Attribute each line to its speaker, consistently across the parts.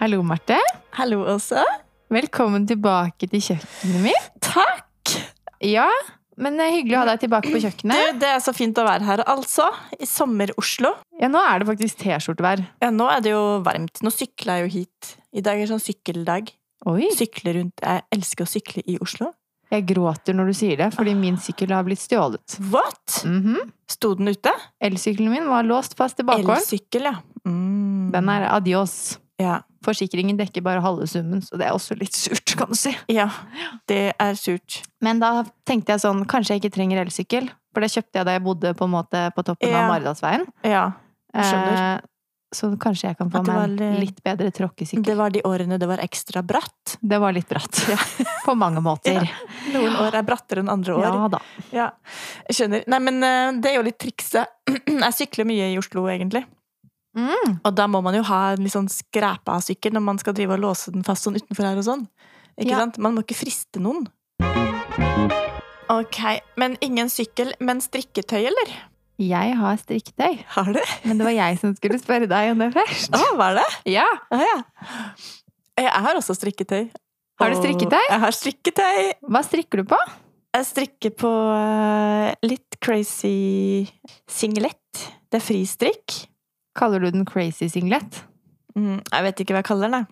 Speaker 1: Hallo, Marte.
Speaker 2: Hallo også.
Speaker 1: Velkommen tilbake til kjøkkenet mitt.
Speaker 2: Takk!
Speaker 1: Ja, men det er hyggelig å ha deg tilbake på
Speaker 2: Du,
Speaker 1: kjøkkenet.
Speaker 2: det er så fint å være her, altså. I sommer-Oslo.
Speaker 1: Ja, nå er det faktisk T-skjortevær.
Speaker 2: Ja, nå er det jo varmt. Nå sykla jeg jo hit. I dag er sånn sykkeldag.
Speaker 1: Oi,
Speaker 2: Sykle rundt. Jeg elsker å sykle i Oslo.
Speaker 1: jeg gråter når du sier det, fordi min sykkel har blitt stjålet.
Speaker 2: What?!
Speaker 1: Mhm.
Speaker 2: Sto den ute?
Speaker 1: Elsykkelen min var låst fast i bakgården.
Speaker 2: Elsykkel, ja. Mm.
Speaker 1: Den er adios.
Speaker 2: ja.
Speaker 1: Forsikringen dekker bare halve summen, så det er også litt surt, kan du si.
Speaker 2: ja. Det er surt.
Speaker 1: Men da tenkte jeg sånn, kanskje jeg ikke trenger elsykkel. For det kjøpte jeg da jeg bodde på, en måte på toppen
Speaker 2: Ja.
Speaker 1: av Maridalsveien.
Speaker 2: Ja. Jeg skjønner.
Speaker 1: Eh, så kanskje jeg kan få
Speaker 2: At det
Speaker 1: meg
Speaker 2: var, eh,
Speaker 1: en litt bedre tråkkesykkel.
Speaker 2: Det var de årene det var ekstra bratt.
Speaker 1: Det var litt bratt. På mange måter.
Speaker 2: Noen år er brattere enn andre år.
Speaker 1: Ja da.
Speaker 2: Ja, jeg skjønner. Nei, men eh, det er jo litt trikset. Jeg sykler mye i Oslo, egentlig.
Speaker 1: Mm.
Speaker 2: Og da må man jo ha en litt sånn skræpa sykkel når man skal drive og låse den fast sånn utenfor her og sånn. Ikke
Speaker 1: Ja.
Speaker 2: sant? Man må ikke friste noen. Ok, men ingen sykkel, men strikketøy, eller?
Speaker 1: Jeg har strikketøy,
Speaker 2: Har du?
Speaker 1: men det var jeg som skulle spørre deg om det først.
Speaker 2: Å, hva er det?
Speaker 1: Ja,
Speaker 2: Å, ja. Jeg har også strikketøy.
Speaker 1: Har du
Speaker 2: Og-
Speaker 1: strikketøy?
Speaker 2: Jeg har strikketøy.
Speaker 1: Hva strikker du på?
Speaker 2: Jeg strikker på eh, litt crazy singlet. Det er fristrikk.
Speaker 1: Kaller du den crazy singlet?
Speaker 2: Mm, jeg vet ikke hva jeg kaller den. jeg.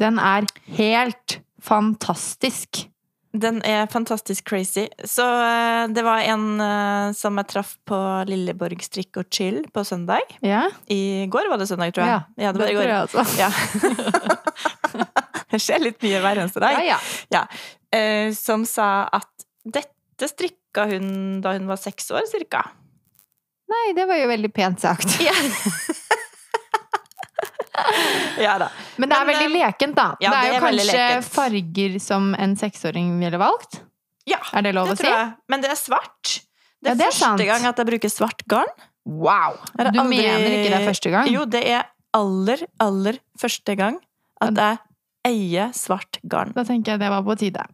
Speaker 1: Den er helt fantastisk.
Speaker 2: Den er fantastisk crazy. Så eh, det var en eh, som jeg traff på Lilleborg strikk og chill på søndag.
Speaker 1: Ja,
Speaker 2: I går var det søndag, tror jeg. Ja, det var i
Speaker 1: tror
Speaker 2: går.
Speaker 1: jeg også.
Speaker 2: Ja. det skjer litt mye hver eneste dag.
Speaker 1: Ja, ja.
Speaker 2: Eh, Som sa at dette strikka hun da hun var seks år, cirka.
Speaker 1: Nei, det var jo veldig pent sagt.
Speaker 2: Ja. ja da.
Speaker 1: Men det er
Speaker 2: Men, eh,
Speaker 1: veldig lekent, da.
Speaker 2: ja,
Speaker 1: det er
Speaker 2: det
Speaker 1: jo
Speaker 2: er veldig
Speaker 1: kanskje
Speaker 2: lekent.
Speaker 1: farger som en seksåring ville valgt.
Speaker 2: Ja,
Speaker 1: Er det lov
Speaker 2: det
Speaker 1: å si?
Speaker 2: tror jeg. Men det er svart. Det
Speaker 1: Ja,
Speaker 2: er,
Speaker 1: det er
Speaker 2: første
Speaker 1: sant.
Speaker 2: gang at jeg bruker svart garn.
Speaker 1: Wow!
Speaker 2: Jeg har
Speaker 1: Du
Speaker 2: aldri-
Speaker 1: mener ikke det er første gang?
Speaker 2: Jo, det er aller, aller første gang at jeg eier svart garn.
Speaker 1: Da tenker jeg det var på tide.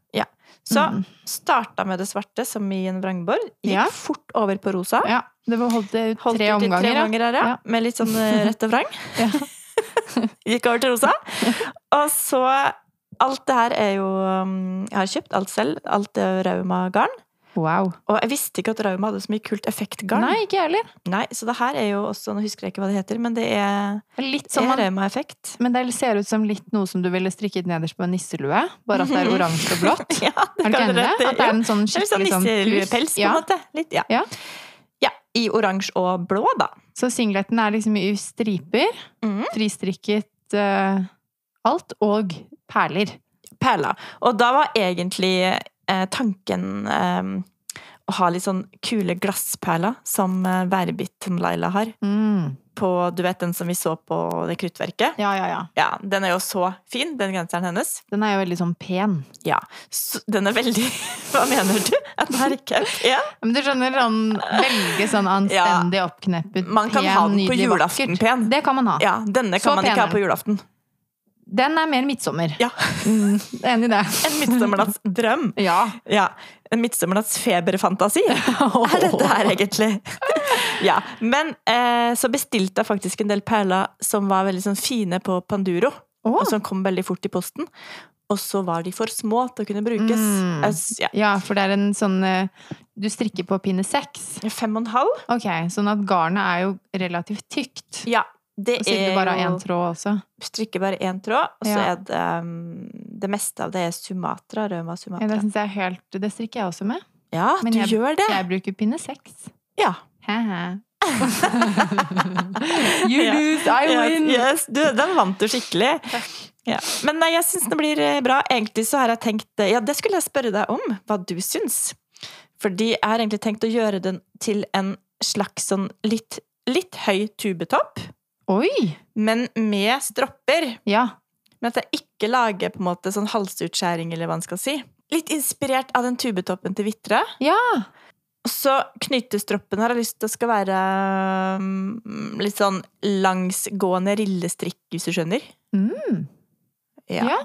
Speaker 2: Så
Speaker 1: Mm.
Speaker 2: starta med det svarte, som i en vrangbor. Gikk
Speaker 1: Ja.
Speaker 2: fort over på rosa.
Speaker 1: Ja, det var holdt det ut
Speaker 2: Holdt
Speaker 1: tre
Speaker 2: ut i
Speaker 1: omganger.
Speaker 2: tre
Speaker 1: ja.
Speaker 2: omganger her, ja.
Speaker 1: Ja.
Speaker 2: Med litt sånn eh, rett og vrang.
Speaker 1: Ja.
Speaker 2: Gikk over til rosa. Og så Alt det her er jo um, Jeg har kjøpt alt selv. Alt er Rauma-garn.
Speaker 1: Wow.
Speaker 2: Og jeg visste ikke at Rauma hadde så mye kult effektgarn.
Speaker 1: Nei, ikke jeg heller.
Speaker 2: Nei, så det her er jo også Nå husker jeg ikke hva det heter, men det er,
Speaker 1: Litt som
Speaker 2: er
Speaker 1: man,
Speaker 2: Rauma-effekt.
Speaker 1: men det ser ut som litt noe som du ville strikket nederst på en nisselue, bare at det er oransje og blått.
Speaker 2: Ja, det
Speaker 1: Er du
Speaker 2: kan
Speaker 1: ikke enig
Speaker 2: du
Speaker 1: i
Speaker 2: rett i.
Speaker 1: det? At det er en sånn
Speaker 2: Ja, litt sånn
Speaker 1: skikkelig sånn
Speaker 2: nisseluepels,
Speaker 1: pus?
Speaker 2: på en
Speaker 1: Ja.
Speaker 2: måte. Litt, ja.
Speaker 1: Ja.
Speaker 2: Ja, I oransje og blå, da.
Speaker 1: Så singleten er liksom i striper,
Speaker 2: Mhm.
Speaker 1: fristrikket eh, alt, og perler.
Speaker 2: Perler. Og da var egentlig eh, tanken eh, å ha litt sånn kule glassperler som eh, værbitt Laila har.
Speaker 1: Mm.
Speaker 2: På, du vet den som vi så på det kruttverket?
Speaker 1: Ja, ja, ja.
Speaker 2: Ja, den er jo så fin, den genseren hennes.
Speaker 1: Den er jo veldig sånn pen.
Speaker 2: Så, den er veldig Hva mener du? At den er ikke pen?
Speaker 1: Men du skjønner, sånn, veldig sånn anstendig oppkneppet,
Speaker 2: Man kan
Speaker 1: pen,
Speaker 2: ha den på
Speaker 1: nydelig,
Speaker 2: julaften
Speaker 1: vakkert.
Speaker 2: pen.
Speaker 1: Det kan man ha.
Speaker 2: Ja, denne
Speaker 1: Så
Speaker 2: kan man
Speaker 1: pen er
Speaker 2: ikke ha på julaften.
Speaker 1: Den er mer midtsommer.
Speaker 2: Ja.
Speaker 1: Mm, enig i det.
Speaker 2: En midtsommernattsdrøm.
Speaker 1: Ja.
Speaker 2: Ja. En midtsommernatts feberfantasi er dette her, egentlig. ja. Men eh, så bestilte jeg faktisk en del perler som var veldig sånn fine på Panduro,
Speaker 1: Åh.
Speaker 2: og som kom veldig fort i posten. Og så var de for små til å kunne brukes.
Speaker 1: Mm.
Speaker 2: Jeg s- ja.
Speaker 1: Ja, for det er en sånn eh, Du strikker på pinne seks.
Speaker 2: Fem og en halv.
Speaker 1: Ok, sånn at garnet er jo relativt tykt.
Speaker 2: Ja. Det
Speaker 1: Siden
Speaker 2: er
Speaker 1: du bare har
Speaker 2: jo
Speaker 1: én tråd også.
Speaker 2: strikker bare én tråd, og så
Speaker 1: Ja.
Speaker 2: er det um, Det meste av det er Sumatra. Røma
Speaker 1: Ja, det
Speaker 2: Sumatra.
Speaker 1: syns jeg er helt Det strikker jeg også med.
Speaker 2: Ja,
Speaker 1: Men
Speaker 2: du gjør det!
Speaker 1: Jeg bruker pinne seks.
Speaker 2: Ja.
Speaker 1: Haha. you
Speaker 2: Ja.
Speaker 1: lose, I win!
Speaker 2: Yes, yes. Du, den vant du skikkelig. Ja. Men nei, jeg syns det blir eh, bra. Egentlig så har jeg tenkt eh, Ja, det skulle jeg spørre deg om, hva du syns. Fordi jeg har egentlig tenkt å gjøre den til en slags sånn litt, litt høy tubetopp,
Speaker 1: Oi!
Speaker 2: men med stropper.
Speaker 1: Ja.
Speaker 2: Men at jeg ikke lager på en måte sånn halsutskjæring, eller hva en skal si. Litt inspirert av den tubetoppen til Vitre.
Speaker 1: Ja!
Speaker 2: Og så knytestroppen har jeg lyst til å skal være mm, litt sånn langsgående rillestrikk, hvis du skjønner.
Speaker 1: Mm.
Speaker 2: Ja.
Speaker 1: Ja.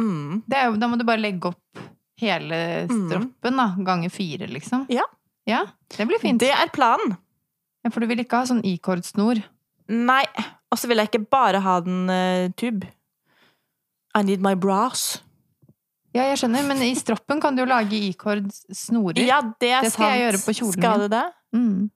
Speaker 2: Mm.
Speaker 1: Det er, jo- da må du bare legge opp hele
Speaker 2: Mm.
Speaker 1: stroppen, da. Ganger fire, liksom.
Speaker 2: Ja.
Speaker 1: Ja, Det blir fint.
Speaker 2: Det er planen.
Speaker 1: Ja, for du vil ikke ha sånn i-kordsnor.
Speaker 2: Nei. Og så vil jeg ikke bare ha den eh, tub. I need my bras.
Speaker 1: Ja, jeg skjønner, men i stroppen kan du jo lage ikord snorer.
Speaker 2: Ja, det er sant.
Speaker 1: Det skal jeg gjøre på kjolen
Speaker 2: Skal
Speaker 1: min.
Speaker 2: du det?
Speaker 1: Mm.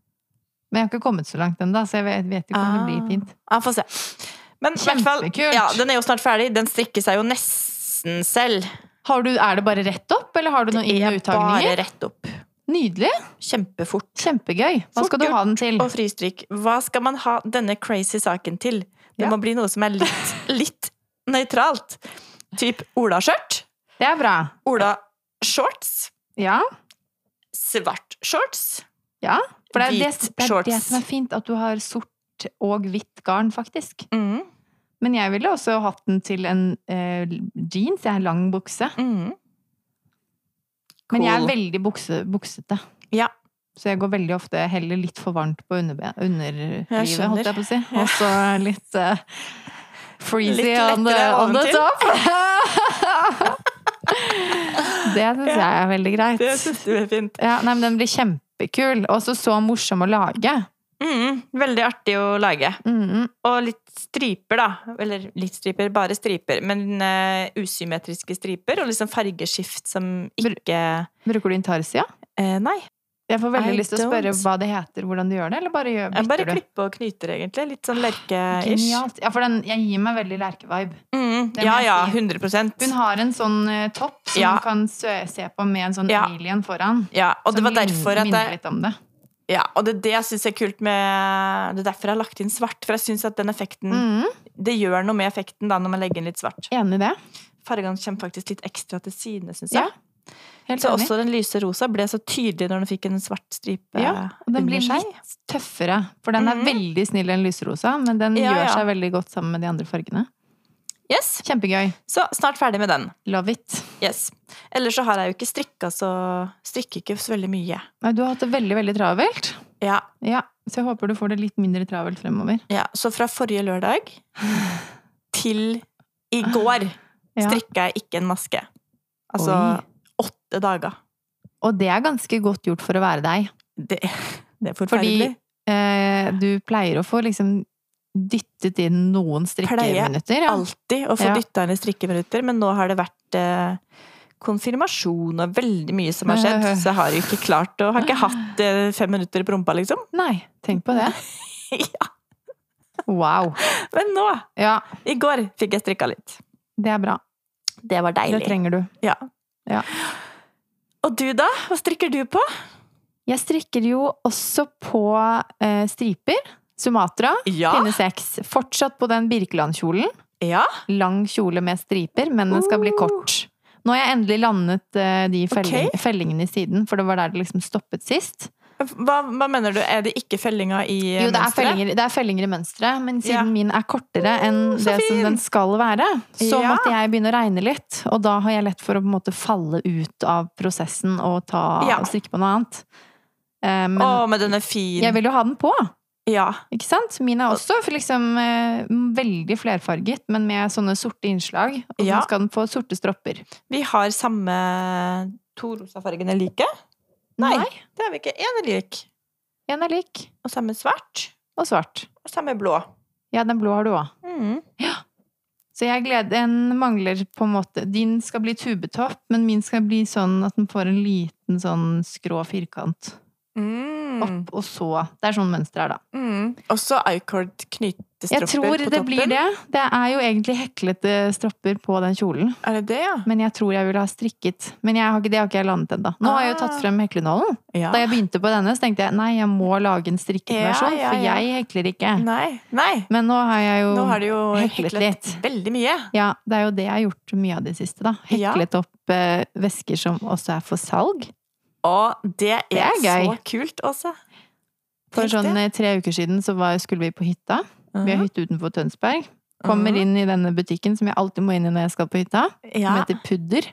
Speaker 1: Men jeg har ikke kommet så langt ennå, så jeg vet, vet ikke om det
Speaker 2: Ah.
Speaker 1: blir fint.
Speaker 2: Ja, få se. Men i hvert fall,
Speaker 1: Kjempekult.
Speaker 2: ja, den er jo snart ferdig. Den strikker seg jo nesten selv.
Speaker 1: Har du, er det bare rett opp, eller har du noen inn- og
Speaker 2: Bare
Speaker 1: uttagninger?
Speaker 2: rett opp.
Speaker 1: Nydelig!
Speaker 2: Kjempefort.
Speaker 1: Kjempegøy. Hva
Speaker 2: Fort
Speaker 1: skal du
Speaker 2: gjort
Speaker 1: ha den til?
Speaker 2: Og fristryk. Hva skal man ha denne crazy saken til? Det
Speaker 1: Ja.
Speaker 2: må bli noe som er litt, litt nøytralt. Typ olaskjørt.
Speaker 1: Det er bra.
Speaker 2: Olashorts.
Speaker 1: Ja.
Speaker 2: Svart shorts.
Speaker 1: Ja, For det er det,
Speaker 2: Hvit
Speaker 1: det er det som er fint, at du har sort og hvitt garn, faktisk.
Speaker 2: Mm,
Speaker 1: Men jeg ville også hatt den til en eh, jeans. Jeg har lang bukse.
Speaker 2: mm.
Speaker 1: Men jeg er
Speaker 2: Cool.
Speaker 1: veldig bukse, buksete.
Speaker 2: Ja.
Speaker 1: Så jeg går veldig ofte heller litt for varmt på underbe- underlivet,
Speaker 2: skjønner.
Speaker 1: holdt jeg på å si. Og så litt eh, freezy
Speaker 2: Litt
Speaker 1: on the,
Speaker 2: lettere
Speaker 1: on the
Speaker 2: oventil.
Speaker 1: top. det syns jeg er veldig greit.
Speaker 2: Det syns du er fint.
Speaker 1: Ja, nei, men den blir kjempekul. Og så så morsom å lage.
Speaker 2: Mm, veldig artig å lage.
Speaker 1: Mhm.
Speaker 2: Og litt striper, da. Eller litt striper, bare striper. Men eh, usymmetriske striper, og liksom fargeskift som ikke
Speaker 1: Bruker du intarsia?
Speaker 2: eh, Nei.
Speaker 1: Jeg får veldig
Speaker 2: I
Speaker 1: lyst til å spørre
Speaker 2: don't.
Speaker 1: hva det heter, hvordan du gjør det, eller bare gjør,
Speaker 2: Jeg bare
Speaker 1: bytter du? Ah,
Speaker 2: klipper og knyter, egentlig. Litt sånn lerke-ish.
Speaker 1: Genialt. Ja, for den, jeg gir meg veldig lerkevibe.
Speaker 2: Mm,
Speaker 1: Det må
Speaker 2: ja
Speaker 1: jeg
Speaker 2: ja,
Speaker 1: si.
Speaker 2: 100
Speaker 1: Hun har en sånn eh, topp som
Speaker 2: Ja.
Speaker 1: du kan sø se på med en sånn
Speaker 2: Ja.
Speaker 1: alien foran.
Speaker 2: ja, og det
Speaker 1: som
Speaker 2: var derfor
Speaker 1: minner,
Speaker 2: at
Speaker 1: minner
Speaker 2: jeg,
Speaker 1: litt om det.
Speaker 2: ja, og det, er det jeg syns er kult med Det er derfor jeg har lagt inn svart, for jeg syns at den effekten
Speaker 1: Mm.
Speaker 2: Det gjør noe med effekten da når man legger inn litt svart.
Speaker 1: Enig i det.
Speaker 2: Fargene kommer faktisk litt ekstra til sidene, syns jeg.
Speaker 1: Ja, Helt
Speaker 2: så
Speaker 1: enig.
Speaker 2: også den lyse rosa ble så tydelig når den fikk en svart stripe
Speaker 1: Ja, og den blir
Speaker 2: under seg.
Speaker 1: litt tøffere, for den er
Speaker 2: Mhm.
Speaker 1: veldig snill, den lyserosa, men den
Speaker 2: Ja,
Speaker 1: gjør
Speaker 2: ja.
Speaker 1: seg veldig godt sammen med de andre fargene.
Speaker 2: Yes.
Speaker 1: Kjempegøy.
Speaker 2: Så snart ferdig med den.
Speaker 1: Love it.
Speaker 2: Yes. Ellers så har jeg jo ikke strikka, så strikker ikke så veldig mye.
Speaker 1: Nei, Du har hatt det veldig, veldig travelt.
Speaker 2: Ja,
Speaker 1: Ja, så jeg håper du får det litt mindre travelt fremover.
Speaker 2: ja. Så fra forrige lørdag til i går
Speaker 1: Ja.
Speaker 2: strikka jeg ikke en maske. Altså
Speaker 1: Oi.
Speaker 2: åtte dager.
Speaker 1: Og det er ganske godt gjort for å være deg.
Speaker 2: Det, det er
Speaker 1: Fordi
Speaker 2: forferdelig.
Speaker 1: eh, du pleier å få liksom dyttet inn noen strikkeminutter. Ja.
Speaker 2: Alltid å få
Speaker 1: Ja.
Speaker 2: dytta inn i strikkeminutter, men nå har det vært eh, konfirmasjon og veldig mye som har skjedd, så jeg har jo ikke klart og har ikke hatt eh, fem minutter på rumpa, liksom.
Speaker 1: Nei, tenk på det.
Speaker 2: Ja.
Speaker 1: Wow.
Speaker 2: Men nå,
Speaker 1: Ja,
Speaker 2: i går, fikk jeg strikka litt.
Speaker 1: det er bra.
Speaker 2: Det var
Speaker 1: Det
Speaker 2: deilig.
Speaker 1: trenger du.
Speaker 2: Ja.
Speaker 1: Ja.
Speaker 2: Og du, da? Hva strikker du på?
Speaker 1: Jeg strikker jo også på eh, striper. Sumatra,
Speaker 2: Ja.
Speaker 1: pinne seks. Fortsatt på den Birkeland-kjolen.
Speaker 2: ja.
Speaker 1: Lang kjole med striper, men den skal bli
Speaker 2: Uh.
Speaker 1: kort. Nå har jeg endelig landet eh, de felling,
Speaker 2: Ok.
Speaker 1: fellingene i siden, for det var der det liksom stoppet sist.
Speaker 2: Hva, hva mener du? Er det ikke fellinga i eh,
Speaker 1: Jo, det er,
Speaker 2: mønsteret?
Speaker 1: fellinger, det er fellinger i mønsteret, men siden
Speaker 2: Ja.
Speaker 1: min er kortere enn
Speaker 2: så
Speaker 1: det som
Speaker 2: fin!
Speaker 1: den skal være, så
Speaker 2: Ja.
Speaker 1: måtte jeg begynne å regne litt. Og da har jeg lett for å på en måte falle ut av prosessen og, ta,
Speaker 2: Ja.
Speaker 1: og strikke på noe annet. Eh, men
Speaker 2: Å, men den er fin.
Speaker 1: jeg vil jo ha den på,
Speaker 2: Ja.
Speaker 1: ikke sant? Min er også for liksom eh, veldig flerfarget, men med sånne sorte innslag. Og så
Speaker 2: Ja.
Speaker 1: skal den få sorte stropper.
Speaker 2: Vi har samme to rosafargene like. Nei. Det er vi ikke. Én er lik.
Speaker 1: En er lik.
Speaker 2: Og samme svart.
Speaker 1: Og svart.
Speaker 2: Og samme blå.
Speaker 1: Ja, den blå har du òg.
Speaker 2: Mm.
Speaker 1: Så jeg gleder Den mangler på en måte Din skal bli tubetopp, men min skal bli sånn at den får en liten sånn skrå firkant
Speaker 2: Mm.
Speaker 1: opp, og så Det er sånn mønster her, da.
Speaker 2: Mm. Og så icord knytestropper
Speaker 1: Jeg tror
Speaker 2: på
Speaker 1: det
Speaker 2: toppen.
Speaker 1: blir det. Det er jo egentlig heklete stropper på den kjolen,
Speaker 2: Er det det, ja?
Speaker 1: men jeg tror jeg ville ha strikket. Men jeg har ikke, det har ikke jeg landet ennå. Nå har jeg jo tatt
Speaker 2: Ah.
Speaker 1: frem heklenålen.
Speaker 2: ja.
Speaker 1: Da jeg begynte på denne, så tenkte jeg nei, jeg må lage en strikket
Speaker 2: Ja,
Speaker 1: versjon,
Speaker 2: ja,
Speaker 1: for
Speaker 2: ja.
Speaker 1: jeg hekler ikke.
Speaker 2: Nei. Nei.
Speaker 1: Men nå har jeg jo,
Speaker 2: Nå har du jo
Speaker 1: heklet,
Speaker 2: heklet
Speaker 1: litt.
Speaker 2: veldig mye.
Speaker 1: Ja, det er jo det jeg har gjort mye av det siste, da.
Speaker 2: Ja.
Speaker 1: Heklet opp eh, vesker som også er for salg.
Speaker 2: Og det er,
Speaker 1: Det er gøy.
Speaker 2: så kult, Åse.
Speaker 1: For
Speaker 2: Tenk
Speaker 1: sånn
Speaker 2: det.
Speaker 1: eh, tre uker siden så var, skulle vi på hytta. Vi har
Speaker 2: Mhm.
Speaker 1: hytte utenfor Tønsberg. Kommer
Speaker 2: Mhm.
Speaker 1: inn i denne butikken som jeg alltid må inn i når jeg skal på hytta,
Speaker 2: ja.
Speaker 1: som heter Pudder.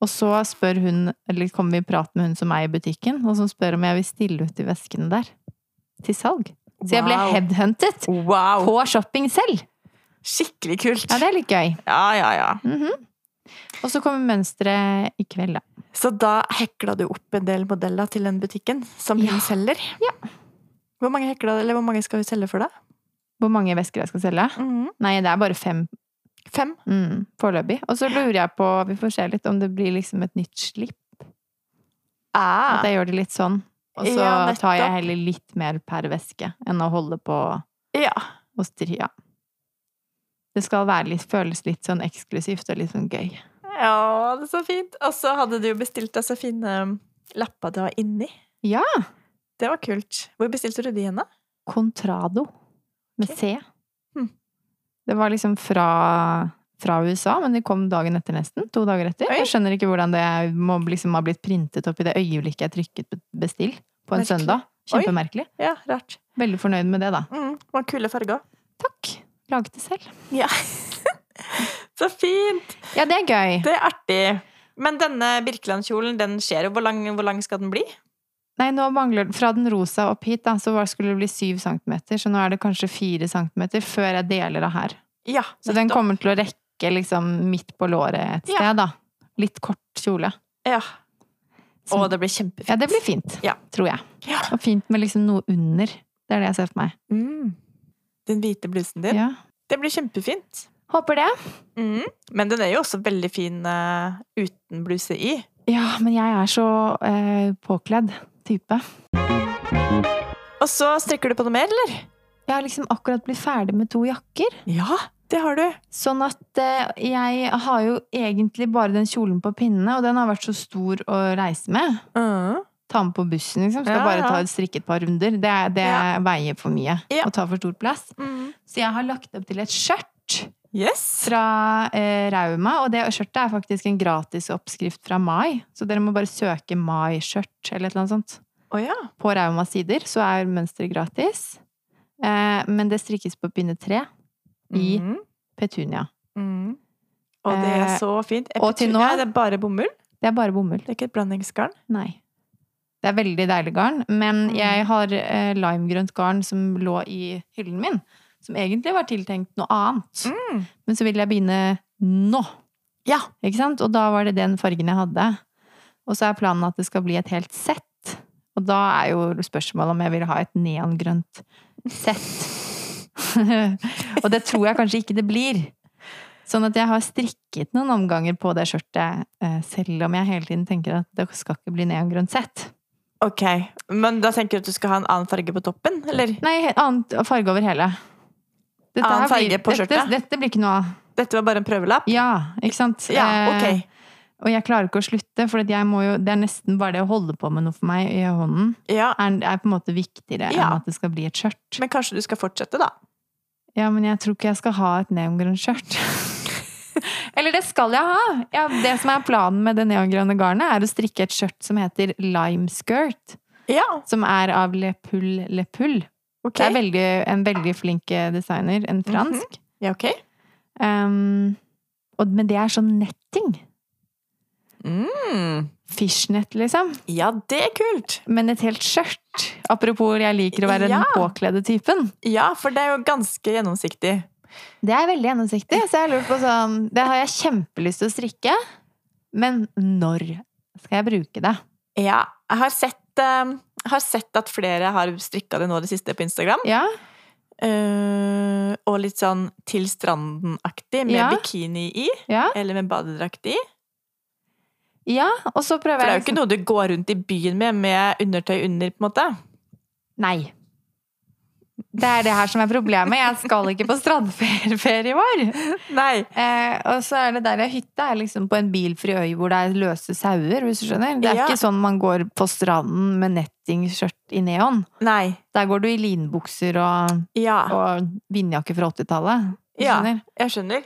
Speaker 1: Og så spør hun, eller kommer vi i prat med hun som er i butikken, og som spør om jeg vil stille ut de veskene der. Til salg. Så jeg ble
Speaker 2: Wow.
Speaker 1: headhuntet
Speaker 2: Wow!
Speaker 1: på shopping selv!
Speaker 2: Skikkelig kult.
Speaker 1: Ja, det er litt gøy.
Speaker 2: ja, ja, ja.
Speaker 1: Mhm. Og så kommer mønsteret i kveld, da.
Speaker 2: Så da hekla du opp en del modeller til den butikken som
Speaker 1: Ja.
Speaker 2: hun selger?
Speaker 1: Ja.
Speaker 2: Hvor mange, hekla, eller hvor mange skal hun selge for deg? Mm.
Speaker 1: Mm. Hvor mange vesker jeg skal selge? Nei, det er bare fem
Speaker 2: Fem.
Speaker 1: Mm, Foreløpig. Og så lurer jeg på, vi får se litt, om det blir liksom et nytt slipp. At
Speaker 2: Ah.
Speaker 1: jeg gjør det litt sånn. Og så
Speaker 2: Ja, nettopp.
Speaker 1: tar jeg heller litt mer per væske enn å holde på
Speaker 2: Ja.
Speaker 1: og stri. Ja. Det skal være litt, føles litt sånn eksklusivt og litt sånn gøy.
Speaker 2: ja, det er så fint. Og så hadde du jo bestilt deg så fine um, lapper du har inni.
Speaker 1: Ja.
Speaker 2: Det var kult. Hvor bestilte du de henne?
Speaker 1: Contrado med
Speaker 2: Ok.
Speaker 1: C.
Speaker 2: Hmm.
Speaker 1: Det var liksom fra, fra USA, men de kom dagen etter nesten. To dager etter.
Speaker 2: Oi.
Speaker 1: Jeg skjønner ikke hvordan det må liksom ha blitt printet opp i det øyeblikket jeg trykket be- bestill på en
Speaker 2: Merkelig.
Speaker 1: søndag.
Speaker 2: Oi.
Speaker 1: Kjempemerkelig.
Speaker 2: Ja, rart.
Speaker 1: Veldig fornøyd med det, da.
Speaker 2: Mm, det var kule farger.
Speaker 1: Takk. Laget det selv.
Speaker 2: Ja. så fint!
Speaker 1: Ja, det er gøy.
Speaker 2: Det er artig. Men denne Birkeland-kjolen, den skjer jo. Hvor lang, hvor lang skal den bli?
Speaker 1: Nei, nå mangler Fra den rosa opp hit, da, så var- skulle det bli syv centimeter. Så nå er det kanskje fire centimeter før jeg deler av her.
Speaker 2: Ja,
Speaker 1: Så den
Speaker 2: nettopp.
Speaker 1: kommer til å rekke liksom midt på låret et
Speaker 2: Ja.
Speaker 1: sted, da. Litt kort kjole.
Speaker 2: Ja.
Speaker 1: Som-
Speaker 2: Å, det blir kjempefint.
Speaker 1: Ja, det blir fint,
Speaker 2: Ja.
Speaker 1: tror jeg.
Speaker 2: Ja.
Speaker 1: Og fint med liksom noe under. Det er det jeg ser for meg.
Speaker 2: Mm. Den hvite blusen din.
Speaker 1: Ja.
Speaker 2: Det blir kjempefint.
Speaker 1: Håper det.
Speaker 2: Mm. Men den er jo også veldig fin eh, uten bluse i.
Speaker 1: Ja, men jeg er så eh, påkledd type.
Speaker 2: Og så strikker du på noe mer, eller?
Speaker 1: Jeg har liksom akkurat blitt ferdig med to jakker.
Speaker 2: Ja, det har du.
Speaker 1: Sånn at eh, jeg har jo egentlig bare den kjolen på pinnene, og den har vært så stor å reise med.
Speaker 2: Mm.
Speaker 1: Ta med på bussen, liksom. Skal
Speaker 2: Ja,
Speaker 1: bare
Speaker 2: ja.
Speaker 1: ta et strikke et par runder. Det, er- det
Speaker 2: Ja.
Speaker 1: veier for mye
Speaker 2: Ja.
Speaker 1: og tar for stor plass.
Speaker 2: Mm.
Speaker 1: Så jeg har lagt opp til et skjørt.
Speaker 2: Yes.
Speaker 1: fra eh, Rauma, og det skjørtet er faktisk en gratis oppskrift fra Mai. Så dere må bare søke Mai-skjørt eller et eller annet sånt.
Speaker 2: Å ja.
Speaker 1: På Raumas sider så er mønsteret gratis, eh, men det strikkes på pinne tre i
Speaker 2: Mm.
Speaker 1: petunia.
Speaker 2: Mm. Og det er
Speaker 1: Eh,
Speaker 2: så fint.
Speaker 1: og til nå-
Speaker 2: Nei, det er bare bomull.
Speaker 1: Det er bare bomull.
Speaker 2: Det er ikke et blandingsgarn.
Speaker 1: Nei. Det er veldig deilig garn, men
Speaker 2: Mm.
Speaker 1: jeg har eh, limegrønt garn som lå i hyllen min, som egentlig var tiltenkt noe annet.
Speaker 2: Mm.
Speaker 1: Men så ville jeg begynne nå.
Speaker 2: Ja.
Speaker 1: Ikke sant? Og da var det den fargen jeg hadde. Og så er planen at det skal bli et helt sett. Og da er jo spørsmålet om jeg vil ha et neongrønt sett. og det tror jeg kanskje ikke det blir. Sånn at jeg har strikket noen omganger på det skjørtet, eh, selv om jeg hele tiden tenker at det skal ikke bli neongrønt sett.
Speaker 2: Ok, men da tenker du at du skal ha en annen farge på toppen, eller?
Speaker 1: Nei, he- annen farge over hele. Dette
Speaker 2: Annen
Speaker 1: her
Speaker 2: farge på
Speaker 1: Dette,
Speaker 2: skjørtet?
Speaker 1: dette blir ikke noe av.
Speaker 2: Dette var bare en prøvelapp?
Speaker 1: Ja, ikke sant?
Speaker 2: Ja,
Speaker 1: Eh,
Speaker 2: ok.
Speaker 1: Og jeg klarer ikke å slutte, for at jeg må jo, det er nesten bare det å holde på med noe for meg i hånden,
Speaker 2: Ja.
Speaker 1: er, er på en måte viktigere
Speaker 2: Ja.
Speaker 1: enn at det skal bli et skjørt.
Speaker 2: Men kanskje du skal fortsette, da?
Speaker 1: Ja, men jeg tror ikke jeg skal ha et neongrønt skjørt. Eller det skal jeg ha! Ja, det som er planen med det neongrønne garnet, er å strikke et skjørt som heter lime skirt,
Speaker 2: Ja,
Speaker 1: som er av Le Pull Le Pull.
Speaker 2: ok.
Speaker 1: Det er veldig, en veldig flink eh, designer, en fransk.
Speaker 2: Ja, ok.
Speaker 1: Um, og, men det er sånn netting. Hmm.
Speaker 2: Mm.
Speaker 1: Fishnet, liksom.
Speaker 2: Ja, det er kult!
Speaker 1: Men et helt skjørt. Apropos jeg liker å være
Speaker 2: Ja.
Speaker 1: den påkledde typen.
Speaker 2: Ja, for det er jo ganske gjennomsiktig.
Speaker 1: Det er veldig gjennomsiktig. Så jeg lurer på sånn Det har jeg kjempelyst til å strikke. Men når skal jeg bruke det?
Speaker 2: Ja, jeg har sett, eh, har sett at flere har strikka det nå det siste på Instagram.
Speaker 1: Ja,
Speaker 2: Eh, og litt sånn til stranden-aktig, med
Speaker 1: Ja.
Speaker 2: bikini i,
Speaker 1: ja,
Speaker 2: eller med badedrakt i.
Speaker 1: ja. Og så
Speaker 2: For det
Speaker 1: prøver
Speaker 2: er
Speaker 1: jeg sånn-
Speaker 2: jo ikke noe du går rundt i byen med, med undertøy under, på en måte.
Speaker 1: Nei. Det er det her som er problemet. Jeg skal ikke på strandferie i år.
Speaker 2: Nei.
Speaker 1: Eh, og så er det der jeg hytta er liksom på en bilfri øy hvor det er løse sauer, hvis du skjønner. Det er
Speaker 2: Ja.
Speaker 1: ikke sånn man går på stranden med nettingskjørt i neon.
Speaker 2: Nei.
Speaker 1: Der går du i linbukser og,
Speaker 2: Ja,
Speaker 1: og vindjakke fra 80-tallet. hvis du
Speaker 2: Ja.
Speaker 1: skjønner.
Speaker 2: jeg skjønner.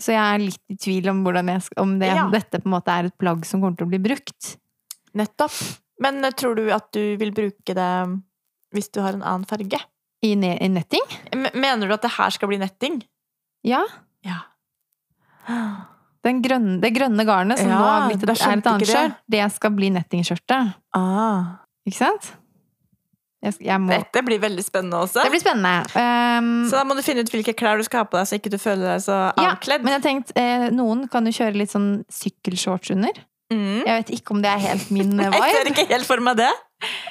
Speaker 1: Så jeg er litt i tvil om, hvordan jeg, sk- om det,
Speaker 2: Ja.
Speaker 1: dette på en måte er et plagg som kommer til å bli brukt.
Speaker 2: Nettopp. Men eh, tror du at du vil bruke det um, hvis du har en annen farge?
Speaker 1: I, ne i netting?
Speaker 2: M mener du at det her skal bli netting?
Speaker 1: Ja.
Speaker 2: Ja.
Speaker 1: Den grønne, det grønne garnet som
Speaker 2: Ja,
Speaker 1: nå har blitt et,
Speaker 2: da skjønte
Speaker 1: er et annet
Speaker 2: ikke det.
Speaker 1: skjørt, det skal bli nettingskjørtet.
Speaker 2: Ah.
Speaker 1: Ikke sant? Jeg, sk- jeg må
Speaker 2: Dette blir veldig spennende også.
Speaker 1: Det blir spennende. Um,
Speaker 2: Så da må du finne ut hvilke klær du skal ha på deg, så ikke du føler deg så
Speaker 1: Ja,
Speaker 2: avkledd.
Speaker 1: Men jeg tenkte, eh, noen kan jo kjøre litt sånn sykkelshorts under.
Speaker 2: Mm.
Speaker 1: Jeg vet ikke om det er helt min eh,
Speaker 2: Jeg
Speaker 1: vibe.
Speaker 2: ser ikke helt for meg det.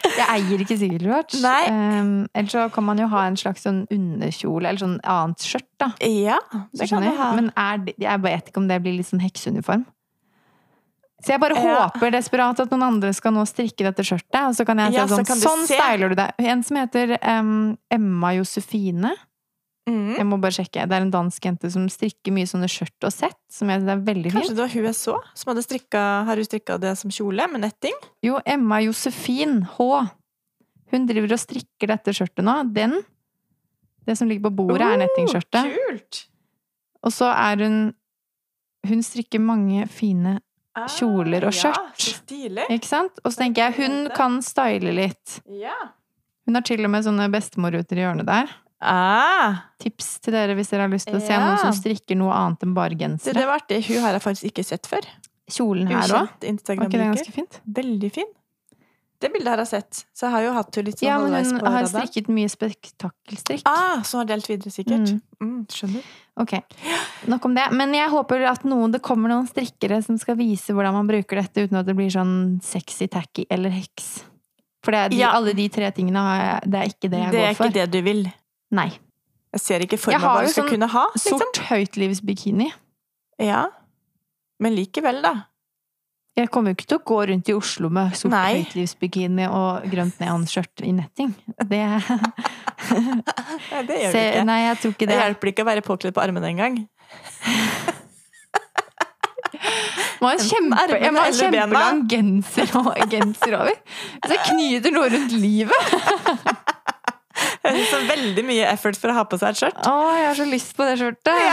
Speaker 1: Jeg eier ikke Sigurdwatch.
Speaker 2: Nei.
Speaker 1: Um, ellers så kan man jo ha en slags sånn underkjole eller sånn annet skjørt, da.
Speaker 2: Ja,
Speaker 1: Så
Speaker 2: det kan
Speaker 1: skjønner jeg.
Speaker 2: du ha.
Speaker 1: Men er det, jeg vet ikke om det blir litt sånn hekseuniform. Så jeg bare
Speaker 2: Ja.
Speaker 1: håper desperat at noen andre skal nå strikke dette skjørtet. Og så kan jeg si
Speaker 2: Ja, så
Speaker 1: sånn,
Speaker 2: kan du
Speaker 1: sånn
Speaker 2: se."
Speaker 1: styler du deg. En som heter em, Emma Josefine.
Speaker 2: Mm.
Speaker 1: Jeg må bare sjekke. Det er en dansk jente som strikker mye sånne skjørt og sett. Som jeg, det er veldig fint.
Speaker 2: Kanskje det var hun jeg så, som hadde strikka, har hun strikka det som kjole med netting?
Speaker 1: Jo, Emma Josefin H. Hun driver og strikker dette skjørtet nå. Den. Det som ligger på bordet, er
Speaker 2: Oh,
Speaker 1: nettingskjørtet.
Speaker 2: Kult!
Speaker 1: Og så er hun Hun strikker mange fine
Speaker 2: Ah,
Speaker 1: Kjoler og
Speaker 2: ja,
Speaker 1: skjørt.
Speaker 2: Så stilig.
Speaker 1: Ikke sant? Og så tenker jeg hun kan style litt.
Speaker 2: Ja.
Speaker 1: Hun har til og med sånne bestemorruter i hjørnet der.
Speaker 2: Ah,
Speaker 1: Tips til dere hvis dere har lyst til å se
Speaker 2: Ja.
Speaker 1: noen som strikker noe annet enn bare
Speaker 2: det,
Speaker 1: gensere.
Speaker 2: det var artig. Hun har jeg faktisk ikke sett før.
Speaker 1: Kjolen her òg.
Speaker 2: Ukjent
Speaker 1: Var ikke det
Speaker 2: Instagram-bruker.
Speaker 1: ganske fint?
Speaker 2: Veldig fin. Det bildet har jeg sett. Så jeg har jo hatt henne litt sånn
Speaker 1: Ja, men
Speaker 2: halvveis
Speaker 1: hun
Speaker 2: på
Speaker 1: har
Speaker 2: radaren.
Speaker 1: strikket mye spektakkelstrikk.
Speaker 2: Ah, som har delt videre, sikkert. Mm, skjønner.
Speaker 1: Ok, nok om det. Men jeg håper at noen, det kommer noen strikkere som skal vise hvordan man bruker dette, uten at det blir sånn sexy, tacky eller heks. For det er de,
Speaker 2: Ja.
Speaker 1: alle de tre tingene har jeg, det er ikke det jeg
Speaker 2: Det er
Speaker 1: går
Speaker 2: ikke
Speaker 1: for.
Speaker 2: det du vil.
Speaker 1: Nei.
Speaker 2: Jeg ser ikke for
Speaker 1: Jeg
Speaker 2: meg hva
Speaker 1: har
Speaker 2: du
Speaker 1: jo
Speaker 2: skal
Speaker 1: sånn
Speaker 2: kunne ha. Liksom.
Speaker 1: Sort høytlivsbikini.
Speaker 2: Ja. Men likevel, da.
Speaker 1: Jeg kommer jo ikke til å gå rundt i Oslo med sort
Speaker 2: Nei.
Speaker 1: høytlivsbikini og grønt neonskjørt i netting. Det,
Speaker 2: Nei, det
Speaker 1: Se,
Speaker 2: gjør du ikke.
Speaker 1: nei, jeg tror ikke
Speaker 2: Det
Speaker 1: det.
Speaker 2: hjelper ikke å være påkledd på armene engang.
Speaker 1: Må ha en
Speaker 2: Enten
Speaker 1: kjempe,
Speaker 2: armene
Speaker 1: jeg må ha en
Speaker 2: eller bena.
Speaker 1: kjempelang genser, og, genser over. Så jeg knyter noe rundt livet.
Speaker 2: Så veldig mye effort for å ha på seg et skjørt.
Speaker 1: Å, jeg har så lyst på det skjørtet!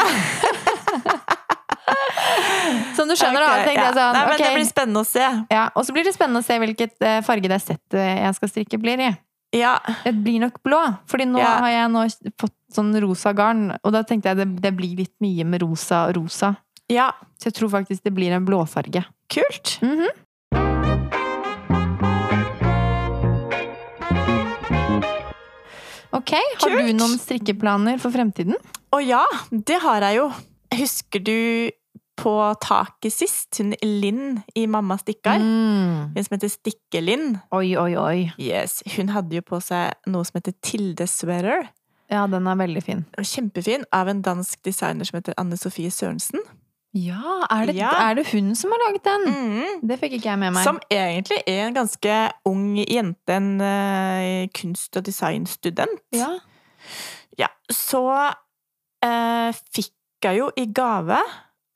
Speaker 1: Som du skjønner, da.
Speaker 2: Ok,
Speaker 1: tenkte
Speaker 2: ja.
Speaker 1: jeg sånn,
Speaker 2: Nei, men Det
Speaker 1: ok.
Speaker 2: blir spennende å se.
Speaker 1: ja, og så blir det spennende å se hvilket eh, farge det settet jeg skal strikke, blir i.
Speaker 2: Ja.
Speaker 1: Det blir nok blå, Fordi nå
Speaker 2: Ja.
Speaker 1: har jeg nå fått sånn rosa garn, og da tenkte jeg det, det blir litt mye med rosa og rosa.
Speaker 2: ja.
Speaker 1: Så jeg tror faktisk det blir en blåfarge.
Speaker 2: Kult.
Speaker 1: Mhm. Ok, har du
Speaker 2: Kult.
Speaker 1: noen strikkeplaner for fremtiden?
Speaker 2: Å ja, det har jeg jo. Husker du på taket sist? Hun Linn i Mamma stikkar?
Speaker 1: Mm.
Speaker 2: Hun som heter Stikke-Linn.
Speaker 1: Oi, oi, oi.
Speaker 2: Yes, Hun hadde jo på seg noe som heter Tilde Sweater.
Speaker 1: Ja, den er veldig fin.
Speaker 2: Kjempefin. Av en dansk designer som heter Anne Sofie Sørensen.
Speaker 1: Ja, er det,
Speaker 2: Ja.
Speaker 1: er det hun som har laget den?
Speaker 2: Mm.
Speaker 1: Det fikk ikke jeg med meg.
Speaker 2: Som egentlig er en ganske ung jente, en eh, kunst- og designstudent.
Speaker 1: ja.
Speaker 2: Ja, så eh, fikk jeg jo i gave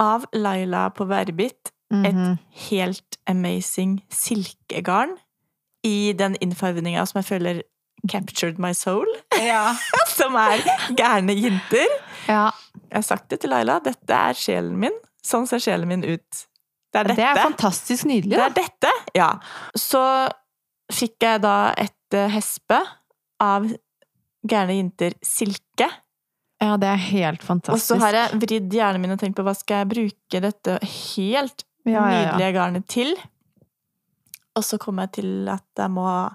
Speaker 2: av Laila på Verbit
Speaker 1: Mhm.
Speaker 2: helt amazing silkegarn i den innfarvninga som jeg føler captured my soul, som er gærne jenter.
Speaker 1: ja.
Speaker 2: Jeg har sagt det til Laila, dette er sjelen min. Sånn ser sjelen min ut. Det er dette.
Speaker 1: Det er fantastisk nydelig,
Speaker 2: Det
Speaker 1: da.
Speaker 2: er dette, ja. Så fikk jeg da et eh, hespe av gærne jenter silke.
Speaker 1: Ja, det er helt
Speaker 2: Og
Speaker 1: fantastisk.
Speaker 2: så har jeg vridd hjernen min og tenkt på hva skal jeg bruke dette helt
Speaker 1: ja, ja, ja.
Speaker 2: nydelige garnet til. Og så kom jeg til at jeg må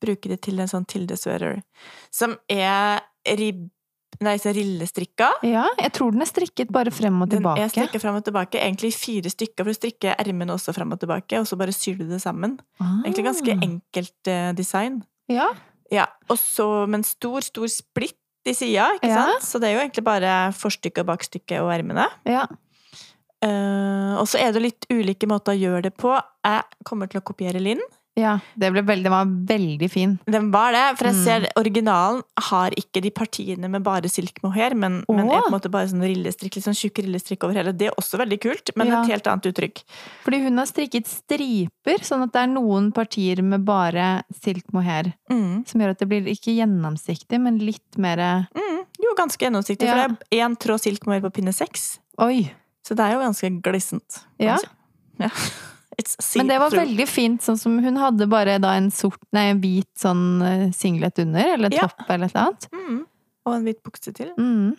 Speaker 2: bruke det til en sånn Tilde Sweater, som er ribb... Nei, så rillestrikka.
Speaker 1: ja, jeg tror den er strikket bare frem og
Speaker 2: Den
Speaker 1: tilbake.
Speaker 2: er strikka fram og tilbake, egentlig i fire stykker, for du strikker ermene også fram og tilbake, og så bare syr du det sammen.
Speaker 1: Ah.
Speaker 2: Egentlig ganske enkelt eh, design.
Speaker 1: Ja.
Speaker 2: Ja, og så med en stor, stor splitt i sida, ikke
Speaker 1: Ja.
Speaker 2: sant? Så det er jo egentlig bare forstykket, bakstykket og ermene.
Speaker 1: ja.
Speaker 2: Eh, og så er det litt ulike måter å gjøre det på. Jeg kommer til å kopiere Linn.
Speaker 1: Ja, det ble veldig, den var veldig fin.
Speaker 2: Den var det, for jeg
Speaker 1: Mm.
Speaker 2: ser originalen har ikke de partiene med bare silkmohair, men, men
Speaker 1: Åh.
Speaker 2: er på en måte bare sånn rillestrikk, litt sånn tjukk rillestrikk over hele. Det er også veldig kult, men
Speaker 1: Ja.
Speaker 2: et helt annet uttrykk.
Speaker 1: Fordi hun har strikket striper, sånn at det er noen partier med bare silk mohair.
Speaker 2: Mm.
Speaker 1: Som gjør at det blir ikke gjennomsiktig, men litt mer
Speaker 2: Mm. Jo, ganske gjennomsiktig,
Speaker 1: Ja.
Speaker 2: for det er én tråd silkmohair på pinne seks.
Speaker 1: Oi!
Speaker 2: Så det er jo ganske glissent. kan
Speaker 1: Ja.
Speaker 2: man si. ja. It's see
Speaker 1: Men det var
Speaker 2: through.
Speaker 1: veldig fint, sånn som hun hadde bare da en sort, nei, en hvit sånn eh, singlet under, eller
Speaker 2: Ja.
Speaker 1: topp eller et eller annet.
Speaker 2: Mm. Og en hvit bukse til.
Speaker 1: Mm.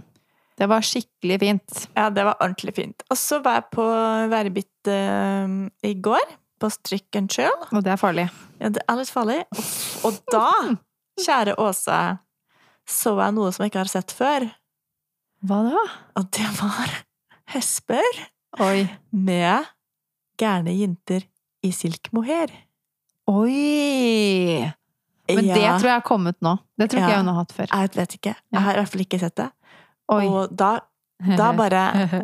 Speaker 1: Det var skikkelig fint.
Speaker 2: Ja, det var ordentlig fint. Og så var jeg på Værbit eh, i går, på Strikk and Chill.
Speaker 1: Og det er farlig.
Speaker 2: Ja, det er litt farlig. Og- Og da, kjære Åse, så jeg noe som jeg ikke har sett før.
Speaker 1: Hva da?
Speaker 2: Og det var hesper
Speaker 1: Oi.
Speaker 2: med gærne jenter i silk mohair.
Speaker 1: Oi! Men det tror jeg har kommet nå. Det tror ikke
Speaker 2: Ja.
Speaker 1: jeg hun har hatt før.
Speaker 2: Jeg vet ikke.
Speaker 1: Ja.
Speaker 2: Jeg har i hvert fall ikke sett det.
Speaker 1: Oi.
Speaker 2: Og da, da bare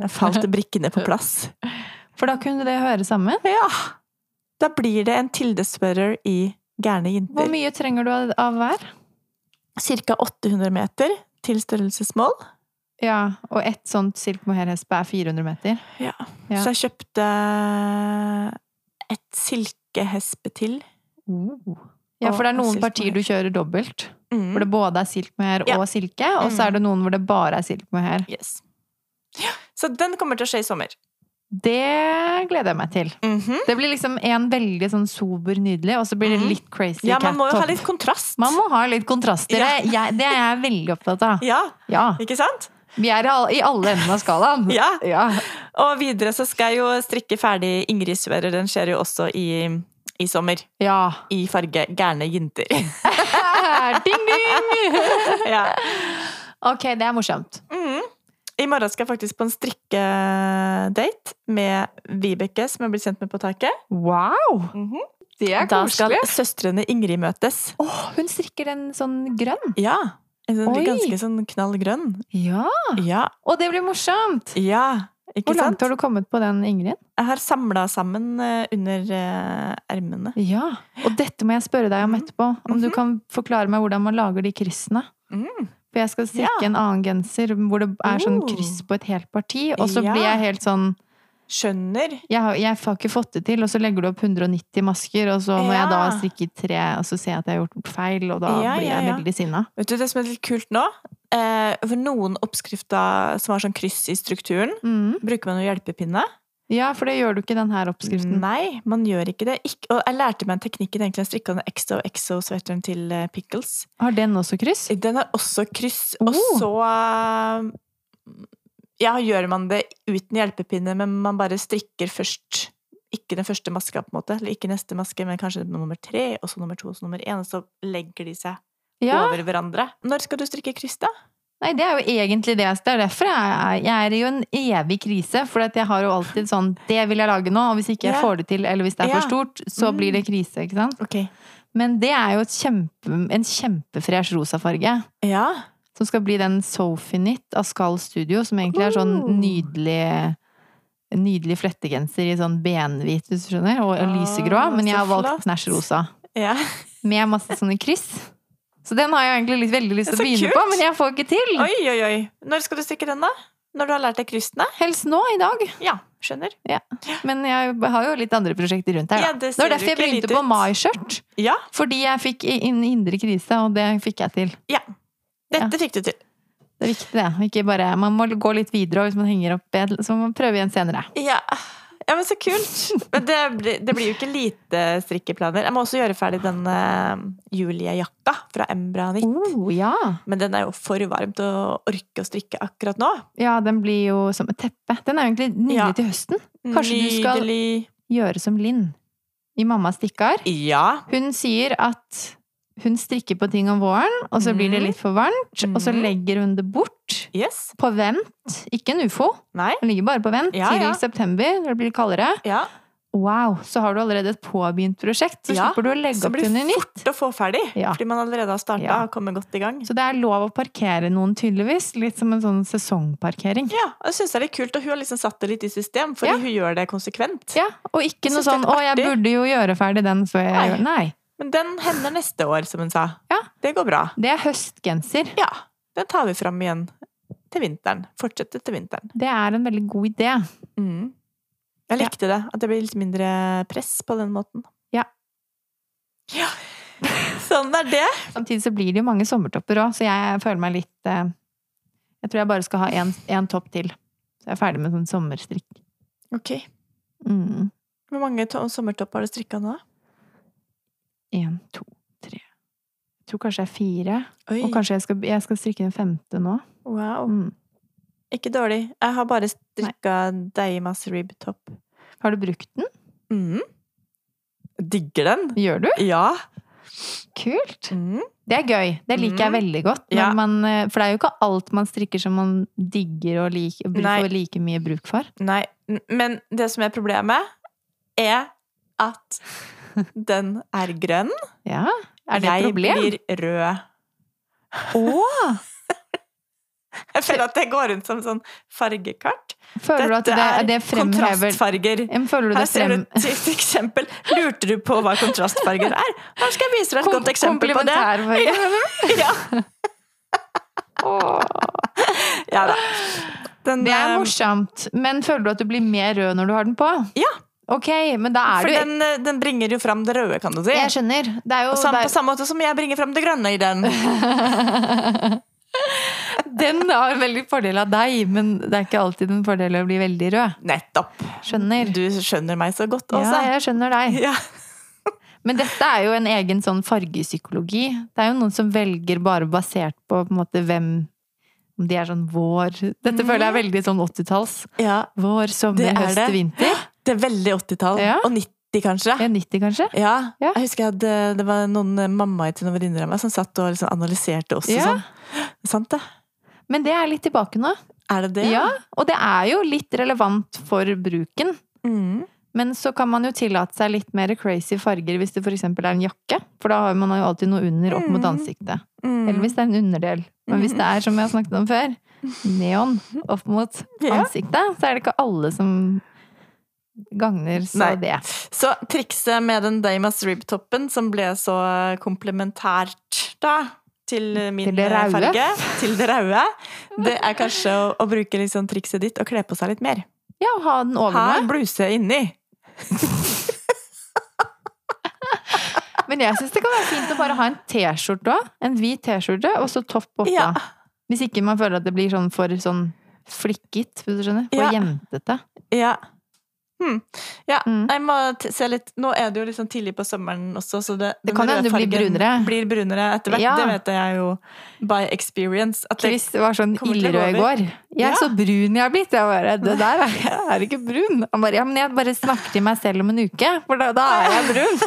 Speaker 2: falt brikkene på plass.
Speaker 1: For da kunne det høre sammen.
Speaker 2: Ja! Da blir det en tildesperrer i Gærne
Speaker 1: Hvor
Speaker 2: jenter.
Speaker 1: mye trenger du av- av hver?
Speaker 2: Cirka 800 meter til størrelsesmål.
Speaker 1: Ja, og ett sånt silk mohair-hespe er 400 meter.
Speaker 2: Ja.
Speaker 1: Ja.
Speaker 2: Så jeg kjøpte et silkehespe til. Uh.
Speaker 1: Ja, for det er
Speaker 2: Og
Speaker 1: noen
Speaker 2: silk
Speaker 1: partier du kjører dobbelt. Hvor det både er silk mohair
Speaker 2: Mm. Ja.
Speaker 1: og silke, og så
Speaker 2: Mm.
Speaker 1: er det noen hvor det bare er silk mohair.
Speaker 2: Yes. Så den kommer til å skje i sommer.
Speaker 1: Det gleder jeg meg til.
Speaker 2: Mm.
Speaker 1: Det blir liksom en veldig sånn sober, nydelig, og så blir det
Speaker 2: Mhm.
Speaker 1: litt crazy
Speaker 2: Ja,
Speaker 1: cat
Speaker 2: man må jo ha
Speaker 1: top.
Speaker 2: litt kontrast.
Speaker 1: Man må ha litt kontraster.
Speaker 2: Ja.
Speaker 1: Jeg, det er jeg veldig opptatt av.
Speaker 2: Ja,
Speaker 1: Ja.
Speaker 2: ikke sant?
Speaker 1: Vi er i all- i alle endene av skalaen.
Speaker 2: Ja.
Speaker 1: Ja.
Speaker 2: Og videre så skal jeg jo strikke ferdig Ingrid Sverre. Den skjer jo også i, i sommer.
Speaker 1: ja.
Speaker 2: I farge gærne jenter.
Speaker 1: ding, ding!
Speaker 2: ja.
Speaker 1: Ok, det er morsomt.
Speaker 2: Mhm. I morgen skal jeg faktisk på en strikkedate med Vibeke, som jeg blir kjent med på taket.
Speaker 1: Wow!
Speaker 2: Mhm.
Speaker 1: Det er
Speaker 2: Da skal
Speaker 1: koselig.
Speaker 2: søstrene Ingrid møtes.
Speaker 1: Åh, hun strikker en sånn grønn.
Speaker 2: Ja. En sånn,
Speaker 1: Oi.
Speaker 2: ganske sånn knallgrønn.
Speaker 1: Ja.
Speaker 2: Ja.
Speaker 1: Og det blir morsomt!
Speaker 2: ja. Ikke
Speaker 1: Hvor langt
Speaker 2: sant?
Speaker 1: har du kommet på den, Ingrid?
Speaker 2: Jeg har samla sammen eh, under eh, ermene.
Speaker 1: Ja. Og dette må jeg spørre deg om
Speaker 2: Mhm.
Speaker 1: etterpå. Om du kan forklare meg hvordan man lager de kryssene.
Speaker 2: Mm.
Speaker 1: For jeg skal strikke en annen genser hvor det er sånn
Speaker 2: Oh.
Speaker 1: kryss på et helt parti, og så
Speaker 2: Ja.
Speaker 1: blir jeg helt sånn
Speaker 2: Skjønner.
Speaker 1: jeg, har- jeg har ikke fått det til, og så legger du opp 190 masker, og så når jeg da har
Speaker 2: Ja.
Speaker 1: strikket tre, og så ser jeg at jeg har gjort feil, og da
Speaker 2: Ja,
Speaker 1: blir
Speaker 2: ja,
Speaker 1: jeg
Speaker 2: ja.
Speaker 1: veldig sinna.
Speaker 2: Vet du det som er litt kult nå? Eh, for noen oppskrifter som har sånn kryss i strukturen,
Speaker 1: Mm.
Speaker 2: bruker man jo hjelpepinne.
Speaker 1: Ja, for det gjør du ikke i denne oppskriften.
Speaker 2: Nei, man gjør ikke det. Ikk- og jeg lærte meg en teknikk i den egentlig jeg strikka den XO-XO-svetteren til eh, Pickles.
Speaker 1: Har den også kryss?
Speaker 2: Den har også kryss, og
Speaker 1: Oh.
Speaker 2: så eh, Ja, gjør man det uten hjelpepinne, men man bare strikker først ikke den første maska, på en måte, eller ikke neste maske, men kanskje nummer tre, og så nummer to, og så nummer én, og så legger de seg
Speaker 1: Ja.
Speaker 2: over hverandre. Når skal du strikke kryss, da?
Speaker 1: Nei, det er jo egentlig det. Det er derfor jeg er, jeg er jo en evig krise. For at jeg har jo alltid sånn Det vil jeg lage nå, og hvis ikke jeg
Speaker 2: Ja.
Speaker 1: får det til, eller hvis det er
Speaker 2: Ja.
Speaker 1: for stort, så
Speaker 2: Mm.
Speaker 1: blir det krise. ikke sant?
Speaker 2: Ok.
Speaker 1: Men det er jo et kjempe, en kjempefresh rosa farge.
Speaker 2: Ja.
Speaker 1: Som skal bli den Sofinit av Skal Studio, som egentlig er sånn
Speaker 2: Oh.
Speaker 1: nydelig Nydelig flettegenser i sånn benhvit, hvis du skjønner, og, og lysegrå.
Speaker 2: Ah,
Speaker 1: Men jeg
Speaker 2: så
Speaker 1: har valgt
Speaker 2: flott.
Speaker 1: knæsj rosa.
Speaker 2: ja.
Speaker 1: Med masse sånne kryss. Så den har jeg egentlig litt, veldig lyst til å
Speaker 2: Så
Speaker 1: begynne
Speaker 2: kult.
Speaker 1: på, men jeg får ikke til.
Speaker 2: Oi, oi, oi. Når skal du strikke den, da? Når du har lært deg kryssene?
Speaker 1: Helst nå, i dag.
Speaker 2: Ja, skjønner.
Speaker 1: Men jeg har jo litt andre prosjekter rundt her.
Speaker 2: Ja,
Speaker 1: Da.
Speaker 2: det
Speaker 1: det var
Speaker 2: ser
Speaker 1: derfor jeg
Speaker 2: ikke lite
Speaker 1: begynte på
Speaker 2: ut.
Speaker 1: maiskjørt.
Speaker 2: Ja,
Speaker 1: Fordi jeg fikk i- en indre krise, og det fikk jeg til.
Speaker 2: dette fikk du til.
Speaker 1: Det er viktig, det. Ikke bare, man må gå litt videre, og hvis man henger opp bedre, så må man prøve igjen senere.
Speaker 2: Ja. ja, men så kult. Men det, blir- det blir jo ikke lite strikkeplaner. Jeg må også gjøre ferdig den uh, Julie-jakka fra Embra Knit.
Speaker 1: Oh, ja.
Speaker 2: Men den er jo for varm til å orke å strikke akkurat nå.
Speaker 1: ja, den blir jo som et teppe. Den er jo egentlig nydelig
Speaker 2: Ja.
Speaker 1: til høsten. Kanskje du skal-
Speaker 2: Nydelig.
Speaker 1: Gjøre som Linn i Mamma stikkar.
Speaker 2: Ja.
Speaker 1: Hun sier at hun strikker på ting om våren, og så blir det
Speaker 2: Mhm.
Speaker 1: litt for varmt, og så
Speaker 2: Mhm.
Speaker 1: legger hun det bort.
Speaker 2: Yes.
Speaker 1: På vent. Ikke en ufo.
Speaker 2: Nei.
Speaker 1: Den ligger bare på vent
Speaker 2: Ja, ja.
Speaker 1: til september, når det blir kaldere.
Speaker 2: Ja.
Speaker 1: Wow, så har du allerede et påbegynt prosjekt. Så
Speaker 2: Ja,
Speaker 1: slipper du å legge
Speaker 2: Så
Speaker 1: opp
Speaker 2: blir
Speaker 1: til
Speaker 2: det
Speaker 1: noe nytt.
Speaker 2: fort å få ferdig.
Speaker 1: Ja.
Speaker 2: Fordi man allerede har starta
Speaker 1: Ja.
Speaker 2: og kommet godt i gang.
Speaker 1: Så det er lov å parkere noen, tydeligvis. Litt som en sånn sesongparkering.
Speaker 2: Ja, og jeg synes det er litt kult, og hun har liksom satt det litt i system, fordi
Speaker 1: Ja.
Speaker 2: hun gjør det konsekvent.
Speaker 1: Ja, Og ikke
Speaker 2: Jeg
Speaker 1: noe
Speaker 2: synes det er
Speaker 1: sånn 'Å, jeg
Speaker 2: artig.
Speaker 1: burde jo gjøre ferdig den før jeg
Speaker 2: Nei.
Speaker 1: gjør Nei.
Speaker 2: Men den hender neste år, som hun sa.
Speaker 1: Ja.
Speaker 2: Det går bra.
Speaker 1: Det er høstgenser.
Speaker 2: Ja, den tar vi fram igjen til vinteren. Fortsetter til vinteren.
Speaker 1: Det er en veldig god idé.
Speaker 2: Mm. Jeg
Speaker 1: Ja.
Speaker 2: likte det, at det blir litt mindre press på den måten.
Speaker 1: Ja.
Speaker 2: Ja. Sånn er det.
Speaker 1: Samtidig så blir det jo mange sommertopper òg, så jeg føler meg litt eh, Jeg tror jeg bare skal ha én- én topp til. Så jeg er ferdig med sånn sommerstrikk.
Speaker 2: Ok.
Speaker 1: Mm.
Speaker 2: Hvor mange to- sommertopper har du strikka nå?
Speaker 1: En, to, tre Jeg tror kanskje det er fire.
Speaker 2: Oi.
Speaker 1: Og kanskje jeg skal, jeg skal strikke den femte nå.
Speaker 2: Wow.
Speaker 1: Mm.
Speaker 2: Ikke dårlig. Jeg har bare strikka Deimas ribtop.
Speaker 1: Har du brukt den?
Speaker 2: Mm. Digger den.
Speaker 1: Gjør du?
Speaker 2: Ja.
Speaker 1: Kult!
Speaker 2: Mm.
Speaker 1: Det er gøy. Det liker jeg
Speaker 2: Mm.
Speaker 1: veldig godt. når
Speaker 2: Ja.
Speaker 1: Man, eh, for det er jo ikke alt man strikker som man digger og liker,
Speaker 2: Nei.
Speaker 1: får like mye bruk for.
Speaker 2: Nei, n- men det som er problemet, er at den er grønn.
Speaker 1: Ja. Er det et problem?
Speaker 2: Jeg blir rød.
Speaker 1: Åh!
Speaker 2: Jeg føler at jeg går rundt som sånn fargekart.
Speaker 1: Føler du at det, er det fremhever
Speaker 2: kontrastfarger.
Speaker 1: Ja, men Føler du
Speaker 2: Her
Speaker 1: det
Speaker 2: ser du
Speaker 1: frem...
Speaker 2: et sykt eksempel. Lurte du på hva kontrastfarger er? Her skal jeg vise deg et
Speaker 1: Kom-
Speaker 2: godt eksempel på det.
Speaker 1: komplementærfarge?
Speaker 2: Ja,
Speaker 1: Åh.
Speaker 2: ja da. Den,
Speaker 1: Det er
Speaker 2: eh,
Speaker 1: morsomt, men føler du at du blir mer rød når du har den på?
Speaker 2: Ja.
Speaker 1: Ok, men da er
Speaker 2: For
Speaker 1: du
Speaker 2: den, eh, den bringer jo fram det røde, kan du si.
Speaker 1: Jeg skjønner. Det er jo
Speaker 2: Og sam-
Speaker 1: det
Speaker 2: på samme måte som jeg bringer fram det grønne i den.
Speaker 1: er, Den har veldig fordel av deg, men det er ikke alltid en fordel å bli veldig rød.
Speaker 2: Nettopp.
Speaker 1: Skjønner.
Speaker 2: Du skjønner meg så godt
Speaker 1: Ja,
Speaker 2: også.
Speaker 1: altså, jeg skjønner deg.
Speaker 2: Ja.
Speaker 1: Men dette er jo en egen sånn fargepsykologi. Det er jo noen som velger bare basert på på en måte hvem Om de er sånn vår Dette føler jeg er veldig sånn 80-talls.
Speaker 2: ja.
Speaker 1: Vår, sommer,
Speaker 2: Det er
Speaker 1: høst,
Speaker 2: det.
Speaker 1: vinter.
Speaker 2: Det er veldig 80-tall.
Speaker 1: Ja.
Speaker 2: Og 90, kanskje.
Speaker 1: Ja, 90, kanskje?
Speaker 2: Ja.
Speaker 1: Ja.
Speaker 2: Jeg husker jeg hadde, det var noen eh, mammaer til noen venninner av meg som satt og liksom analyserte oss.
Speaker 1: Ja.
Speaker 2: Og sånn. Sant det?
Speaker 1: Men det er litt tilbake nå.
Speaker 2: Er det det?
Speaker 1: Ja, og det er jo litt relevant for bruken.
Speaker 2: Mm.
Speaker 1: Men så kan man jo tillate seg litt mer crazy farger hvis det f.eks. er en jakke. For da har man jo alltid noe under opp mot
Speaker 2: Mm.
Speaker 1: ansiktet.
Speaker 2: Mm.
Speaker 1: Eller hvis det er en underdel. Men hvis det er, som jeg har snakket om før, neon opp mot
Speaker 2: Ja.
Speaker 1: ansiktet, så er det ikke alle som gagner så
Speaker 2: Nei.
Speaker 1: det.
Speaker 2: Så trikset med den Damas Rib-toppen, som ble så komplementært da, til min eh,
Speaker 1: Til det røde.
Speaker 2: farge, til det røde, det er kanskje å, å bruke liksom trikset ditt og kle på seg litt mer.
Speaker 1: Ja, å ha den over
Speaker 2: Ha
Speaker 1: meg.
Speaker 2: en bluse inni.
Speaker 1: Men jeg syns det kan være fint å bare ha en T-skjorte òg. En hvit T-skjorte, og så topp oppå.
Speaker 2: Ja.
Speaker 1: Hvis ikke man føler at det blir sånn for sånn flikket, hvis du skjønner. For
Speaker 2: Ja.
Speaker 1: jentete.
Speaker 2: Ja. Hm. ja.
Speaker 1: Mm.
Speaker 2: Jeg må t se litt Nå er det jo liksom tidlig på sommeren også, så det,
Speaker 1: Det
Speaker 2: den
Speaker 1: kan hende du blir
Speaker 2: rødfargen
Speaker 1: brunere.
Speaker 2: Blir brunere etter hvert.
Speaker 1: Ja.
Speaker 2: Det vet jeg jo by experience. At det,
Speaker 1: Chris var sånn
Speaker 2: kommer til å gå
Speaker 1: ildrød i
Speaker 2: over.
Speaker 1: går. Jeg er
Speaker 2: Ja.
Speaker 1: så brun jeg har blitt. Jeg bare, det der er, jeg er ikke brun. Han bare, ja, men jeg bare snakker til meg selv om en uke, for da, da er jeg brun.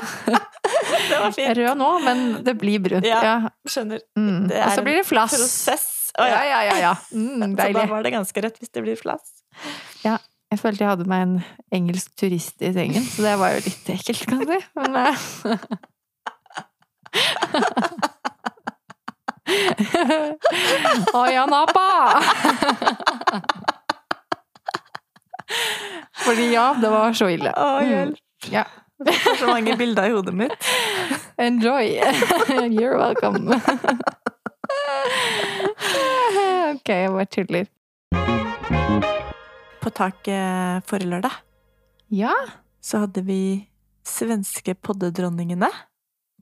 Speaker 2: det var
Speaker 1: Jeg er
Speaker 2: fint.
Speaker 1: rød nå, men det blir brunt.
Speaker 2: Ja.
Speaker 1: Ja.
Speaker 2: Skjønner.
Speaker 1: Mm.
Speaker 2: Det
Speaker 1: Og
Speaker 2: er
Speaker 1: så blir det flass.
Speaker 2: Prosess. Å,
Speaker 1: Ja,
Speaker 2: ja.
Speaker 1: ja, ja. ja. Mm,
Speaker 2: Så da
Speaker 1: deilig.
Speaker 2: var det ganske rett hvis det blir flass.
Speaker 1: Jeg følte jeg hadde meg en engelsk turist i sengen, så det var jo litt ekkelt, kan du si. Men, eh. Å ja, Napa! Fordi ja, det var så ille.
Speaker 2: Å,
Speaker 1: Mm.
Speaker 2: hjelp.
Speaker 1: Ja.
Speaker 2: Jeg får så mange bilder i hodet mitt.
Speaker 1: Enjoy! You're welcome. ok, jeg bare tuller.
Speaker 2: På taket forrige lørdag
Speaker 1: Ja,
Speaker 2: så hadde vi svenske poddedronningene.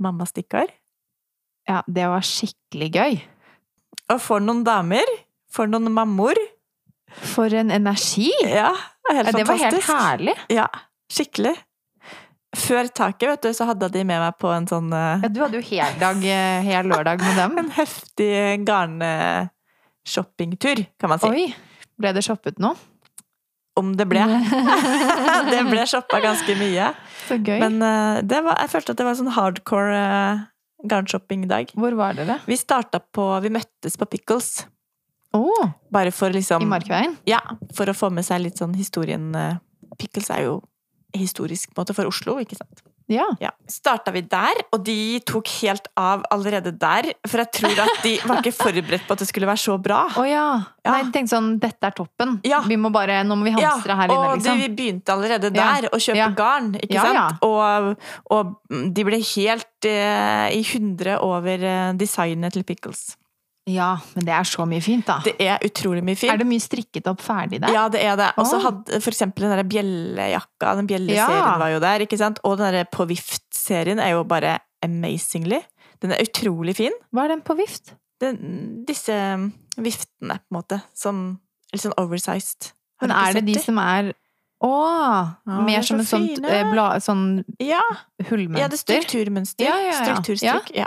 Speaker 2: Mamma stikkar.
Speaker 1: ja, det var skikkelig gøy.
Speaker 2: Og for noen damer. For noen mammor.
Speaker 1: For en energi!
Speaker 2: Ja, det er
Speaker 1: Ja,
Speaker 2: helt
Speaker 1: det var helt
Speaker 2: fantastisk.
Speaker 1: herlig.
Speaker 2: Ja, skikkelig. Før taket, vet du, så hadde de med meg på en sånn eh,
Speaker 1: Ja, du hadde jo hel, dag, eh, hel lørdag med dem.
Speaker 2: en heftig garnshoppingtur, kan man si.
Speaker 1: Oi, ble det shoppet nå?
Speaker 2: Om det ble. det ble shoppa ganske mye.
Speaker 1: Så gøy.
Speaker 2: Men eh, det var, jeg følte at det var en sånn hardcore eh, garnshoppingdag.
Speaker 1: Hvor var dere?
Speaker 2: Vi starta på Vi møttes på Pickles.
Speaker 1: Å,
Speaker 2: Bare for liksom
Speaker 1: i Markveien.
Speaker 2: Ja, for å få med seg litt sånn historien eh, Pickles er jo historisk på en måte for Oslo, ikke sant?
Speaker 1: Ja.
Speaker 2: Ja. Starta vi der, og de tok helt av allerede der. For jeg tror at de var ikke forberedt på at det skulle være så bra.
Speaker 1: Å ja.
Speaker 2: Ja.
Speaker 1: Nei, tenkte sånn, dette er toppen.
Speaker 2: Ja.
Speaker 1: Vi må bare, nå må vi hamstre her inne,
Speaker 2: og de,
Speaker 1: liksom.
Speaker 2: vi begynte allerede
Speaker 1: Ja.
Speaker 2: der å kjøpe
Speaker 1: Ja.
Speaker 2: garn, ikke
Speaker 1: Ja,
Speaker 2: sant? Og, og de ble helt eh, i hundre over eh, designet til Pickles.
Speaker 1: Ja, men det er så mye fint, da.
Speaker 2: Det er utrolig mye fint.
Speaker 1: Er det mye strikket opp ferdig der?
Speaker 2: Ja, det er det. Og så
Speaker 1: Åh.
Speaker 2: hadde for eksempel den der bjellejakka, den bjelleserien
Speaker 1: Ja.
Speaker 2: var jo der, ikke sant? Og den der på vift-serien er jo bare amazingly. Den er utrolig fin.
Speaker 1: Var den på vift?
Speaker 2: Den, disse mm, viftene, på en måte, som Litt sånn oversized. Har
Speaker 1: Men
Speaker 2: du ikke
Speaker 1: er det
Speaker 2: sett
Speaker 1: de
Speaker 2: de?
Speaker 1: som er Å!
Speaker 2: de er
Speaker 1: mer som
Speaker 2: så
Speaker 1: et sånt
Speaker 2: fine.
Speaker 1: eh, bla, sånn
Speaker 2: Ja,
Speaker 1: hullmønster?
Speaker 2: ja, det er strukturmønster.
Speaker 1: Ja, ja, ja. Mm.
Speaker 2: Strukturstrikk. Ja.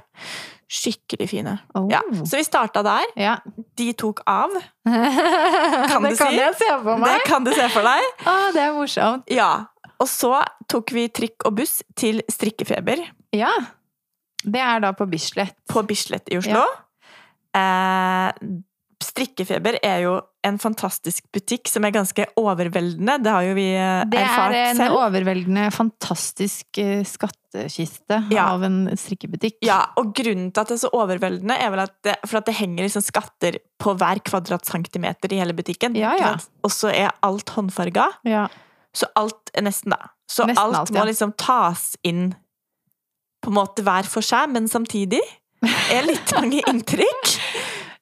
Speaker 2: Skikkelig fine.
Speaker 1: Å.
Speaker 2: Ja. Så vi starta der.
Speaker 1: ja.
Speaker 2: De tok av.
Speaker 1: Kan
Speaker 2: du
Speaker 1: det kan
Speaker 2: si?
Speaker 1: jeg se for
Speaker 2: Det
Speaker 1: meg!
Speaker 2: kan du se for deg.
Speaker 1: Å, det er morsomt.
Speaker 2: Ja. Og så tok vi trikk og buss til Strikkefeber.
Speaker 1: Ja. Det er da på Bislett.
Speaker 2: på Bislett i Oslo. Eh, Strikkefeber er jo en fantastisk butikk som er ganske overveldende. Det har jo vi eh,
Speaker 1: Det er
Speaker 2: erfart
Speaker 1: en
Speaker 2: selv.
Speaker 1: overveldende, fantastisk eh, skattkiste
Speaker 2: Ja.
Speaker 1: av en strikkebutikk.
Speaker 2: Ja, og grunnen til at det er så overveldende, er vel at det, for at det henger liksom skatter på hver kvadratcentimeter i hele butikken.
Speaker 1: Ja, ja.
Speaker 2: ikke sant? Og så er alt håndfarga.
Speaker 1: Ja.
Speaker 2: Så alt Nesten, da. Så
Speaker 1: Nesten
Speaker 2: alt,
Speaker 1: alt,
Speaker 2: må
Speaker 1: ja.
Speaker 2: liksom tas inn på en måte hver for seg, men samtidig er litt mange inntrykk.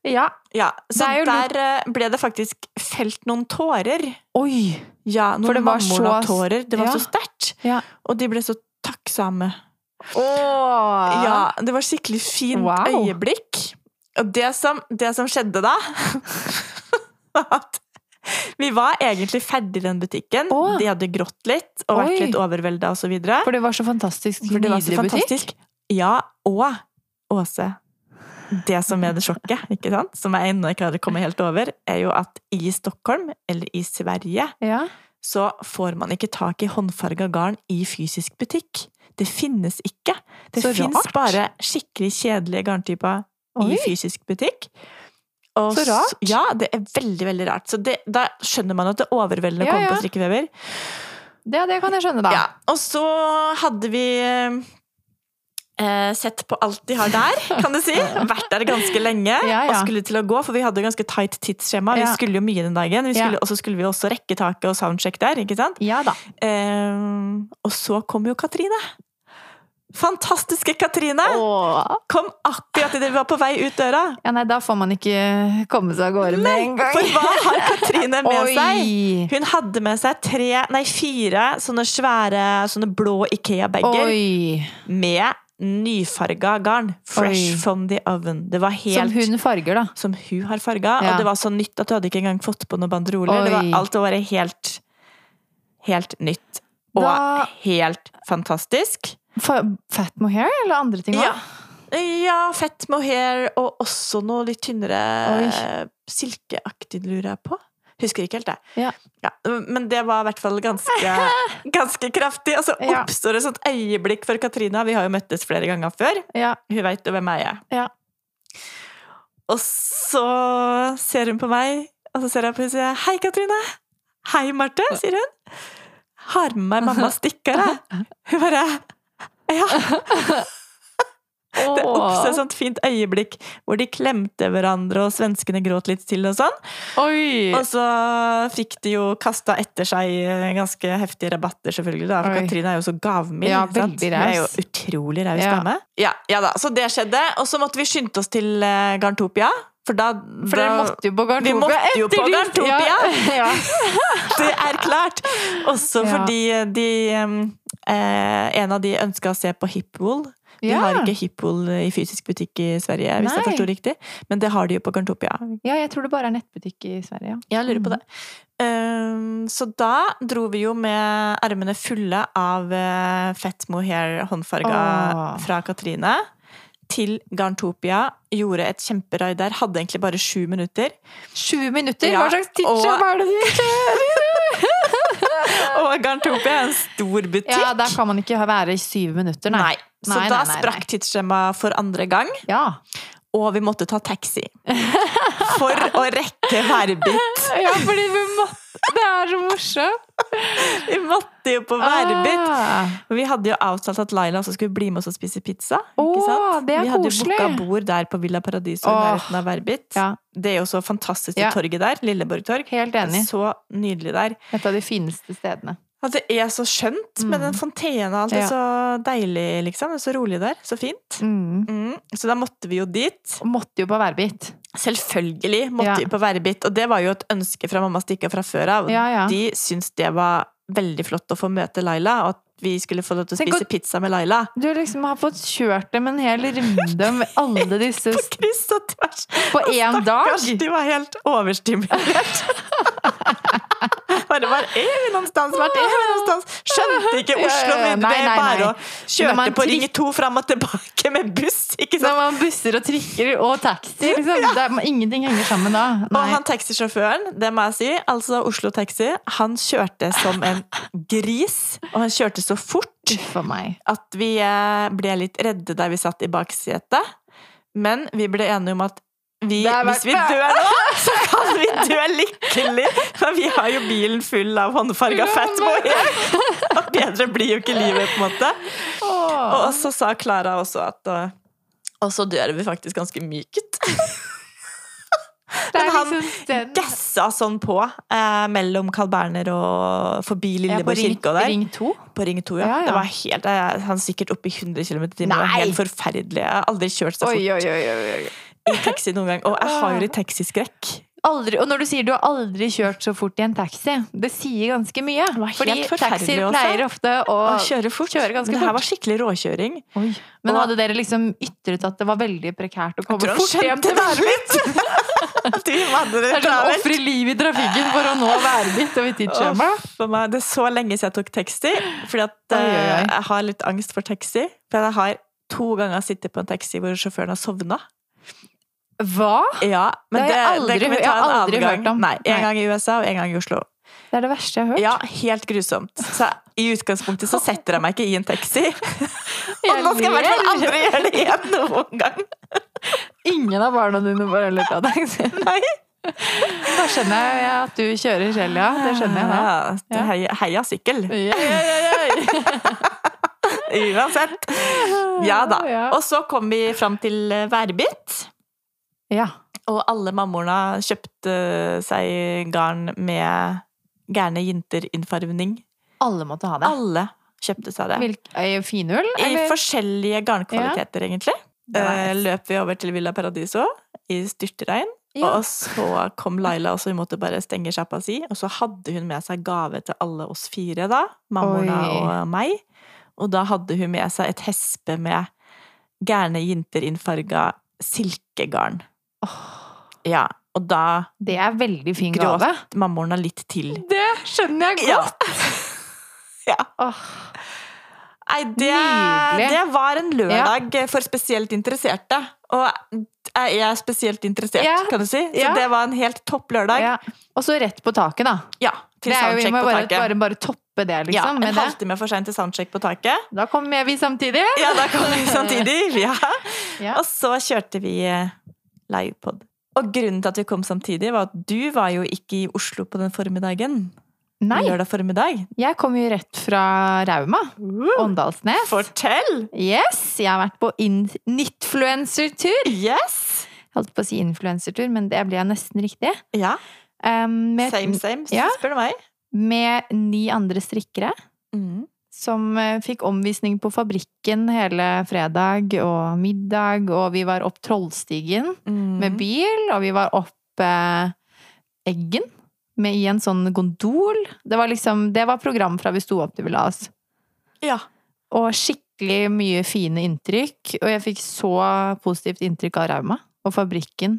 Speaker 1: ja.
Speaker 2: Ja, så
Speaker 1: Det er jo
Speaker 2: der eh, ble det faktisk felt noen tårer.
Speaker 1: Oi!
Speaker 2: Ja,
Speaker 1: For
Speaker 2: noen
Speaker 1: det var
Speaker 2: mammor og
Speaker 1: så-
Speaker 2: tårer. Det var
Speaker 1: ja.
Speaker 2: så sterkt.
Speaker 1: Ja.
Speaker 2: Og de ble så takksomme.
Speaker 1: Åh.
Speaker 2: Ja, det var skikkelig fint
Speaker 1: Wow.
Speaker 2: øyeblikk. Og det som, det som skjedde da var at Vi var egentlig ferdig i den butikken.
Speaker 1: Åh.
Speaker 2: De hadde grått litt og vært
Speaker 1: Oi.
Speaker 2: litt overvelda osv.
Speaker 1: For det var så fantastisk
Speaker 2: For det var så
Speaker 1: nydelig butikk.
Speaker 2: fantastisk. Ja, og Åse Det som er det sjokket, ikke sant? som jeg ennå ikke hadde kommet helt over, er jo at i Stockholm, eller i Sverige,
Speaker 1: Ja.
Speaker 2: så får man ikke tak i håndfarga garn i fysisk butikk. Det finnes ikke. Det
Speaker 1: Så
Speaker 2: fins
Speaker 1: rart.
Speaker 2: bare skikkelig kjedelige garntyper
Speaker 1: Oi.
Speaker 2: i fysisk butikk. Og
Speaker 1: Så rart.
Speaker 2: s- Ja, det er veldig, veldig rart. Så det, da skjønner man at det er overveldende å
Speaker 1: Ja,
Speaker 2: komme
Speaker 1: ja.
Speaker 2: på strikkefeber.
Speaker 1: Det, det kan jeg skjønne, da.
Speaker 2: Ja. Og så hadde vi eh, sett på alt de har der, kan du si. Vært der ganske lenge
Speaker 1: Ja, ja.
Speaker 2: og skulle til å gå, for vi hadde ganske tight tidsskjema. Vi
Speaker 1: Ja.
Speaker 2: skulle jo mye den dagen, vi
Speaker 1: Ja.
Speaker 2: skulle, og så skulle vi også rekke taket og soundcheck der. ikke sant?
Speaker 1: Ja da.
Speaker 2: Eh, og så kom jo Katrine. Fantastiske Katrine! Kom akkurat idet vi var på vei ut døra.
Speaker 1: Ja, nei, da får man ikke komme seg av gårde med en gang.
Speaker 2: For hva har Katrine med
Speaker 1: Oi!
Speaker 2: seg? Hun hadde med seg tre, nei fire sånne svære sånne blå Ikea-bager
Speaker 1: Oi!
Speaker 2: med nyfarga garn. Fresh
Speaker 1: Oi.
Speaker 2: from the oven. Det var
Speaker 1: Som
Speaker 2: helt
Speaker 1: hun farger, da.
Speaker 2: som hun har farga.
Speaker 1: Ja.
Speaker 2: Og det var så nytt at du hadde ikke engang fått på noen banderoler. Det
Speaker 1: Oi.
Speaker 2: var alt var bare helt, helt nytt. Og
Speaker 1: Da-
Speaker 2: helt fantastisk.
Speaker 1: Fa fat mohair eller andre ting òg?
Speaker 2: Ja. ja, fett mohair og også noe litt tynnere
Speaker 1: Oi.
Speaker 2: eh, silkeaktig, lurer jeg på. Husker ikke helt det.
Speaker 1: Ja.
Speaker 2: men det var i hvert fall ganske, ganske kraftig. Og så
Speaker 1: Ja.
Speaker 2: oppstår et sånt øyeblikk for Katrina. Vi har jo møttes flere ganger før.
Speaker 1: Ja.
Speaker 2: Hun veit jo hvem jeg er.
Speaker 1: Ja.
Speaker 2: Og så ser hun på meg, og så ser jeg på henne og sier 'Hei, Katrine'. 'Hei, Marte', sier hun. 'Har med meg mamma stikker, jeg'. Hun bare 'Ja'. Det oppstod et sånt fint øyeblikk hvor de klemte hverandre, og svenskene gråt litt til og sånn.
Speaker 1: Oi!
Speaker 2: Og så fikk de jo kasta etter seg eh, ganske heftige rabatter, selvfølgelig. Da. For
Speaker 1: Oi.
Speaker 2: Katrine er jo så gavmild.
Speaker 1: Ja,
Speaker 2: ikke sant?
Speaker 1: veldig
Speaker 2: Hun er jo
Speaker 1: raus.
Speaker 2: utrolig raus
Speaker 1: Ja.
Speaker 2: dame. Ja, ja da. Så det skjedde. Og så måtte vi skynde oss til eh, Garntopia. For da,
Speaker 1: For dere
Speaker 2: da
Speaker 1: måtte jo på Garntopia.
Speaker 2: Vi måtte jo
Speaker 1: etter
Speaker 2: på
Speaker 1: ditt-
Speaker 2: Garntopia.
Speaker 1: Ja.
Speaker 2: Det er klart! Også
Speaker 1: Ja.
Speaker 2: fordi de eh, En av de ønska å se på Hipwool. De
Speaker 1: Ja.
Speaker 2: har ikke Hipwool i fysisk butikk i Sverige, hvis
Speaker 1: Nei.
Speaker 2: jeg forsto riktig. Men det har de jo på Garntopia.
Speaker 1: ja, jeg tror det bare er nettbutikk i Sverige. Ja.
Speaker 2: Jeg lurer på det. Ehm, så da dro vi jo med ermene fulle av eh, fett mohair håndfarga
Speaker 1: Åh.
Speaker 2: fra Katrine til Garntopia. Gjorde et kjemperaid der. Hadde egentlig bare sju minutter.
Speaker 1: Sju minutter!
Speaker 2: Ja,
Speaker 1: Hva slags
Speaker 2: og-
Speaker 1: tidsjobb er det du
Speaker 2: Og Garntopia er en stor butikk.
Speaker 1: Ja, der kan man ikke være i syv minutter, nei.
Speaker 2: Nei. Så
Speaker 1: Nei,
Speaker 2: da
Speaker 1: nei, nei,
Speaker 2: sprakk tidsskjemaet for andre gang,
Speaker 1: Ja.
Speaker 2: og vi måtte ta taxi. For å rekke Værbit.
Speaker 1: ja, fordi vi måtte Det er så morsomt!
Speaker 2: Vi måtte jo på Værbit.
Speaker 1: Ah.
Speaker 2: Vi hadde jo avtalt at Laila også skulle bli med oss og spise pizza.
Speaker 1: Åh,
Speaker 2: ikke sant?
Speaker 1: det er
Speaker 2: Vi hadde jo
Speaker 1: koselig.
Speaker 2: booka bord der på Villa Paradiso i
Speaker 1: Åh.
Speaker 2: nærheten av Verbit.
Speaker 1: Ja,
Speaker 2: Det er jo så fantastisk
Speaker 1: Ja.
Speaker 2: det torget der. Lilleborgtorg.
Speaker 1: helt enig.
Speaker 2: Så nydelig der.
Speaker 1: Et av de fineste stedene.
Speaker 2: At det er så skjønt med den fontena og alt. Det
Speaker 1: Mm. Ja.
Speaker 2: er så deilig, liksom. Det er så rolig der. Så fint.
Speaker 1: Mm.
Speaker 2: Mm. Så da måtte vi jo dit.
Speaker 1: Og måtte jo på værbit.
Speaker 2: Selvfølgelig måtte
Speaker 1: Ja.
Speaker 2: vi på Verbit. Og det var jo et ønske fra mamma Stikka fra før av.
Speaker 1: Ja, ja.
Speaker 2: De syntes det var veldig flott å få møte Laila, og at vi skulle få lov til å
Speaker 1: Tenk å-
Speaker 2: spise pizza med Laila.
Speaker 1: Du liksom har fått kjørt dem en hel runde om alle disse s-
Speaker 2: Kryss og tvers.
Speaker 1: på én dag!
Speaker 2: Stakkars, de var helt overstimulert. Bare var er vi någonstans? Vart er vi någonstans? Skjønte ikke
Speaker 1: Ja, ja,
Speaker 2: Oslo,
Speaker 1: ja.
Speaker 2: men
Speaker 1: Nei,
Speaker 2: det
Speaker 1: nei,
Speaker 2: er bare
Speaker 1: nei.
Speaker 2: å
Speaker 1: Når
Speaker 2: kjøre
Speaker 1: man
Speaker 2: på
Speaker 1: trikk-
Speaker 2: Ringe 2 fram og tilbake med buss, ikke
Speaker 1: Når
Speaker 2: sant?
Speaker 1: man busser og trikker og taxi, liksom. Det er, ingenting henger sammen da.
Speaker 2: Og han taxisjåføren, det må jeg si, altså Oslo Taxi, han kjørte som en gris, og han kjørte så fort
Speaker 1: Uff a meg.
Speaker 2: at vi eh, ble litt redde der vi satt i baksetet. Men vi ble enige om at vi,
Speaker 1: Det er
Speaker 2: hvis vi
Speaker 1: verdt det.
Speaker 2: dør nå, så kan vi dø lykkelig! For vi har jo bilen full av håndfarga fatboy. Og bedre blir jo ikke livet, på en måte. Og så sa Klara også at eh, Og så dør vi faktisk ganske mykt.
Speaker 1: det er
Speaker 2: men han
Speaker 1: liksom den
Speaker 2: Gassa sånn på eh, mellom Carl Berner og forbi
Speaker 1: Ja, på
Speaker 2: Lilleborg
Speaker 1: ring,
Speaker 2: kirke og der.
Speaker 1: Ring 2.
Speaker 2: På Ring 2, ja.
Speaker 1: Ja, ja.
Speaker 2: Det var helt, eh, han sikkert oppe i 100 km i timen. Det var
Speaker 1: Nei!
Speaker 2: Helt forferdelig. Jeg har aldri kjørt så
Speaker 1: Oi,
Speaker 2: fort
Speaker 1: oi, oi, oi, oi.
Speaker 2: i taxi noen gang. Og jeg har jo litt taxiskrekk.
Speaker 1: Aldri, og når du sier du har aldri kjørt så fort i en taxi, det sier ganske mye.
Speaker 2: var helt
Speaker 1: Fordi
Speaker 2: forferdelig
Speaker 1: taxier
Speaker 2: også.
Speaker 1: pleier ofte å
Speaker 2: Å kjøre fort.
Speaker 1: kjøre ganske
Speaker 2: Men det her
Speaker 1: fort.
Speaker 2: var skikkelig råkjøring.
Speaker 1: Oi. Men
Speaker 2: Og-
Speaker 1: hadde dere liksom ytret at det var veldig prekært å komme
Speaker 2: Hvordan
Speaker 1: fort hjem til
Speaker 2: det litt? At vi hadde det
Speaker 1: Det er sånn
Speaker 2: travelt.
Speaker 1: ofre livet i trafikken for å nå været ditt og tidsskjema.
Speaker 2: Åh, for meg, det er så lenge siden jeg tok taxi, fordi at
Speaker 1: Oi, oi, oi.
Speaker 2: eh, jeg har litt angst for taxi. For jeg har to ganger sittet på en taxi hvor sjåføren har sovna.
Speaker 1: Hva?
Speaker 2: Ja, men
Speaker 1: Det
Speaker 2: det,
Speaker 1: har jeg
Speaker 2: det kan
Speaker 1: aldri-
Speaker 2: vi
Speaker 1: jeg
Speaker 2: ta
Speaker 1: har
Speaker 2: en
Speaker 1: aldri
Speaker 2: annen gang.
Speaker 1: hørt om.
Speaker 2: Nei, en
Speaker 1: Nei.
Speaker 2: gang i USA og en gang i Oslo.
Speaker 1: Det er det verste jeg har hørt.
Speaker 2: Ja, helt grusomt. Så i utgangspunktet så setter jeg meg ikke i en taxi. Og
Speaker 1: Jeg
Speaker 2: nå skal jeg i hvert fall
Speaker 1: ler.
Speaker 2: aldri gjøre det igjen noen gang.
Speaker 1: Ingen av barna dine bare løp av deg.
Speaker 2: Nei.
Speaker 1: Da skjønner jeg ja, at du kjører selv, ja. Det skjønner jeg. da.
Speaker 2: Ja, det heia, heia sykkel,
Speaker 1: Ja, ja, ja,
Speaker 2: uansett. Ja da.
Speaker 1: Ja.
Speaker 2: Og så kom vi fram til eh, Værbit.
Speaker 1: ja. ja.
Speaker 2: Og alle mammorna kjøpte eh, seg garn med gærne jenter-innfarvning.
Speaker 1: Alle måtte ha det.
Speaker 2: Alle kjøpte seg det.
Speaker 1: Hvilk, eh, finull?
Speaker 2: I
Speaker 1: eller?
Speaker 2: forskjellige garnkvaliteter, egentlig.
Speaker 1: Det var
Speaker 2: Eh, løp vi over til Villa Paradiso i styrtregn.
Speaker 1: Ja.
Speaker 2: Og så kom Laila, og så hun måtte bare stenge sjappa si. Og så hadde hun med seg gave til alle oss fire, da. Mammorna
Speaker 1: Oi.
Speaker 2: og meg. Og da hadde hun med seg et hespe med gærne jenter-innfarga silkegarn. Ja. Og da
Speaker 1: Det er veldig fin
Speaker 2: Gråt.
Speaker 1: gave.
Speaker 2: mammorna litt til.
Speaker 1: Det skjønner jeg
Speaker 2: Ja. ja.
Speaker 1: Åh,
Speaker 2: Nei, det,
Speaker 1: Nydelig.
Speaker 2: det var en lørdag for spesielt interesserte. Og jeg er spesielt interessert,
Speaker 1: Ja.
Speaker 2: kan du si. Så
Speaker 1: Ja.
Speaker 2: det var en helt topp lørdag.
Speaker 1: ja.
Speaker 2: Ja,
Speaker 1: Og så rett på taket, da.
Speaker 2: til
Speaker 1: det er jo, vi
Speaker 2: soundcheck
Speaker 1: må
Speaker 2: på
Speaker 1: bare,
Speaker 2: taket.
Speaker 1: bare, bare toppe det,
Speaker 2: ja,
Speaker 1: liksom.
Speaker 2: en
Speaker 1: med det.
Speaker 2: halvtime for seint til soundcheck på taket.
Speaker 1: Da kommer vi samtidig.
Speaker 2: Ja, da kom vi samtidig. Ja.
Speaker 1: Ja.
Speaker 2: Og så kjørte vi eh, livepod. Og grunnen til at vi kom samtidig, var at du var jo ikke i Oslo på den formiddagen.
Speaker 1: Nei,
Speaker 2: Lørdag formiddag.
Speaker 1: jeg kommer jo rett fra Rauma. Uh, Åndalsnes.
Speaker 2: Fortell!
Speaker 1: Yes, jeg har vært på in- nitfluensertur.
Speaker 2: Yes!
Speaker 1: Jeg Holdt på å si influensertur, men det ble jeg nesten riktig.
Speaker 2: Ja.
Speaker 1: Um, med,
Speaker 2: Same, same,
Speaker 1: Ja.
Speaker 2: spør du meg. Mm,
Speaker 1: med ni andre strikkere. Som eh, fikk omvisning på fabrikken hele fredag og middag, og vi var opp Trollstigen
Speaker 2: mm.
Speaker 1: med bil, og vi var opp eh, Eggen med, i en sånn gondol. Det var liksom, det var program fra vi sto opp til vi la oss.
Speaker 2: Ja.
Speaker 1: Og skikkelig mye fine inntrykk, og jeg fikk så positivt inntrykk av Rauma. Og fabrikken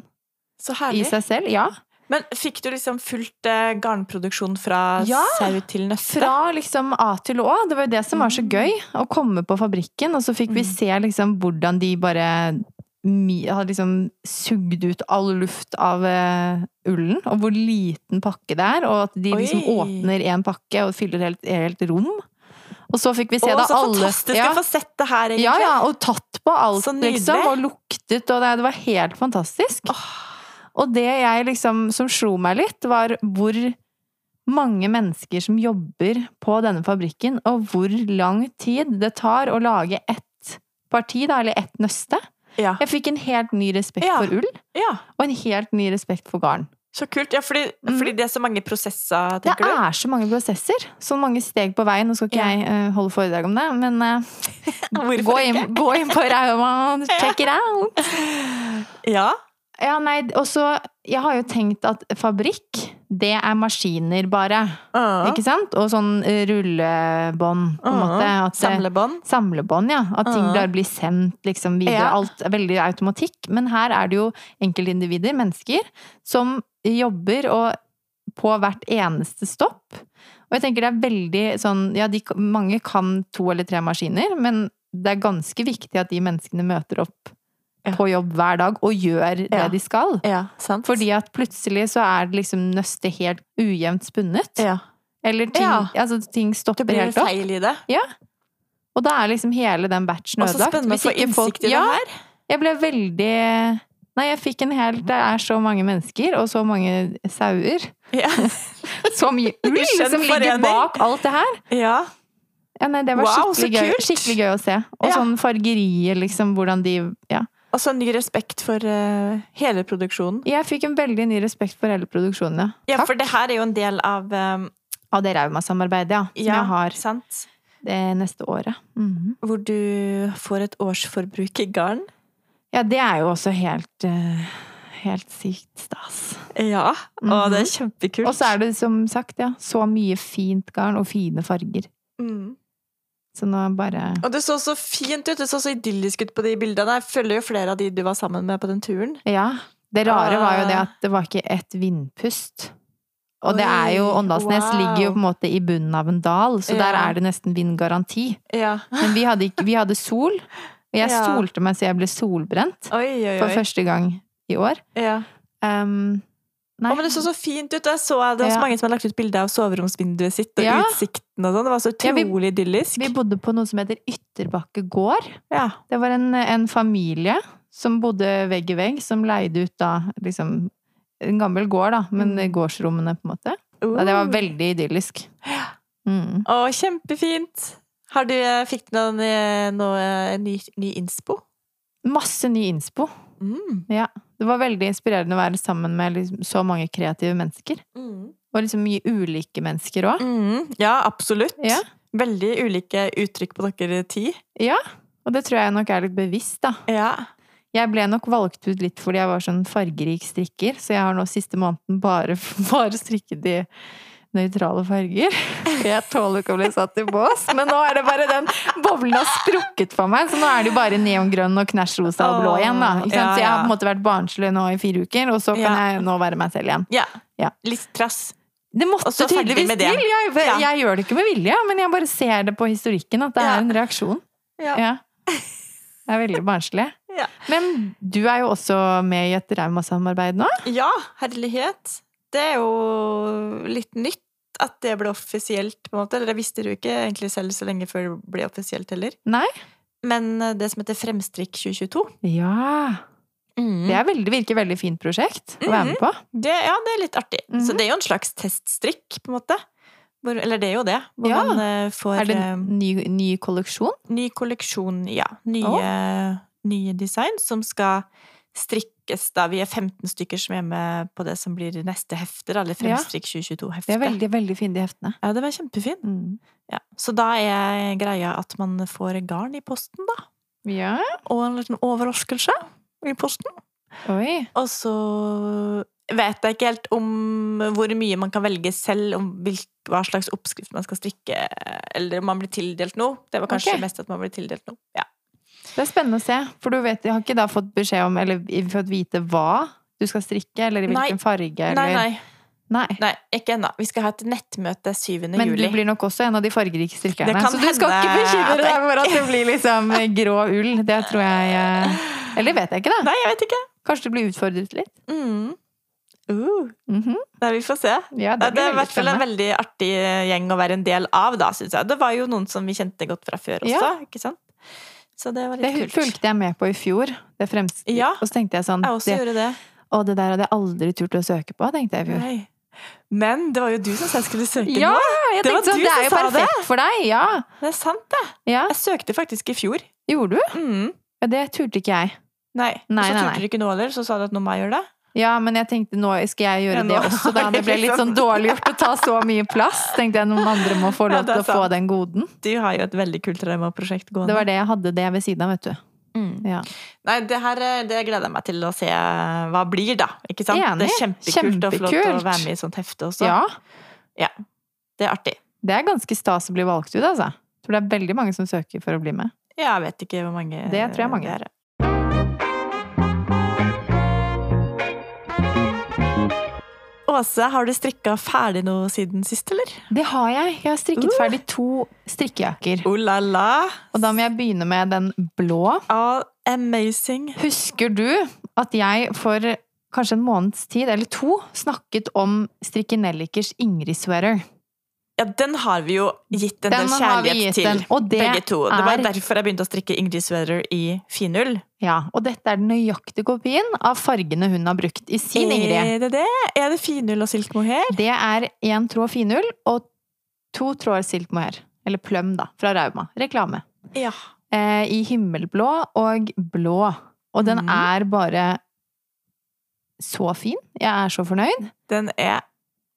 Speaker 2: Så
Speaker 1: i
Speaker 2: herlig.
Speaker 1: seg selv. Ja.
Speaker 2: Men fikk du liksom fullt eh, garnproduksjon fra
Speaker 1: Ja.
Speaker 2: sau til nøste?
Speaker 1: Fra liksom A til Å. Det var jo det som var så gøy. Å komme på fabrikken, og så fikk vi
Speaker 2: Mm.
Speaker 1: se liksom hvordan de bare mi- hadde liksom sugd ut all luft av eh, ullen, og hvor liten pakke det er. Og at de liksom
Speaker 2: Oi.
Speaker 1: åpner én pakke og fyller helt, helt rom. Og så fikk vi se
Speaker 2: Å,
Speaker 1: da
Speaker 2: så
Speaker 1: alle
Speaker 2: fantastisk å få sett det her, egentlig.
Speaker 1: Ja, ja, og tatt på alt,
Speaker 2: Så nydelig.
Speaker 1: liksom. Og luktet, og det, det var helt fantastisk. Og det jeg liksom, som slo meg litt, var hvor mange mennesker som jobber på denne fabrikken, og hvor lang tid det tar å lage ett parti, da, eller ett nøste.
Speaker 2: Ja.
Speaker 1: Jeg fikk en helt ny respekt
Speaker 2: Ja.
Speaker 1: for ull,
Speaker 2: ja.
Speaker 1: og en helt ny respekt for garn.
Speaker 2: Så kult. Ja, fordi,
Speaker 1: Mm. ah.
Speaker 2: fordi det er så mange prosesser,
Speaker 1: Det
Speaker 2: tenker du?
Speaker 1: er så mange prosesser, så mange steg på veien. Nå skal ikke
Speaker 2: Ja.
Speaker 1: jeg eh, holde foredrag om det, men eh,
Speaker 2: Hvorfor
Speaker 1: gå, inn, gå inn på Rauma og check it out!
Speaker 2: Ja.
Speaker 1: Ja, nei, og så Jeg har jo tenkt at fabrikk, det er maskiner bare.
Speaker 2: Ah.
Speaker 1: Ikke sant? Og sånn eh, rullebånd, på en
Speaker 2: Ah.
Speaker 1: måte. At, eh,
Speaker 2: Samlebånd.
Speaker 1: Samlebånd, ja. At ting
Speaker 2: Ah.
Speaker 1: bare blir sendt liksom videre.
Speaker 2: Ja.
Speaker 1: Alt er veldig automatikk. Men her er det jo enkeltindivider, mennesker, som jobber og på hvert eneste stopp. Og jeg tenker det er veldig sånn Ja, de, mange kan to eller tre maskiner, men det er ganske viktig at de menneskene møter opp
Speaker 2: Ja.
Speaker 1: på jobb hver dag og gjør det
Speaker 2: Ja.
Speaker 1: de skal.
Speaker 2: Ja, sant.
Speaker 1: Fordi at plutselig så er det liksom nøstet helt ujevnt spunnet.
Speaker 2: ja.
Speaker 1: Eller ting,
Speaker 2: Ja.
Speaker 1: altså, ting
Speaker 2: Det
Speaker 1: stopper
Speaker 2: blir en
Speaker 1: helt opp.
Speaker 2: feil i det.
Speaker 1: Og da er liksom hele den batchen
Speaker 2: Og så
Speaker 1: ødelagt.
Speaker 2: spennende å
Speaker 1: Hvis
Speaker 2: få
Speaker 1: ikke folk-
Speaker 2: innsikt i det
Speaker 1: ja,
Speaker 2: her.
Speaker 1: Jeg ble veldig Nei, jeg fikk en hel Det er så mange mennesker og så mange sauer.
Speaker 2: Ja.
Speaker 1: Så mye ull
Speaker 2: Skjønn
Speaker 1: som ligger
Speaker 2: forening.
Speaker 1: bak alt det her!
Speaker 2: ja.
Speaker 1: Ja, nei, det var
Speaker 2: Wow, så
Speaker 1: skikkelig, gøy,
Speaker 2: kult.
Speaker 1: skikkelig gøy å se. Og
Speaker 2: Ja.
Speaker 1: sånn fargerier, liksom, hvordan de Ja.
Speaker 2: Og så en ny respekt for eh, hele produksjonen.
Speaker 1: Jeg fikk en veldig ny respekt for hele produksjonen, ja.
Speaker 2: Ja, for det her er jo en del av eh,
Speaker 1: Av det Rauma-samarbeidet, ja. Som
Speaker 2: ja,
Speaker 1: jeg har
Speaker 2: Sant?
Speaker 1: det neste året. Mhm.
Speaker 2: Hvor du får et årsforbruk i garn.
Speaker 1: Ja, det er jo også helt eh, Helt sykt stas.
Speaker 2: Ja, Mhm. og det er kjempekult.
Speaker 1: Og så er det som sagt, ja, så mye fint garn og fine farger.
Speaker 2: mm.
Speaker 1: Så nå bare
Speaker 2: Og det så så fint ut, det så så idyllisk ut på de bildene. Jeg følger jo flere av de du var sammen med på den turen.
Speaker 1: Ja. Det rare var jo det
Speaker 2: Ah.
Speaker 1: at det var ikke ett vindpust. Og det er jo
Speaker 2: Oi,
Speaker 1: Åndalsnes
Speaker 2: wow.
Speaker 1: ligger jo på en måte i bunnen av en dal, så der
Speaker 2: Ja.
Speaker 1: er det nesten vindgaranti.
Speaker 2: Ja.
Speaker 1: Men vi hadde, ikke, vi hadde sol, og jeg
Speaker 2: Ja.
Speaker 1: solte meg så jeg ble solbrent
Speaker 2: Oi, oi,
Speaker 1: for
Speaker 2: oi.
Speaker 1: første gang i år.
Speaker 2: Ja.
Speaker 1: Um,
Speaker 2: Å,
Speaker 1: nei.
Speaker 2: men det så så fint ut. Jeg så det er også
Speaker 1: Ja.
Speaker 2: mange som har lagt ut bilde av soveromsvinduet sitt og
Speaker 1: Ja.
Speaker 2: utsikten og sånn. Det var så
Speaker 1: Ja, vi-
Speaker 2: utrolig idyllisk.
Speaker 1: Vi bodde på noe som heter Ytterbakke gård.
Speaker 2: ja.
Speaker 1: Det var en, en familie som bodde vegg i vegg, som leide ut da liksom En gammel gård, da, men
Speaker 2: Mm.
Speaker 1: gårdsrommene, på en måte. Ja, det var veldig idyllisk. Mm.
Speaker 2: Å, kjempefint! Har du, fikk du noen, eh, noe eh, ny, ny innspo?
Speaker 1: Masse ny innspo.
Speaker 2: Mm.
Speaker 1: Det var veldig inspirerende å være sammen med liksom, så mange kreative mennesker. Og liksom mye ulike mennesker òg.
Speaker 2: Mm, Ja, absolutt.
Speaker 1: Ja.
Speaker 2: Veldig ulike uttrykk på dere ti.
Speaker 1: Og det tror jeg nok er litt bevisst, da.
Speaker 2: Ja.
Speaker 1: Jeg ble nok valgt ut litt fordi jeg var sånn fargerik strikker, så jeg har nå siste måneden bare, bare strikket i nøytrale farger. Jeg tåler ikke å bli satt i bås, men nå er det bare den boblen har sprukket for meg, så nå er det jo bare neongrønn og knæsj rosa og blå igjen, da. Ikke sant? Så jeg har på en måte vært barnslig nå i fire uker, og så kan
Speaker 2: Ja.
Speaker 1: jeg nå være meg selv igjen.
Speaker 2: ja.
Speaker 1: Ja.
Speaker 2: Litt trass.
Speaker 1: Det måtte
Speaker 2: Og så ferdig
Speaker 1: tydeligvis
Speaker 2: med
Speaker 1: til.
Speaker 2: det.
Speaker 1: Jeg, jeg,
Speaker 2: Ja.
Speaker 1: gjør det ikke med vilje, men jeg bare ser det på historikken at det
Speaker 2: Ja.
Speaker 1: er en reaksjon.
Speaker 2: Ja.
Speaker 1: Ja. Det er veldig barnslig.
Speaker 2: Ja.
Speaker 1: Men du er jo også med i et Rauma-samarbeid nå.
Speaker 2: Ja, herlighet. Det er jo litt nytt at det ble offisielt, på en måte. Eller jeg visste det jo ikke egentlig selv så lenge før det ble offisielt heller.
Speaker 1: Nei.
Speaker 2: Men eh, det som heter Fremstrikk 2022
Speaker 1: Ja. Det er veldig, virker veldig fint prosjekt å være med på.
Speaker 2: det, Ja, det er litt artig.
Speaker 1: Mhm.
Speaker 2: Så det er jo en slags teststrikk, på en måte. Hvor, eller det er jo det. Hvor
Speaker 1: Ja.
Speaker 2: man eh, får
Speaker 1: Er det
Speaker 2: eh,
Speaker 1: en ny, ny kolleksjon?
Speaker 2: ny kolleksjon, ja. Nye, nye design som skal strikkes, da. Vi er 15 stykker som er med på det som blir neste hefte, da. Eller
Speaker 1: Ja.
Speaker 2: Fremstrikk 2022-hefte.
Speaker 1: Det er veldig, veldig fint i heftene.
Speaker 2: Ja, det var kjempefint.
Speaker 1: Mm.
Speaker 2: Ja. Så da er greia at man får garn i posten, da.
Speaker 1: Ja.
Speaker 2: Og en liten overraskelse i posten.
Speaker 1: Oi.
Speaker 2: Og så vet jeg ikke helt om hvor mye man kan velge selv, om hvil- hva slags oppskrift man skal strikke, eller om man blir tildelt noe. Det var kanskje
Speaker 1: Ok.
Speaker 2: mest at man blir tildelt noe. Ja.
Speaker 1: Det er spennende å se, for du vet, jeg har ikke da fått beskjed om, eller fått vite hva du skal strikke, eller i
Speaker 2: Nei.
Speaker 1: hvilken farge, eller
Speaker 2: Nei, nei,
Speaker 1: Nei.
Speaker 2: nei, ikke ennå. Vi skal ha et nettmøte 7.
Speaker 1: Men
Speaker 2: juli.
Speaker 1: du blir nok også en av de fargerike
Speaker 2: Det
Speaker 1: strikkerne.
Speaker 2: kan
Speaker 1: Så du skal
Speaker 2: hende
Speaker 1: ikke bekymre
Speaker 2: at jeg
Speaker 1: deg for at det blir liksom grå ull. Det tror jeg eh, Eller vet jeg ikke, da.
Speaker 2: Nei, jeg vet ikke.
Speaker 1: Kanskje du blir utfordret litt.
Speaker 2: Mm. Uh.
Speaker 1: Mhm.
Speaker 2: Nei, vi får se.
Speaker 1: Ja,
Speaker 2: Ja,
Speaker 1: det
Speaker 2: det
Speaker 1: blir
Speaker 2: er i
Speaker 1: veldig
Speaker 2: hvert fall en
Speaker 1: spennende.
Speaker 2: veldig artig gjeng å være en del av, da, syns jeg. Det var jo noen som vi kjente godt fra før også,
Speaker 1: Ja.
Speaker 2: ikke sant? Så det var
Speaker 1: Det
Speaker 2: litt kult.
Speaker 1: fulgte jeg med på i fjor. Det fremst...
Speaker 2: Ja,
Speaker 1: Og så tenkte jeg sånn
Speaker 2: jeg også
Speaker 1: det,
Speaker 2: gjorde det.
Speaker 1: Å, det der hadde jeg aldri turt å søke på, tenkte jeg i fjor.
Speaker 2: Nei. Men det var jo du som sa jeg skulle søke
Speaker 1: Ja!
Speaker 2: nå.
Speaker 1: Jeg
Speaker 2: Det var
Speaker 1: tenkte sånn,
Speaker 2: du
Speaker 1: det
Speaker 2: som
Speaker 1: er jo
Speaker 2: sa det.
Speaker 1: perfekt for deg! Ja.
Speaker 2: Det er sant, det.
Speaker 1: ja.
Speaker 2: Jeg søkte faktisk i fjor.
Speaker 1: Gjorde du?
Speaker 2: Mm.
Speaker 1: Ja, det turte ikke jeg.
Speaker 2: Nei.
Speaker 1: Nei,
Speaker 2: Og så
Speaker 1: nei,
Speaker 2: turte
Speaker 1: nei.
Speaker 2: du ikke noe heller, så sa du at nå må jeg gjøre det.
Speaker 1: Ja, men jeg tenkte nå skal jeg gjøre
Speaker 2: Ja, nå
Speaker 1: det også, da.
Speaker 2: har
Speaker 1: Det
Speaker 2: jeg
Speaker 1: ble litt
Speaker 2: liksom-
Speaker 1: sånn dårlig gjort å ta så mye plass. Tenkte jeg noen andre må få
Speaker 2: Ja,
Speaker 1: lov
Speaker 2: det er
Speaker 1: til å få
Speaker 2: sant.
Speaker 1: den goden.
Speaker 2: Du har jo et veldig kult Rauma-prosjekt gående.
Speaker 1: Det var det jeg hadde det ved siden av, vet du.
Speaker 2: Mm.
Speaker 1: Ja.
Speaker 2: Nei, det her eh, det gleder jeg meg til å se hva blir, da. Ikke sant?
Speaker 1: Enig.
Speaker 2: Det er kjempekult, å få lov til å
Speaker 1: Kjempekult.
Speaker 2: være med i et sånt hefte også.
Speaker 1: ja.
Speaker 2: Det er artig.
Speaker 1: Det er ganske stas å bli valgt ut, altså. Jeg tror det er veldig mange som søker for å bli med.
Speaker 2: Ja, Jeg vet ikke hvor mange
Speaker 1: Det tror jeg er mange.
Speaker 2: det er. Åse, har du strikka ferdig noe siden sist, eller?
Speaker 1: Det har jeg. Jeg har strikket
Speaker 2: Uh.
Speaker 1: ferdig to strikkejakker.
Speaker 2: Oh la la!
Speaker 1: Og da må jeg begynne med den blå.
Speaker 2: Ah, amazing.
Speaker 1: Husker du at jeg for kanskje en måneds tid, eller to, snakket om strikkenellikers Ingrid-sweater?
Speaker 2: Ja, den har vi jo gitt en
Speaker 1: Den
Speaker 2: del
Speaker 1: har vi
Speaker 2: kjærlighet
Speaker 1: gitt
Speaker 2: til,
Speaker 1: den, og det
Speaker 2: begge to. Det var
Speaker 1: er-
Speaker 2: derfor jeg begynte å strikke Ingrid Sweater i finull.
Speaker 1: Ja, og dette er den nøyaktige kopien av fargene hun har brukt i
Speaker 2: Eh,
Speaker 1: sin Ingrid.
Speaker 2: Er det det? Er det finull og silk mohair?
Speaker 1: Det er én tråd finull og to tråder silk mohair. Eller pløm, da. Fra Rauma. Reklame.
Speaker 2: Ja.
Speaker 1: Eh, I himmelblå og blå. Og den
Speaker 2: Mhm.
Speaker 1: er bare så fin. Jeg er så fornøyd.
Speaker 2: Den er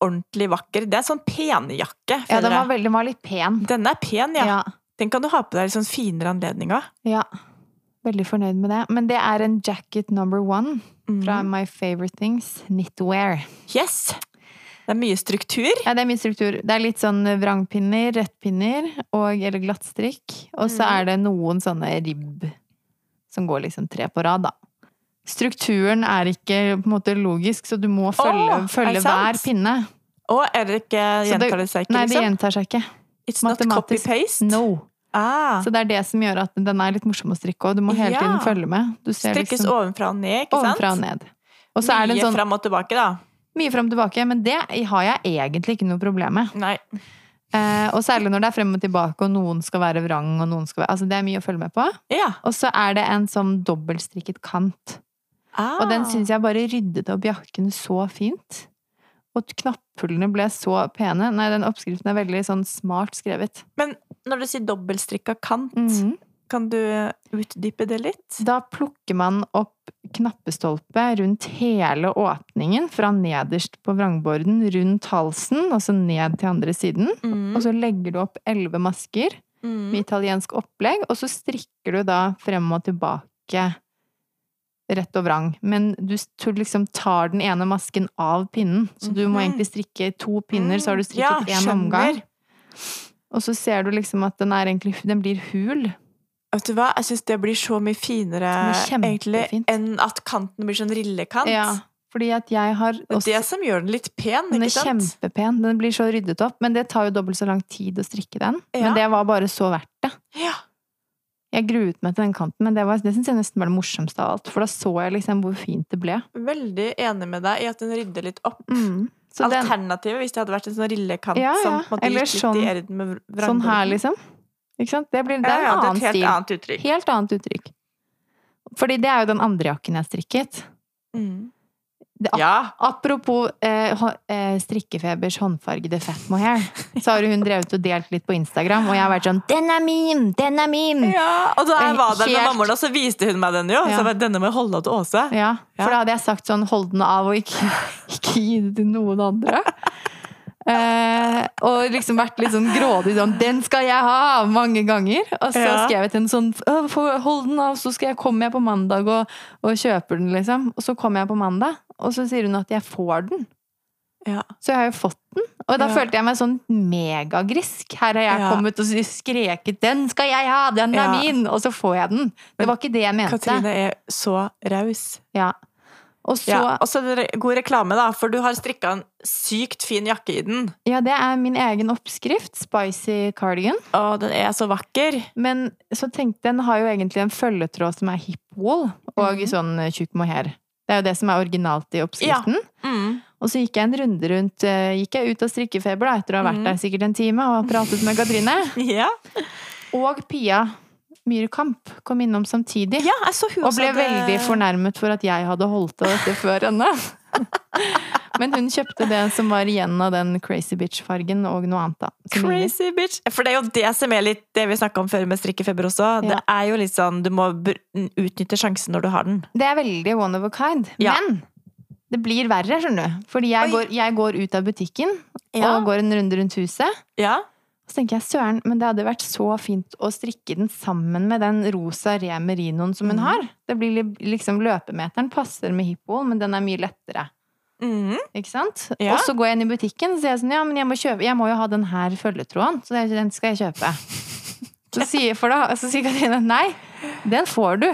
Speaker 2: ordentlig vakker. Det er sånn penjakke,
Speaker 1: Ja, den
Speaker 2: føler
Speaker 1: var,
Speaker 2: jeg.
Speaker 1: veldig, den var litt pen.
Speaker 2: Den er pen, ja.
Speaker 1: Ja,
Speaker 2: Den kan du ha på deg i sånn finere anledninger.
Speaker 1: ja. Veldig fornøyd med det. Men det er en jacket number one
Speaker 2: Mm.
Speaker 1: fra My Favorite Things, Knitwear.
Speaker 2: Yes! Det er mye struktur.
Speaker 1: Ja, det er mye struktur. Det er litt sånn vrangpinner, rettpinner og, eller glattstrikk. Og så
Speaker 2: Mhm.
Speaker 1: er det noen sånne ribb som går liksom tre på rad, da. Strukturen er ikke på en måte logisk, så du må følge,
Speaker 2: Åh, er
Speaker 1: følge
Speaker 2: det sant?
Speaker 1: hver pinne.
Speaker 2: Og er det ikke
Speaker 1: Så det-
Speaker 2: Gjentar det seg ikke,
Speaker 1: Nei, det
Speaker 2: liksom?
Speaker 1: gjentar seg ikke.
Speaker 2: It's not
Speaker 1: matematisk-
Speaker 2: copy-paste?
Speaker 1: No.
Speaker 2: Ah.
Speaker 1: Så det er det som gjør at den er litt morsom å strikke, og du må hele
Speaker 2: Ja.
Speaker 1: tiden følge med. Du ser
Speaker 2: Strikkes
Speaker 1: liksom
Speaker 2: ovenfra og ned, ikke sant?
Speaker 1: ovenfra og ned. Og så er det
Speaker 2: Mye
Speaker 1: en sånn
Speaker 2: fram og tilbake, da.
Speaker 1: mye fram og tilbake, men det har jeg egentlig ikke noe problem med.
Speaker 2: Nei.
Speaker 1: Eh, og særlig når det er frem og tilbake, og noen skal være vrang, og noen skal være Altså, det er mye å følge med på.
Speaker 2: Ja.
Speaker 1: Og så er det en sånn dobbeltstrikket kant.
Speaker 2: Ah.
Speaker 1: Og den syns jeg bare ryddet opp jakken så fint. Og knapphullene ble så pene. Nei, den oppskriften er veldig sånn smart skrevet.
Speaker 2: Når du sier dobbeltstrikka kant,
Speaker 1: Mhm.
Speaker 2: kan du utdype det litt?
Speaker 1: Da plukker man opp knappestolpe rundt hele åpningen, fra nederst på vrangborden, rundt halsen, og så ned til andre siden.
Speaker 2: Mm.
Speaker 1: Og så legger du opp elleve masker
Speaker 2: Mm.
Speaker 1: med italiensk opplegg, og så strikker du da frem og tilbake rett og vrang. Men du s- du liksom tar den ene masken av pinnen, så du må
Speaker 2: Mhm. Mm.
Speaker 1: egentlig strikke to pinner, så har du strikket
Speaker 2: Ja,
Speaker 1: én omgang.
Speaker 2: skjønner.
Speaker 1: Og så ser du liksom at den er egentlig Den blir hul.
Speaker 2: Vet du hva, jeg syns det blir så mye finere
Speaker 1: Den er
Speaker 2: egentlig
Speaker 1: kjempefint.
Speaker 2: enn at kanten blir sånn rillekant.
Speaker 1: Ja, fordi at jeg har
Speaker 2: Det er
Speaker 1: også
Speaker 2: det som gjør den litt pen,
Speaker 1: den er
Speaker 2: ikke sant?
Speaker 1: kjempepen. Den blir så ryddet opp. Men det tar jo dobbelt så lang tid å strikke den.
Speaker 2: Ja.
Speaker 1: Men det var bare så verdt det.
Speaker 2: Ja.
Speaker 1: Jeg gruet meg til den kanten, men det, var- det syns jeg nesten var det morsomste av alt. For da så jeg liksom hvor fint det ble.
Speaker 2: Veldig enig med deg i at den rydder litt opp.
Speaker 1: Mm. Så den,
Speaker 2: Alternativet hvis det hadde vært en sånn rillekant
Speaker 1: Ja, ja.
Speaker 2: som på en måte
Speaker 1: Eller
Speaker 2: gikk litt i
Speaker 1: sånn-
Speaker 2: erden med vr-
Speaker 1: Sånn her,
Speaker 2: vrangborden.
Speaker 1: liksom. Ikke sant? Det, blir, det
Speaker 2: Ja,
Speaker 1: er en
Speaker 2: ja, det er
Speaker 1: annen
Speaker 2: et helt
Speaker 1: stil.
Speaker 2: annet uttrykk.
Speaker 1: Helt annet uttrykk. Fordi det er jo den andre jakken jeg strikket.
Speaker 2: Mm.
Speaker 1: Det er ak-
Speaker 2: Ja.
Speaker 1: Apropos eh, hå- eh, strikkefebers håndfargede fat mohair, så har jo hun drevet og delt litt på Instagram, og jeg har vært sånn 'Den er min! Den er min!' Ja,
Speaker 2: ja. Og da jeg
Speaker 1: Eh,
Speaker 2: var der med
Speaker 1: helt-
Speaker 2: mammaen, og så viste hun meg den jo.
Speaker 1: Ja.
Speaker 2: Så jeg bare, denne må jeg holde til Åse.
Speaker 1: For da hadde jeg sagt sånn 'Hold den av, og ikke, ikke gi det til noen andre'. Eh, og liksom vært litt sånn grådig sånn 'Den skal jeg ha!' mange ganger. Og så
Speaker 2: Ja.
Speaker 1: skrev jeg til en sånn «Å, få- 'Hold den av, så skal jeg, kommer jeg på mandag og, og kjøper den', liksom. Og så kommer jeg på mandag, og så sier hun at jeg får den.
Speaker 2: Ja.
Speaker 1: Så jeg har jo fått den. Og da
Speaker 2: Ja.
Speaker 1: følte jeg meg sånn megagrisk. Her har jeg
Speaker 2: Ja.
Speaker 1: kommet og skreket 'Den skal jeg ha! Den er
Speaker 2: Ja.
Speaker 1: min!' Og så får jeg den. Det
Speaker 2: Men
Speaker 1: var ikke det jeg mente.
Speaker 2: Katrine er så raus.
Speaker 1: Ja. Og så
Speaker 2: Ja, og så er det god reklame, da, for du har strikka en sykt fin jakke i den.
Speaker 1: Ja, det er min egen oppskrift. Spicy cardigan.
Speaker 2: Og den er så vakker.
Speaker 1: Men så tenkte jeg, den har jo egentlig en følgetråd som er hip wool og
Speaker 2: Mhm.
Speaker 1: sånn eh, tjukk mohair. Det er jo det som er originalt i oppskriften. Og så gikk jeg en runde rundt eh, Gikk jeg ut av strikkefeber da, etter å ha vært
Speaker 2: Mhm.
Speaker 1: der sikkert en time og pratet med Katrine.
Speaker 2: Ja.
Speaker 1: Og Pia Myhrkamp kom innom samtidig.
Speaker 2: ja, jeg så hun
Speaker 1: Og ble veldig fornærmet for at jeg hadde holdt av dette før henne. Men hun kjøpte det som var igjen av den crazy bitch-fargen og noe annet, da. som ligner.
Speaker 2: Crazy bitch! For det er jo det som er litt det vi snakka om før med strikkefeber også. Det
Speaker 1: Ja.
Speaker 2: er jo litt sånn du må br- utnytte sjansen når du har den.
Speaker 1: Det er veldig one of a kind.
Speaker 2: Ja.
Speaker 1: Men det blir verre, skjønner du. Fordi jeg,
Speaker 2: Oi.
Speaker 1: går, jeg går ut av butikken og
Speaker 2: Og-
Speaker 1: går en runde rundt huset.
Speaker 2: ja.
Speaker 1: Så tenker jeg, søren, men det hadde vært så fint å strikke den sammen med den rosa re merinoen som hun
Speaker 2: Mhm.
Speaker 1: har. Det blir li- liksom løpemeteren passer med hippoen, men den er mye lettere.
Speaker 2: Mhm.
Speaker 1: Ikke sant?
Speaker 2: Ja.
Speaker 1: Og så går jeg inn i butikken og sier jeg sånn, ja, men jeg må, kjøpe, jeg må jo ha den her følgetråden, så det- den skal jeg kjøpe. Så sier, for da, så sier Katrine, nei, den får du.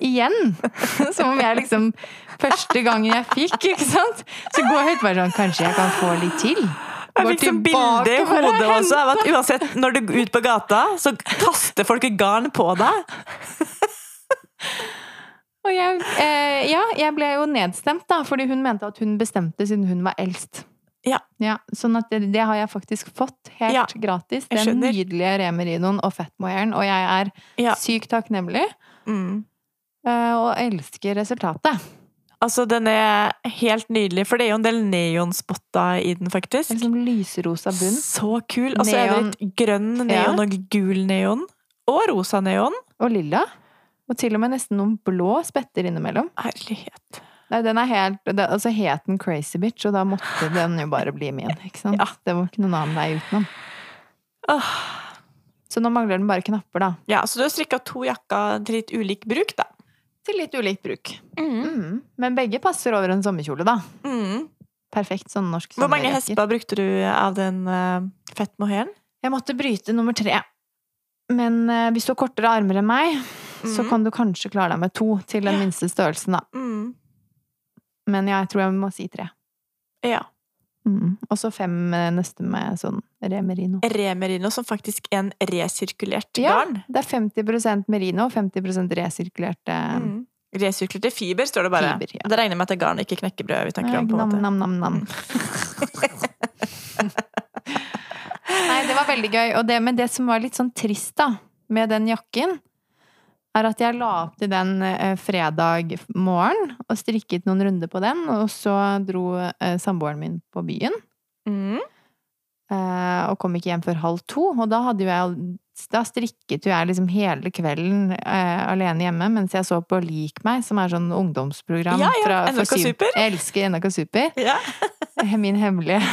Speaker 1: Igjen. Som om jeg liksom, første gangen jeg fikk, ikke sant? Så går jeg ut og bare sånn, kanskje jeg kan få litt til.
Speaker 2: Jeg
Speaker 1: Går
Speaker 2: fikk sånn
Speaker 1: tilbake
Speaker 2: bilde i
Speaker 1: for å
Speaker 2: hodet
Speaker 1: hente-
Speaker 2: også av at uansett når du går ut på gata, så kaster folk garn på deg.
Speaker 1: Og jeg, eh, ja, jeg ble jo nedstemt da, fordi hun mente at hun bestemte siden hun var eldst.
Speaker 2: Ja.
Speaker 1: sånn at det, det har jeg faktisk fått helt
Speaker 2: Ja,
Speaker 1: gratis.
Speaker 2: jeg
Speaker 1: Den
Speaker 2: skjønner.
Speaker 1: nydelige Remi-rinoen og Fatmoyeren. Og jeg er
Speaker 2: Ja.
Speaker 1: sykt takknemlig
Speaker 2: Mm.
Speaker 1: eh, og elsker resultatet.
Speaker 2: Altså, den er helt nydelig, for det er jo en del neonspotter i den, faktisk.
Speaker 1: Det er Liksom lyserosa bunn.
Speaker 2: Så kul! Og så er det
Speaker 1: Neon.
Speaker 2: litt grønn neon og gul neon. Og rosa neon.
Speaker 1: Og lilla. Og til og med nesten noen blå spetter innimellom.
Speaker 2: Herlighet.
Speaker 1: Nei, den er helt, det, altså het den Crazy Bitch, og da måtte den jo bare bli min. ikke sant?
Speaker 2: Ja.
Speaker 1: Det var ikke noen annen vei utenom.
Speaker 2: Åh.
Speaker 1: Så nå mangler den bare knapper, da.
Speaker 2: Ja, så du har strikka to jakker til litt ulik bruk, da.
Speaker 1: Til litt ulikt bruk. Mm. Men begge passer over en sommerkjole, da.
Speaker 2: Mm.
Speaker 1: Perfekt sånn norsk
Speaker 2: Hvor mange
Speaker 1: sommerjakker.
Speaker 2: hesper brukte du av den uh, fettmoheren?
Speaker 1: Jeg måtte bryte nummer tre. Men eh, hvis du har kortere armer enn meg, så
Speaker 2: Mhm.
Speaker 1: kan du kanskje klare deg med to til den
Speaker 2: Ja.
Speaker 1: minste størrelsen, da.
Speaker 2: Mm.
Speaker 1: Men jeg tror jeg må si tre.
Speaker 2: Ja.
Speaker 1: Mm. Og så fem eh, neste med sånn remerino.
Speaker 2: Remerino, som faktisk er en resirkulert
Speaker 1: Ja.
Speaker 2: garn.
Speaker 1: Det er 50 merino og 50 resirkulerte mm.
Speaker 2: Mm. Resirkulerte fiber, står det bare.
Speaker 1: Fiber, ja.
Speaker 2: Det regner jeg med at det er garn, ikke knekkebrød vi tenker om. på en måte. Mm.
Speaker 1: Nam-nam-nam. Nei, det var veldig gøy. Og det, men det som var litt sånn trist da, med den jakken, er at jeg la opp til den eh, fredag morgen og strikket noen runder på den. Og så dro eh, samboeren min på byen
Speaker 2: Mm.
Speaker 1: eh, og kom ikke hjem før halv to. Og da, hadde jo jeg, da strikket jo jeg liksom hele kvelden eh, alene hjemme mens jeg så på Lik meg, som er sånn ungdomsprogram.
Speaker 2: Ja, ja,
Speaker 1: fra-
Speaker 2: NRK
Speaker 1: for syv-
Speaker 2: Super.
Speaker 1: Jeg elsker NRK Super
Speaker 2: Ja.
Speaker 1: min hemmelige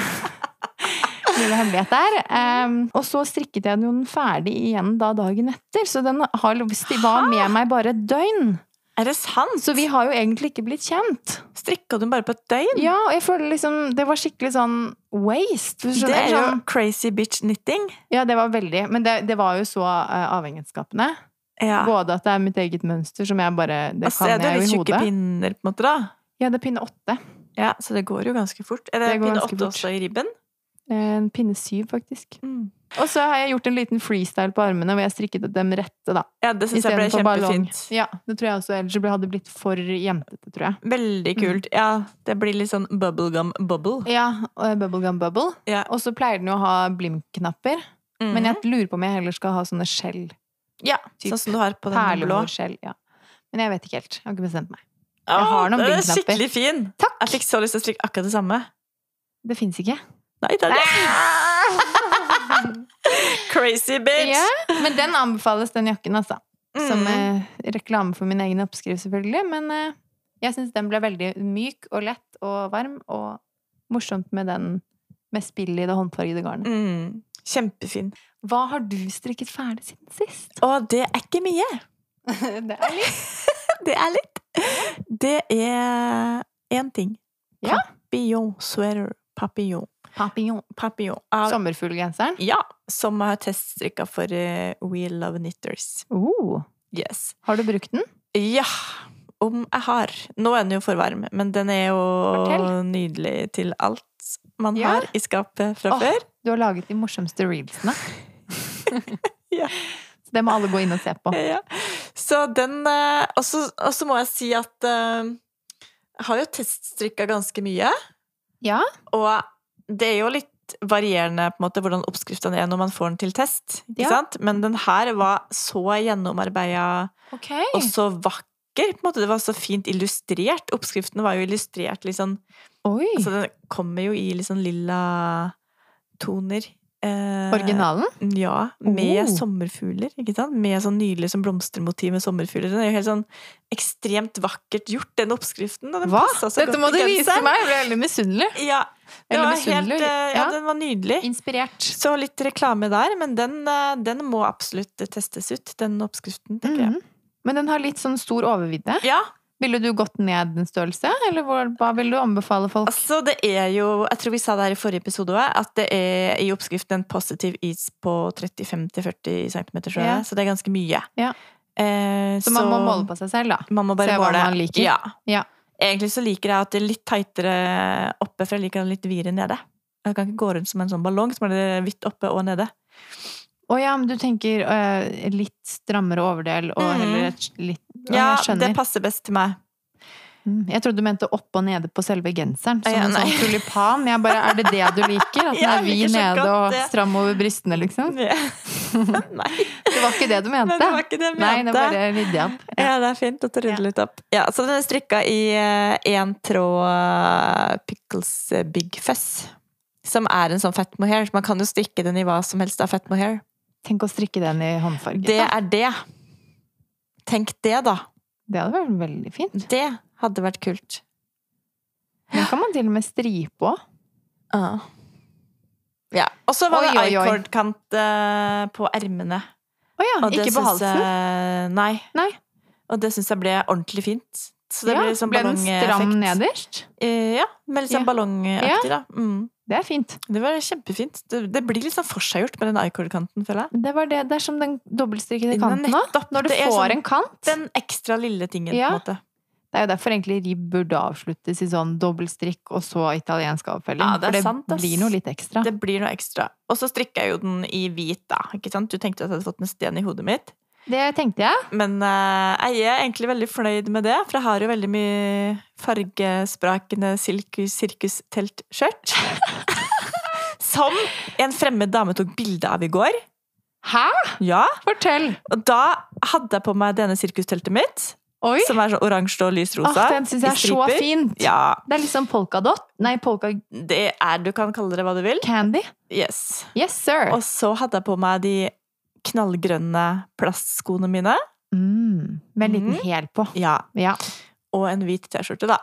Speaker 1: lille hemmelighet der. Em, og så strikket jeg den jo den ferdig igjen da dagen etter, så den har, var med meg bare et døgn.
Speaker 2: Er det sant?
Speaker 1: Så vi har jo egentlig ikke blitt kjent.
Speaker 2: Strikka du den bare på et døgn?
Speaker 1: Ja, og jeg føler liksom Det var skikkelig sånn waste. hvis du
Speaker 2: det
Speaker 1: skjønner.
Speaker 2: er jo
Speaker 1: Sånn-
Speaker 2: crazy bitch knitting.
Speaker 1: Ja, det var veldig. Men det, det var jo så eh, avhengighetsskapende.
Speaker 2: Ja.
Speaker 1: Både at det er mitt eget mønster som jeg bare Det
Speaker 2: Altså,
Speaker 1: kan
Speaker 2: det er
Speaker 1: jeg
Speaker 2: litt
Speaker 1: jo i
Speaker 2: tjukke
Speaker 1: hodet.
Speaker 2: pinner, på en måte, da.
Speaker 1: Ja, det er pinne åtte.
Speaker 2: Ja, Så det går jo ganske fort. Er
Speaker 1: Det
Speaker 2: det,
Speaker 1: går
Speaker 2: pinne
Speaker 1: ganske
Speaker 2: åtte
Speaker 1: fort. Mm.
Speaker 2: også i ribben?
Speaker 1: Eh, Pinne syv, faktisk. Og så har jeg gjort en liten freestyle på armene hvor jeg strikket dem rette, da.
Speaker 2: Ja, det syns jeg ble
Speaker 1: Istedenfor ballong.
Speaker 2: kjempefint.
Speaker 1: Ja, det tror jeg også. Ellers så ble- hadde det blitt for jentete, tror jeg.
Speaker 2: Veldig
Speaker 1: Mm.
Speaker 2: kult. Ja, det blir litt sånn bubblegum bubble.
Speaker 1: Ja, og Bubblegum Bubble.
Speaker 2: Ja.
Speaker 1: Og så pleier den jo å ha blimknapper.
Speaker 2: Mhm.
Speaker 1: Men jeg lurer på om jeg heller skal ha sånne skjell.
Speaker 2: ja,
Speaker 1: typ
Speaker 2: sånn som du har på den blå.
Speaker 1: Perlemorskjell. Ja. Men jeg vet ikke helt. Jeg har ikke bestemt meg.
Speaker 2: Åh,
Speaker 1: har noen
Speaker 2: den er
Speaker 1: bindknapper.
Speaker 2: Skikkelig fin.
Speaker 1: Takk!
Speaker 2: Jeg fikk så lyst til å strikke akkurat det samme.
Speaker 1: Det fins ikke.
Speaker 2: Nei, det er det. Crazy bitch!
Speaker 1: Ja, men den anbefales, den jakken, altså. Som
Speaker 2: Mm.
Speaker 1: eh, reklame for min egen oppskrift, selvfølgelig. Men eh, jeg syns den ble veldig myk og lett og varm, og morsomt med den med spill i det håndfargede garnet.
Speaker 2: Mm. Kjempefin.
Speaker 1: Hva har du strikket ferdig siden sist?
Speaker 2: Og det er ikke mye.
Speaker 1: Det er litt
Speaker 2: Det er litt. Det er én ting.
Speaker 1: Ja.
Speaker 2: Papillon sweater. Papillon.
Speaker 1: Papillon.
Speaker 2: Papillon. Av,
Speaker 1: Sommerfuglgenseren.
Speaker 2: ja, som jeg har teststrikka for eh, We Love Knitters.
Speaker 1: Oh,
Speaker 2: Yes.
Speaker 1: har du brukt den?
Speaker 2: Ja. Om jeg har. Nå er den jo for varm, men den er jo
Speaker 1: Fortell.
Speaker 2: nydelig til alt man
Speaker 1: Ja.
Speaker 2: har i skapet fra
Speaker 1: Åh.
Speaker 2: før.
Speaker 1: Du har laget de morsomste reelsene.
Speaker 2: Ja.
Speaker 1: Så det må alle gå inn og se på.
Speaker 2: Ja. Så den eh, Og så og så må jeg si at eh, jeg har jo teststrikka ganske mye.
Speaker 1: Ja.
Speaker 2: Og det er jo litt varierende på en måte hvordan oppskriftene er når man får den til test. Ikke
Speaker 1: Ja.
Speaker 2: sant? Men den her var så gjennomarbeida
Speaker 1: Ok.
Speaker 2: og så vakker. På en måte. Det var så fint illustrert. Oppskriften var jo illustrert litt sånn
Speaker 1: Oi.
Speaker 2: Altså den kommer jo i litt sånn lilla toner. Eh,
Speaker 1: Originalen?
Speaker 2: ja, med
Speaker 1: Oh.
Speaker 2: sommerfugler. ikke sant? Med sånn nydelig sånn blomstermotiv med sommerfugler. Den er jo helt sånn ekstremt vakkert gjort, den oppskriften. Og den
Speaker 1: Hva?
Speaker 2: passet så
Speaker 1: Dette
Speaker 2: godt
Speaker 1: må du
Speaker 2: i
Speaker 1: vise
Speaker 2: genseren.
Speaker 1: meg! Jeg ble veldig misunnelig.
Speaker 2: Ja, det
Speaker 1: Eller
Speaker 2: var helt,
Speaker 1: misunnelig,
Speaker 2: eh, ja,
Speaker 1: ja.
Speaker 2: den var nydelig.
Speaker 1: Inspirert.
Speaker 2: Så litt reklame der, men den, eh, den må absolutt testes ut, den oppskriften, tenker jeg.
Speaker 1: Mhm. Men den har litt sånn stor overvidde.
Speaker 2: Ja,
Speaker 1: Ville du gått ned en størrelse, eller hvor- hva vil du anbefale folk?
Speaker 2: altså det er jo Jeg tror vi sa det her i forrige episode òg, at det er i oppskriften en positiv is på 35-40 cm, tror jeg.
Speaker 1: Ja.
Speaker 2: Så det er ganske mye.
Speaker 1: Ja.
Speaker 2: Eh,
Speaker 1: Så man må måle på seg selv, da.
Speaker 2: Man må bare
Speaker 1: Se hva
Speaker 2: måle.
Speaker 1: man liker.
Speaker 2: Ja.
Speaker 1: Ja.
Speaker 2: Egentlig så liker jeg at det er litt tightere oppe, for jeg liker det litt videre nede. Jeg kan ikke gå rundt som en sånn ballong som er det hvitt oppe og nede.
Speaker 1: Å ja, men du tenker eh, litt strammere overdel og
Speaker 2: Mhm.
Speaker 1: heller et litt Å,
Speaker 2: Ja,
Speaker 1: jeg skjønner.
Speaker 2: det passer best til meg.
Speaker 1: Mm, Jeg trodde du mente opp og nede på selve genseren. Som
Speaker 2: Ja,
Speaker 1: en
Speaker 2: nei.
Speaker 1: sånn tulipan. Jeg bare, er det det du liker? At den
Speaker 2: Ja,
Speaker 1: er
Speaker 2: jeg
Speaker 1: vid
Speaker 2: liker så
Speaker 1: nede
Speaker 2: godt
Speaker 1: og
Speaker 2: det.
Speaker 1: stram over brystene, liksom?
Speaker 2: Nei,
Speaker 1: Det var ikke det du mente?
Speaker 2: men det var ikke det jeg mente.
Speaker 1: Nei, det bare rydder jeg opp.
Speaker 2: Ja, det er fint at du rydder
Speaker 1: Ja.
Speaker 2: litt opp. Ja, så den er strikka i én tråd eh, Pickles eh, Big Fuzz. Som er en sånn fett mohair. Man kan jo strikke den i hva som helst av fett mohair.
Speaker 1: Tenk å strikke den i håndfarget.
Speaker 2: Det
Speaker 1: da.
Speaker 2: er det. Tenk det, da.
Speaker 1: det hadde vært veldig fint.
Speaker 2: Det hadde vært kult.
Speaker 1: Den kan man til og med stripe òg.
Speaker 2: Ja. Og så var
Speaker 1: Oi,
Speaker 2: det
Speaker 1: oi, oi.
Speaker 2: i-cord-kant eh, på ermene.
Speaker 1: Å ja,
Speaker 2: Og det
Speaker 1: ikke på
Speaker 2: syns
Speaker 1: halsen.
Speaker 2: jeg- Nei.
Speaker 1: Nei.
Speaker 2: Og det syns jeg ble ordentlig fint. Så det
Speaker 1: ja,
Speaker 2: ble litt sånn
Speaker 1: ble den stram
Speaker 2: ballongeffekt.
Speaker 1: nederst?
Speaker 2: Eh, Ja, men litt sånn
Speaker 1: Ja.
Speaker 2: ballongaktig, da. Mm.
Speaker 1: Det er fint.
Speaker 2: Det var kjempefint. Det, det blir litt sånn forseggjort med den i-cord-kanten, føler jeg.
Speaker 1: Det, var det, det er som den dobbeltstrikkede
Speaker 2: Den er
Speaker 1: kanten òg.
Speaker 2: nettopp-
Speaker 1: Når du
Speaker 2: det er
Speaker 1: får
Speaker 2: sånn-
Speaker 1: en kant.
Speaker 2: Den ekstra lille tingen,
Speaker 1: Ja.
Speaker 2: på en måte.
Speaker 1: Det er jo derfor egentlig ribb burde avsluttes i sånn dobbeltstrikk og så italiensk avfelling.
Speaker 2: Ja, det er
Speaker 1: for det
Speaker 2: sant, ass.
Speaker 1: blir noe litt ekstra.
Speaker 2: Det blir noe ekstra. Og så strikka jeg jo den i hvit, da. Ikke sant? Du tenkte at jeg hadde fått en sten i hodet mitt.
Speaker 1: Det tenkte jeg.
Speaker 2: Men eh, jeg er egentlig veldig fornøyd med det, for jeg har jo veldig mye fargesprakende sirkus-teltskjørt. Som en fremmed dame tok bilde av i går.
Speaker 1: Hæ?
Speaker 2: Ja,
Speaker 1: Fortell!
Speaker 2: Og da hadde jeg på meg denne sirkusteltet mitt,
Speaker 1: Oi!
Speaker 2: som er sånn oransje og lys rosa.
Speaker 1: Ah, den syns jeg
Speaker 2: i
Speaker 1: er så
Speaker 2: striper.
Speaker 1: fint!
Speaker 2: Ja,
Speaker 1: Det er litt sånn polkadott. Nei, polka
Speaker 2: det er Du kan kalle det hva du vil.
Speaker 1: candy.
Speaker 2: Yes.
Speaker 1: Yes, sir!
Speaker 2: Og så hadde jeg på meg de knallgrønne plastskoene mine.
Speaker 1: Mm, med en liten
Speaker 2: Mhm.
Speaker 1: hæl på.
Speaker 2: Ja,
Speaker 1: Ja.
Speaker 2: Og en hvit T-skjorte, da.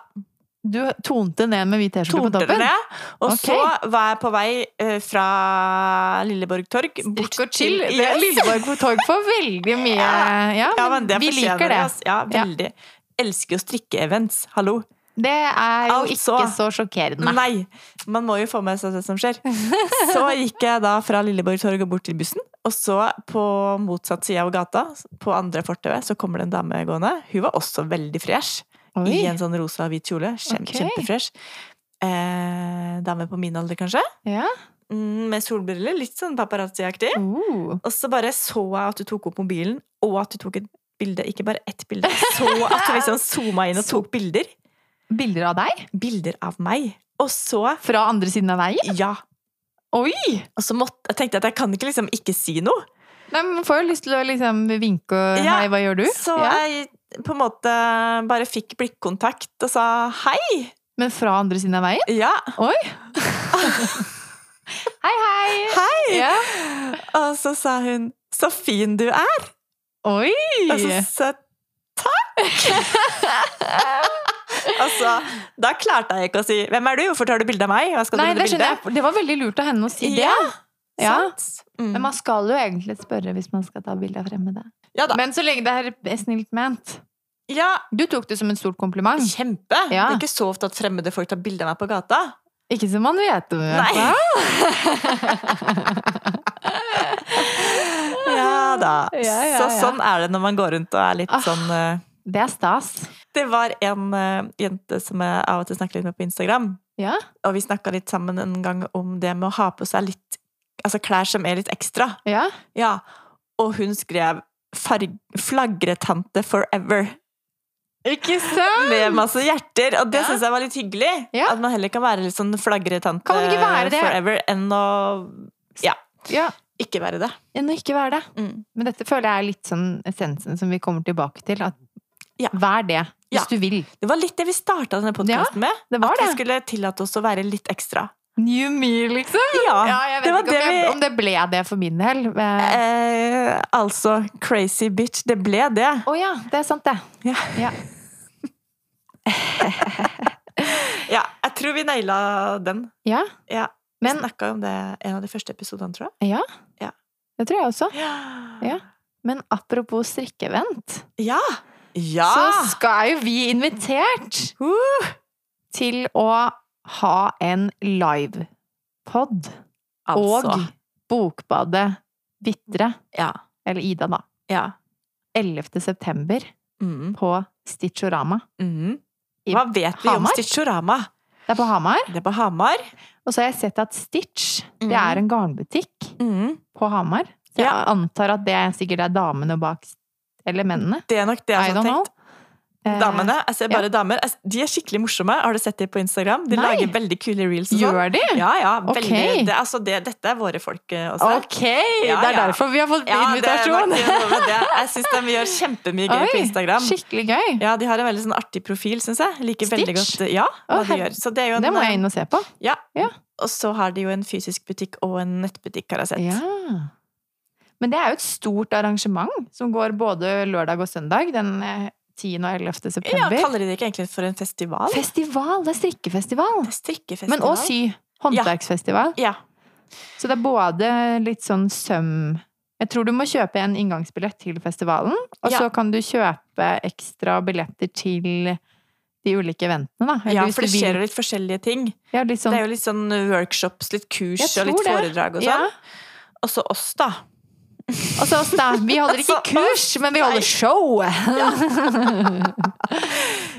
Speaker 1: Du tonte ned med hvit T-skjorte på
Speaker 2: Tonte det
Speaker 1: toppen.
Speaker 2: ned. Og
Speaker 1: Ok.
Speaker 2: så var jeg på vei eh, fra Lilleborg torg bort
Speaker 1: Drikk og chill.
Speaker 2: til
Speaker 1: Det er
Speaker 2: Yes.
Speaker 1: Lilleborg på torg får veldig mye
Speaker 2: Ja.
Speaker 1: Ja,
Speaker 2: Ja,
Speaker 1: men
Speaker 2: men det
Speaker 1: vi
Speaker 2: fortjener
Speaker 1: liker det.
Speaker 2: ass. Ja, veldig. Elsker jo strikkeevents. Hallo.
Speaker 1: Det er jo
Speaker 2: Altså.
Speaker 1: ikke så sjokkerende.
Speaker 2: Nei. Man må jo få med seg det som skjer. Så gikk jeg da fra Lilleborg torg og bort til bussen. Og så på motsatt side av gata, på andre fortauet, så kommer det en dame gående. Hun var også veldig fresh. I
Speaker 1: Oi.
Speaker 2: en sånn rosa og hvit kjole. Kjem,
Speaker 1: Ok.
Speaker 2: Kjempefresh. Eh, dame på min alder, kanskje.
Speaker 1: Ja.
Speaker 2: Mm, med solbriller. Litt sånn paparazzi-aktig.
Speaker 1: Oh.
Speaker 2: Og så bare så jeg at du tok opp mobilen, og at du tok et bilde. Ikke bare ett bilde. Så at du liksom zooma inn og tok bilder.
Speaker 1: Bilder av deg?
Speaker 2: Bilder av meg. Og så
Speaker 1: Fra andre siden av veien?
Speaker 2: Ja.
Speaker 1: Oi!
Speaker 2: Og så måtte, jeg tenkte at jeg kan ikke liksom ikke si noe.
Speaker 1: Nei, men får jo lyst til å liksom vinke og
Speaker 2: Ja,
Speaker 1: Hei, hva gjør du?
Speaker 2: Så
Speaker 1: Uh, ja.
Speaker 2: jeg på en måte bare fikk blikkontakt og sa hei.
Speaker 1: Men fra andre siden av veien?
Speaker 2: Ja.
Speaker 1: Hei, hei!
Speaker 2: Hei!
Speaker 1: Ja.
Speaker 2: Og så sa hun 'så fin du er'.
Speaker 1: Oi!
Speaker 2: Og så sa jeg, takk! altså, da klarte jeg ikke å si 'hvem er du, hvorfor tar du bilde av meg', hva skal
Speaker 1: Nei,
Speaker 2: du
Speaker 1: det
Speaker 2: med det
Speaker 1: skjønner
Speaker 2: bildet?
Speaker 1: jeg. Det var veldig lurt av henne å si det.
Speaker 2: Ja,
Speaker 1: Ja.
Speaker 2: sant? Mm.
Speaker 1: Men man skal jo egentlig spørre hvis man skal ta bilde av fremmede.
Speaker 2: Ja da.
Speaker 1: Men så lenge det er snilt ment.
Speaker 2: Ja,
Speaker 1: Du tok det som en stor kompliment.
Speaker 2: kjempe! Det
Speaker 1: Ja.
Speaker 2: er ikke så ofte at fremmede folk tar bilde av meg på gata.
Speaker 1: Ikke som man vet om. i hvert
Speaker 2: Nei.
Speaker 1: fall.
Speaker 2: Ja da.
Speaker 1: Ja, ja,
Speaker 2: Så
Speaker 1: ja.
Speaker 2: sånn er det når man går rundt og er litt
Speaker 1: Ah.
Speaker 2: sånn eh,
Speaker 1: Det er stas.
Speaker 2: Det var en eh, jente som jeg av og til snakker litt med på Instagram.
Speaker 1: Ja.
Speaker 2: Og vi snakka litt sammen en gang om det med å ha på seg litt Altså klær som er litt ekstra.
Speaker 1: Ja.
Speaker 2: Ja. Og hun skrev farg- 'flagretante forever'
Speaker 1: Ikke sant?
Speaker 2: med masse hjerter. Og det
Speaker 1: Ja.
Speaker 2: syns jeg var litt hyggelig.
Speaker 1: Ja.
Speaker 2: At man heller kan være litt sånn flagretante
Speaker 1: Kan man ikke være det?
Speaker 2: forever enn å
Speaker 1: Ja.
Speaker 2: ikke være det.
Speaker 1: Enn å ikke være det.
Speaker 2: Mm.
Speaker 1: Men dette føler jeg er litt sånn essensen som vi kommer tilbake til. At
Speaker 2: Ja.
Speaker 1: vær det, hvis
Speaker 2: Ja.
Speaker 1: du vil.
Speaker 2: Det var litt det vi starta denne podkasten med.
Speaker 1: Det var
Speaker 2: At vi
Speaker 1: det.
Speaker 2: skulle tillate oss å være litt ekstra.
Speaker 1: New me, liksom.
Speaker 2: Ja,
Speaker 1: Ja, jeg vet
Speaker 2: det var
Speaker 1: ikke om,
Speaker 2: det
Speaker 1: jeg,
Speaker 2: vi-
Speaker 1: om det ble det for min del. Eh, Å
Speaker 2: Eh, altså, crazy bitch. Det ble det.
Speaker 1: ja, det er sant, det.
Speaker 2: Ja.
Speaker 1: Ja.
Speaker 2: Ja, jeg tror vi naila den.
Speaker 1: Ja,
Speaker 2: Ja, vi
Speaker 1: Men-
Speaker 2: snakket snakka om det i en av de første episodene, tror jeg.
Speaker 1: det tror jeg også.
Speaker 2: Ja!
Speaker 1: Men apropos strikkevent,
Speaker 2: Ja! Ah!
Speaker 1: så skal jo vi invitert
Speaker 2: Uh!
Speaker 1: til å ha en livepod.
Speaker 2: altså.
Speaker 1: Og Bokbadet Vitre,
Speaker 2: Ja.
Speaker 1: eller Ida, da.
Speaker 2: ja.
Speaker 1: 11. september
Speaker 2: Mm.
Speaker 1: på Stitchorama.
Speaker 2: Mm.
Speaker 1: I
Speaker 2: Hva vet vi om
Speaker 1: Hamar?
Speaker 2: Stitchorama?
Speaker 1: Det er på Hamar.
Speaker 2: Det er på Hamar.
Speaker 1: Og så har jeg sett at Stitch
Speaker 2: Mm.
Speaker 1: det er en garnbutikk
Speaker 2: Mm.
Speaker 1: på Hamar. Så jeg
Speaker 2: Ja.
Speaker 1: antar at det sikkert er damene bak Eller mennene.
Speaker 2: Det er nok det
Speaker 1: I
Speaker 2: jeg har
Speaker 1: don't know.
Speaker 2: tenkt.
Speaker 1: Eh,
Speaker 2: Damene. Jeg ser bare damer. Jeg s- De er skikkelig morsomme. Har du sett dem på Instagram? De
Speaker 1: Nei.
Speaker 2: lager veldig kule reels og sånn.
Speaker 1: Gjør de?
Speaker 2: Ja, ja. Veldig.
Speaker 1: Ok.
Speaker 2: Det, altså, det, dette er våre folk eh, også.
Speaker 1: Ok!
Speaker 2: Ja,
Speaker 1: det er
Speaker 2: ja.
Speaker 1: derfor vi har fått
Speaker 2: Ja, det er nok
Speaker 1: invitasjon.
Speaker 2: noe med det. Jeg syns de gjør kjempemye gøy på
Speaker 1: Oi,
Speaker 2: Instagram.
Speaker 1: Skikkelig gøy.
Speaker 2: Ja, De har en veldig sånn artig profil, syns jeg. Liker veldig
Speaker 1: Stitch?
Speaker 2: godt ja, hva
Speaker 1: Å,
Speaker 2: de
Speaker 1: her-
Speaker 2: gjør. Så det er jo en,
Speaker 1: Det må jeg inn og se på.
Speaker 2: Ja.
Speaker 1: Ja.
Speaker 2: Og så har de jo en fysisk butikk og en nettbutikk, har jeg sett.
Speaker 1: Ja. Men det er jo et stort arrangement som går både lørdag og søndag. Den eh, 10. og 11.
Speaker 2: Ja,
Speaker 1: september.
Speaker 2: Kaller de det ikke egentlig for en festival?
Speaker 1: Festival! Det er strikkefestival.
Speaker 2: Det er Strikkefestival.
Speaker 1: Men òg sy. Håndverksfestival.
Speaker 2: Ja.
Speaker 1: Så det er både litt sånn søm Jeg tror du må kjøpe en inngangsbillett til festivalen, og
Speaker 2: Ja.
Speaker 1: så kan du kjøpe ekstra billetter til de ulike eventene, da. Eller
Speaker 2: ja,
Speaker 1: hvis
Speaker 2: for det
Speaker 1: du vil-
Speaker 2: skjer jo litt forskjellige ting.
Speaker 1: Ja, litt sånn
Speaker 2: Det er jo litt sånn workshops, litt kurs
Speaker 1: Jeg
Speaker 2: og litt
Speaker 1: tror det.
Speaker 2: foredrag og
Speaker 1: Ja.
Speaker 2: sånn. Og så oss, da.
Speaker 1: Og så oss, da. Vi holder ikke
Speaker 2: Altså,
Speaker 1: kurs, men vi holder show!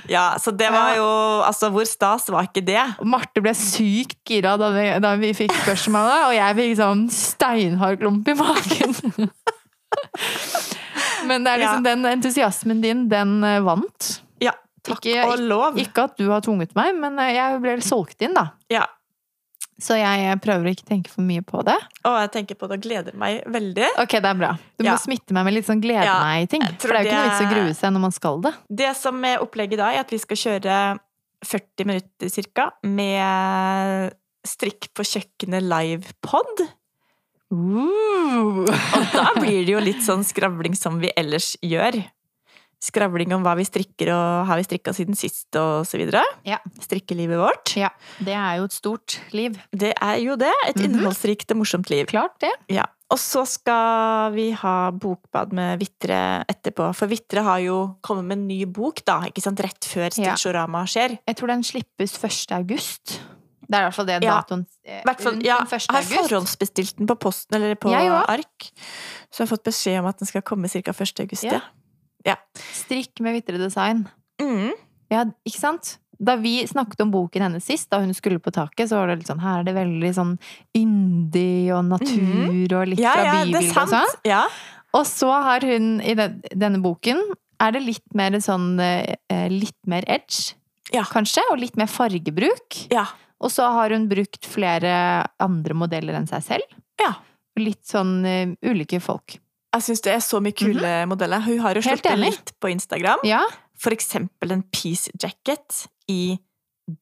Speaker 2: Ja, så det var
Speaker 1: Ja.
Speaker 2: jo Altså, hvor stas var ikke det?
Speaker 1: Og Marte ble sykt gira da vi, da vi fikk spørsmålet, og jeg fikk sånn steinhard klump i magen. Men det er liksom den entusiasmen din, den eh, vant.
Speaker 2: Ja. Takk
Speaker 1: Ikke-
Speaker 2: og lov.
Speaker 1: Ikke at du har tvunget meg, men eh, jeg ble solgt inn, da.
Speaker 2: Ja.
Speaker 1: Så jeg eh, prøver å ikke tenke for mye på det.
Speaker 2: Og jeg tenker på det og gleder meg veldig.
Speaker 1: Ok, det er bra. Du
Speaker 2: Ja.
Speaker 1: må smitte meg med litt sånn glede
Speaker 2: Ja,
Speaker 1: meg-ting.
Speaker 2: jeg tror
Speaker 1: For det er jo ikke noe
Speaker 2: det
Speaker 1: vits å
Speaker 2: er-
Speaker 1: grue seg når man skal det.
Speaker 2: Det som er opplegget da, er at vi skal kjøre 40 minutter cirka med strikk på kjøkkenet live-pod. Og da blir det jo litt sånn skravling som vi ellers gjør. Skravling om hva vi strikker, og har vi strikka siden sist, og så videre.
Speaker 1: Ja.
Speaker 2: Strikkelivet vårt.
Speaker 1: Ja. Det er jo et stort liv.
Speaker 2: Det er jo det. Et
Speaker 1: Mhm.
Speaker 2: innholdsrikt og morsomt liv.
Speaker 1: Klart det.
Speaker 2: Ja. Og så skal vi ha bokbad med Vitre etterpå. For Vitre har jo kommet med en ny bok, da. Ikke sant? Rett før
Speaker 1: Ja.
Speaker 2: Stitchorama skjer.
Speaker 1: Jeg tror den slippes 1. august. Det er i hvert fall det
Speaker 2: Ja.
Speaker 1: datoen eh,
Speaker 2: Hvert fall,
Speaker 1: rundt
Speaker 2: ja,
Speaker 1: den 1.
Speaker 2: jeg har forhåndsbestilt den på posten, eller på
Speaker 1: Jeg òg.
Speaker 2: ark. Så jeg har fått beskjed om at den skal komme ca. 1. august.
Speaker 1: Ja.
Speaker 2: Ja.
Speaker 1: Strikk med Vitre Design.
Speaker 2: Mm.
Speaker 1: Ja, ikke sant? Da vi snakket om boken hennes sist, da hun skulle på taket, så var det litt sånn Her er det veldig sånn yndig og natur og litt
Speaker 2: Mhm. ja,
Speaker 1: fra
Speaker 2: ja, det er
Speaker 1: bybildet og sånn.
Speaker 2: sant. Ja.
Speaker 1: Og så har hun i den, denne boken er det litt mer sånn eh, eh, Litt mer edge,
Speaker 2: Ja.
Speaker 1: kanskje, og litt mer fargebruk.
Speaker 2: ja.
Speaker 1: Og så har hun brukt flere andre modeller enn seg selv.
Speaker 2: Ja.
Speaker 1: Litt sånn eh, ulike folk.
Speaker 2: Jeg syns det er så mye kule modeller. Hun har jo
Speaker 1: Mhm. Helt
Speaker 2: sluppet
Speaker 1: enig.
Speaker 2: litt på Instagram.
Speaker 1: Ja.
Speaker 2: For eksempel en peace jacket i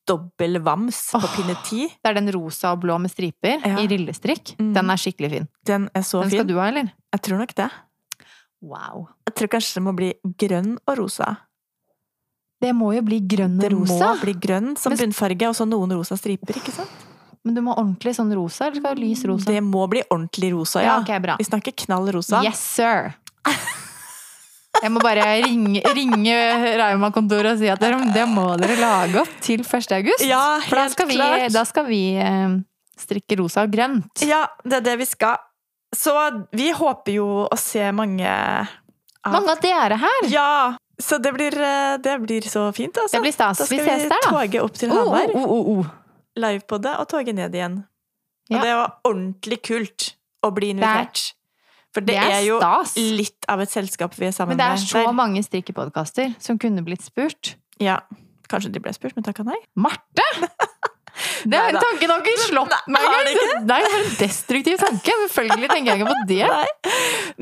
Speaker 2: dobbel vams på
Speaker 1: Åh.
Speaker 2: pinne ti.
Speaker 1: Det er den rosa og blå med striper
Speaker 2: Ja.
Speaker 1: i rillestrikk.
Speaker 2: Mm.
Speaker 1: Den er skikkelig fin.
Speaker 2: Den er så
Speaker 1: Den skal
Speaker 2: fin.
Speaker 1: du ha, eller?
Speaker 2: Jeg tror nok det.
Speaker 1: Wow.
Speaker 2: Jeg tror kanskje det må bli grønn og rosa.
Speaker 1: Det må jo bli grønn
Speaker 2: Det
Speaker 1: og rosa.
Speaker 2: må bli grønn som
Speaker 1: Men-
Speaker 2: bunnfarge, og så noen rosa striper, ikke sant?
Speaker 1: Men du må ha ordentlig sånn rosa, eller skal du ha lys rosa?
Speaker 2: Det må bli ordentlig rosa,
Speaker 1: ja,
Speaker 2: ja.
Speaker 1: ok, bra.
Speaker 2: Vi snakker knall rosa.
Speaker 1: Yes, sir! Jeg må bare ringe, ringe Rauma-kontoret og si at dere, det må dere lage opp til 1. august.
Speaker 2: Ja,
Speaker 1: For da
Speaker 2: helt
Speaker 1: skal vi,
Speaker 2: klart.
Speaker 1: da skal vi eh, strikke rosa og grønt.
Speaker 2: Ja, det er det vi skal. Så vi håper jo å se mange av
Speaker 1: Mange av dere her!
Speaker 2: Ja! Så det blir, eh, det blir så fint, altså.
Speaker 1: Det blir stas.
Speaker 2: Da
Speaker 1: Vi
Speaker 2: skal vi
Speaker 1: ses der, da.
Speaker 2: toge opp til
Speaker 1: Oh, oh,
Speaker 2: Hamar,
Speaker 1: oh, oh, oh.
Speaker 2: live på det, og toge ned igjen. Og
Speaker 1: Ja.
Speaker 2: det var ordentlig kult å bli invitert. For det,
Speaker 1: Det
Speaker 2: er,
Speaker 1: er
Speaker 2: jo
Speaker 1: stas.
Speaker 2: litt av et selskap vi er sammen
Speaker 1: Men det er så
Speaker 2: med.
Speaker 1: mange strikkepodkaster som kunne blitt spurt.
Speaker 2: Der. Ja. Kanskje de ble spurt, men takka nei.
Speaker 1: Marte! Det er en
Speaker 2: Neida.
Speaker 1: tanke har ikke slått
Speaker 2: Nei,
Speaker 1: meg
Speaker 2: har det
Speaker 1: engang! Nei, det var en destruktiv tanke. Selvfølgelig tenker jeg ikke på det.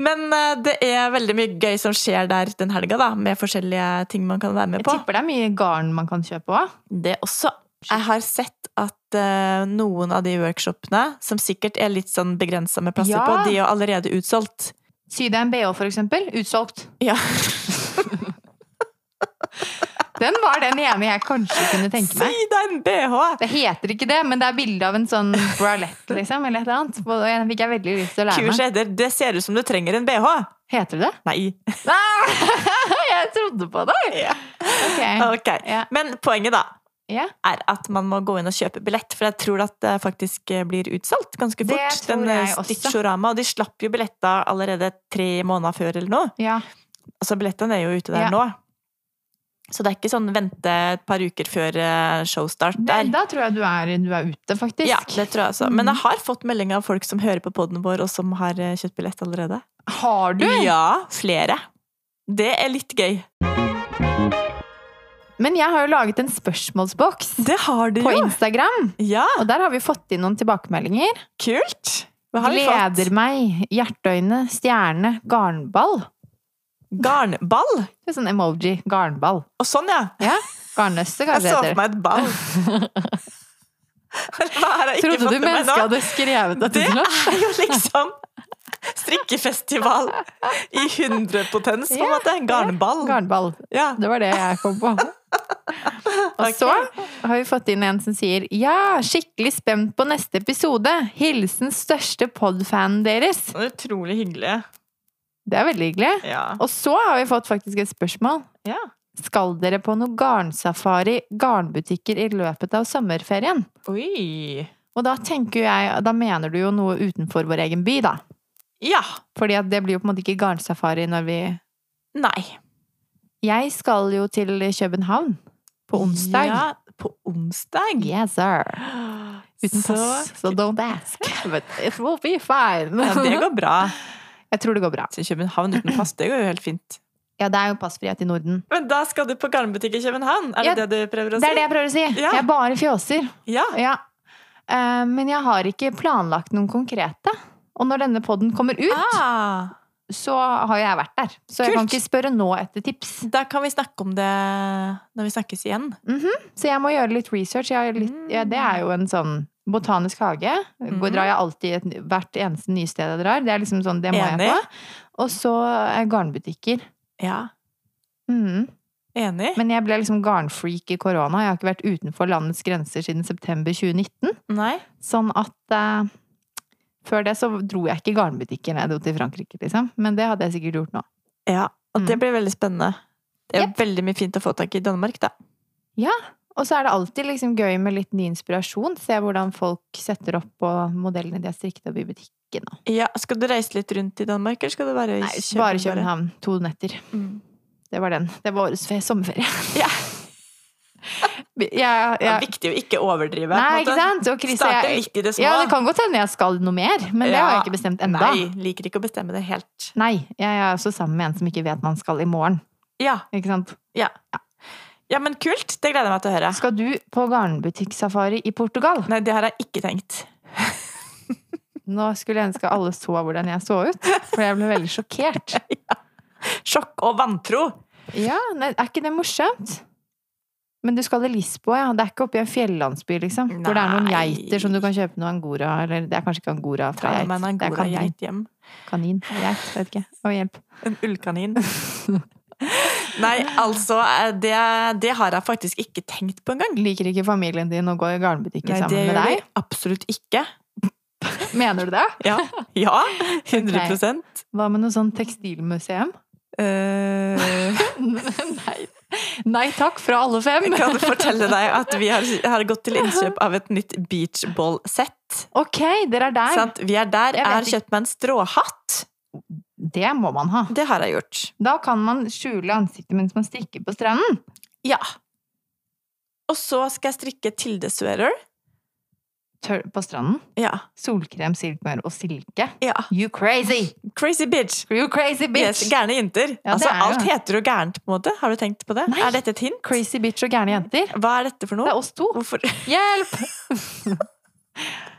Speaker 2: Men eh, det er veldig mye gøy som skjer der den helga, da. Med forskjellige ting man kan være med
Speaker 1: Jeg
Speaker 2: på.
Speaker 1: tipper det er mye garn man kan kjøpe òg.
Speaker 2: Det også. Jeg har sett at eh, noen av de workshopene, som sikkert er litt sånn begrensa med plasser
Speaker 1: Ja.
Speaker 2: på, de er jo allerede utsolgt.
Speaker 1: Sy deg en bh, for eksempel. Utsolgt.
Speaker 2: Ja.
Speaker 1: Den var den ene jeg kanskje kunne tenke meg.
Speaker 2: Si deg en bh!
Speaker 1: Det heter ikke det, men det er bilde av en sånn bralette, liksom, eller et eller annet. Og den fikk jeg veldig lyst til å lære
Speaker 2: Kurs
Speaker 1: meg.
Speaker 2: heter 'Det ser ut som du trenger en bh'.
Speaker 1: Heter det det?
Speaker 2: Nei.
Speaker 1: Nei, jeg trodde på deg!
Speaker 2: Ja.
Speaker 1: Ok.
Speaker 2: Ok.
Speaker 1: Ja.
Speaker 2: Men poenget, da,
Speaker 1: Ja.
Speaker 2: er at man må gå inn og kjøpe billett. For jeg tror at det faktisk eh, blir utsolgt ganske
Speaker 1: Det
Speaker 2: fort.
Speaker 1: tror
Speaker 2: Den,
Speaker 1: jeg
Speaker 2: eh,
Speaker 1: også.
Speaker 2: Stitchorama, Og de slapp jo billetter allerede tre måneder før eller noe.
Speaker 1: ja.
Speaker 2: Altså, billettene er jo ute der
Speaker 1: Ja.
Speaker 2: nå. Så det er ikke sånn vente et par uker før eh, showstart
Speaker 1: Det,
Speaker 2: der.
Speaker 1: da tror jeg du er, du er ute, faktisk.
Speaker 2: Ja, det tror jeg også. Men jeg har fått melding av folk som hører på poden vår, og som har eh, kjøpt billett allerede.
Speaker 1: Har du?
Speaker 2: Ja, flere. Det er litt gøy.
Speaker 1: Men jeg har jo laget en spørsmålsboks
Speaker 2: Det har du
Speaker 1: på
Speaker 2: jo!
Speaker 1: Instagram.
Speaker 2: Ja,
Speaker 1: Og der har vi fått inn noen tilbakemeldinger.
Speaker 2: kult! Hva har vi fått?
Speaker 1: Gleder meg, hjerteøyne, stjerne, garnball.
Speaker 2: Garnball?
Speaker 1: Det er sånn emoji. Garnball.
Speaker 2: Og sånn, ja.
Speaker 1: Ja, Garnnøste,
Speaker 2: Jeg
Speaker 1: kanskje
Speaker 2: så
Speaker 1: det heter.
Speaker 2: for meg et ball. Hva har jeg ikke
Speaker 1: Trodde
Speaker 2: fått
Speaker 1: du
Speaker 2: med meg nå?
Speaker 1: mennesket hadde skrevet dette
Speaker 2: Det
Speaker 1: til oss?
Speaker 2: er jo liksom strikkefestival i hundrepotens, på en
Speaker 1: Ja,
Speaker 2: måte. Garnball.
Speaker 1: Garnball.
Speaker 2: Ja.
Speaker 1: Det var det jeg kom på. Og
Speaker 2: Ok.
Speaker 1: så har vi fått inn en som sier Ja, skikkelig spent på neste episode! Hilsen største podfanen deres!
Speaker 2: Utrolig hyggelig.
Speaker 1: Det er veldig hyggelig.
Speaker 2: Ja.
Speaker 1: Og så har vi fått faktisk et spørsmål.
Speaker 2: ja.
Speaker 1: Skal dere på noe garnsafari, garnbutikker, i løpet av sommerferien?
Speaker 2: Oi.
Speaker 1: Og da tenker jo jeg, da mener du jo noe utenfor vår egen by, da.
Speaker 2: Ja.
Speaker 1: Fordi at det blir jo på en måte ikke garnsafari når vi
Speaker 2: Nei.
Speaker 1: Jeg skal jo til København på onsdag.
Speaker 2: Ja, på onsdag?
Speaker 1: Yes, sir. Uten
Speaker 2: Så-
Speaker 1: pass, så don't ask. But it will be fine.
Speaker 2: Ja, det går bra.
Speaker 1: Jeg tror det går bra.
Speaker 2: Til København uten pass, det går jo helt fint.
Speaker 1: Ja, det er jo passfrihet i Norden.
Speaker 2: Men da skal du på garnbutikk i København? Er det
Speaker 1: Ja,
Speaker 2: det du prøver å
Speaker 1: Det
Speaker 2: si?
Speaker 1: er det jeg prøver å si.
Speaker 2: Ja.
Speaker 1: Jeg bare fjåser.
Speaker 2: Ja.
Speaker 1: Ja. Eh, Men jeg har ikke planlagt noen konkrete. Og når denne podden kommer ut,
Speaker 2: Ah,
Speaker 1: så har jeg vært der. Så jeg kan
Speaker 2: Kult.
Speaker 1: ikke spørre nå etter tips.
Speaker 2: da kan vi snakke om det når vi snakkes igjen.
Speaker 1: Så jeg må gjøre litt research. Jeg har litt, ja, det er jo en sånn botanisk hage. Går, drar jeg alltid et, hvert eneste nye sted jeg drar. Det er liksom sånn, det må
Speaker 2: Enig.
Speaker 1: jeg på. Og så eh, garnbutikker.
Speaker 2: Ja.
Speaker 1: Mhm.
Speaker 2: Enig?
Speaker 1: Men jeg ble liksom garnfreak i korona. Jeg har ikke vært utenfor landets grenser siden september 2019.
Speaker 2: Nei.
Speaker 1: Sånn at eh, før det så dro jeg ikke i garnbutikker ned til Frankrike, liksom. Men det hadde jeg sikkert gjort nå.
Speaker 2: Ja, og det
Speaker 1: Mm.
Speaker 2: blir veldig spennende. Det er
Speaker 1: Jepp.
Speaker 2: veldig mye fint å få tak i i Danmark, da.
Speaker 1: Og så er det alltid liksom gøy med litt ny inspirasjon. Se hvordan folk setter opp på modellene de har strikket opp i butikken. Og.
Speaker 2: Ja, skal du reise litt rundt i Danmark, eller skal du bare i
Speaker 1: Nei, bare København. To netter.
Speaker 2: Mm.
Speaker 1: Det var den. Det var årets fe- sommerferie.
Speaker 2: Ja.
Speaker 1: Jeg- jeg-
Speaker 2: Det er viktig å ikke overdrive. på en
Speaker 1: Nei, ikke
Speaker 2: måte.
Speaker 1: sant? Og Chris,
Speaker 2: Starte
Speaker 1: jeg,
Speaker 2: litt i det små.
Speaker 1: ja, det kan godt hende jeg skal noe mer, men det har jeg
Speaker 2: Ja.
Speaker 1: ikke bestemt enda.
Speaker 2: Nei, liker ikke å bestemme det helt.
Speaker 1: Nei, jeg er også sammen med en som ikke vet man skal i morgen.
Speaker 2: Ja,
Speaker 1: Ikke sant?
Speaker 2: ja men kult. Det gleder jeg meg til å høre.
Speaker 1: Skal du på garnbutikksafari i Portugal?
Speaker 2: Nei, det har jeg ikke tenkt.
Speaker 1: Nå skulle jeg ønske alle så hvordan jeg så ut, for jeg ble veldig sjokkert.
Speaker 2: Sjokk og vantro.
Speaker 1: Ja, nei, Er ikke det morsomt? Men du skal til Lisboa, ja. Det er ikke oppe i en fjellandsby, liksom. Hvor det er noen
Speaker 2: Nei.
Speaker 1: geiter som du kan kjøpe noe angora Eller det er kanskje ikke angora fra
Speaker 2: Ta
Speaker 1: geit.
Speaker 2: med en
Speaker 1: Det er
Speaker 2: angora
Speaker 1: kanin.
Speaker 2: geit hjem.
Speaker 1: Kanin. Geit. Vet ikke. Å, hjelp.
Speaker 2: En ullkanin. Nei, altså, eh, det, det har jeg faktisk ikke tenkt på engang.
Speaker 1: Liker ikke familien din å gå i garnbutikken
Speaker 2: Nei, det
Speaker 1: sammen med
Speaker 2: gjør vi
Speaker 1: deg?
Speaker 2: absolutt ikke.
Speaker 1: Mener du det?
Speaker 2: Ja, ja 100
Speaker 1: Hva med noe sånn tekstilmuseum?
Speaker 2: Eh,
Speaker 1: Nei. Nei takk fra alle fem!
Speaker 2: Jeg kan fortelle deg at vi har, har gått til innkjøp av et nytt beachball-sett.
Speaker 1: Ok, dere er der.
Speaker 2: Sant? Vi er der.
Speaker 1: Jeg
Speaker 2: Jeg
Speaker 1: vet
Speaker 2: har
Speaker 1: ikke.
Speaker 2: kjøpt meg en stråhatt.
Speaker 1: Det må man ha.
Speaker 2: Det har jeg gjort.
Speaker 1: Da kan man skjule ansiktet mens man strikker på stranden.
Speaker 2: Ja. Og så skal jeg strikke Tilde Sweater.
Speaker 1: Tør på stranden.
Speaker 2: Ja.
Speaker 1: Solkrem, silkemør og silke.
Speaker 2: ja.
Speaker 1: You crazy!
Speaker 2: Crazy bitch!
Speaker 1: You crazy
Speaker 2: Yes,
Speaker 1: bitch!
Speaker 2: gærne jenter.
Speaker 1: Ja, det
Speaker 2: altså,
Speaker 1: er jo
Speaker 2: alt
Speaker 1: det.
Speaker 2: heter jo gærent, på en måte. Har du tenkt på det?
Speaker 1: Nei.
Speaker 2: Er dette et hint?
Speaker 1: Crazy bitch og gærne jenter.
Speaker 2: Hva er dette for
Speaker 1: Det
Speaker 2: noe?
Speaker 1: er oss to.
Speaker 2: Hvorfor?
Speaker 1: Hjelp!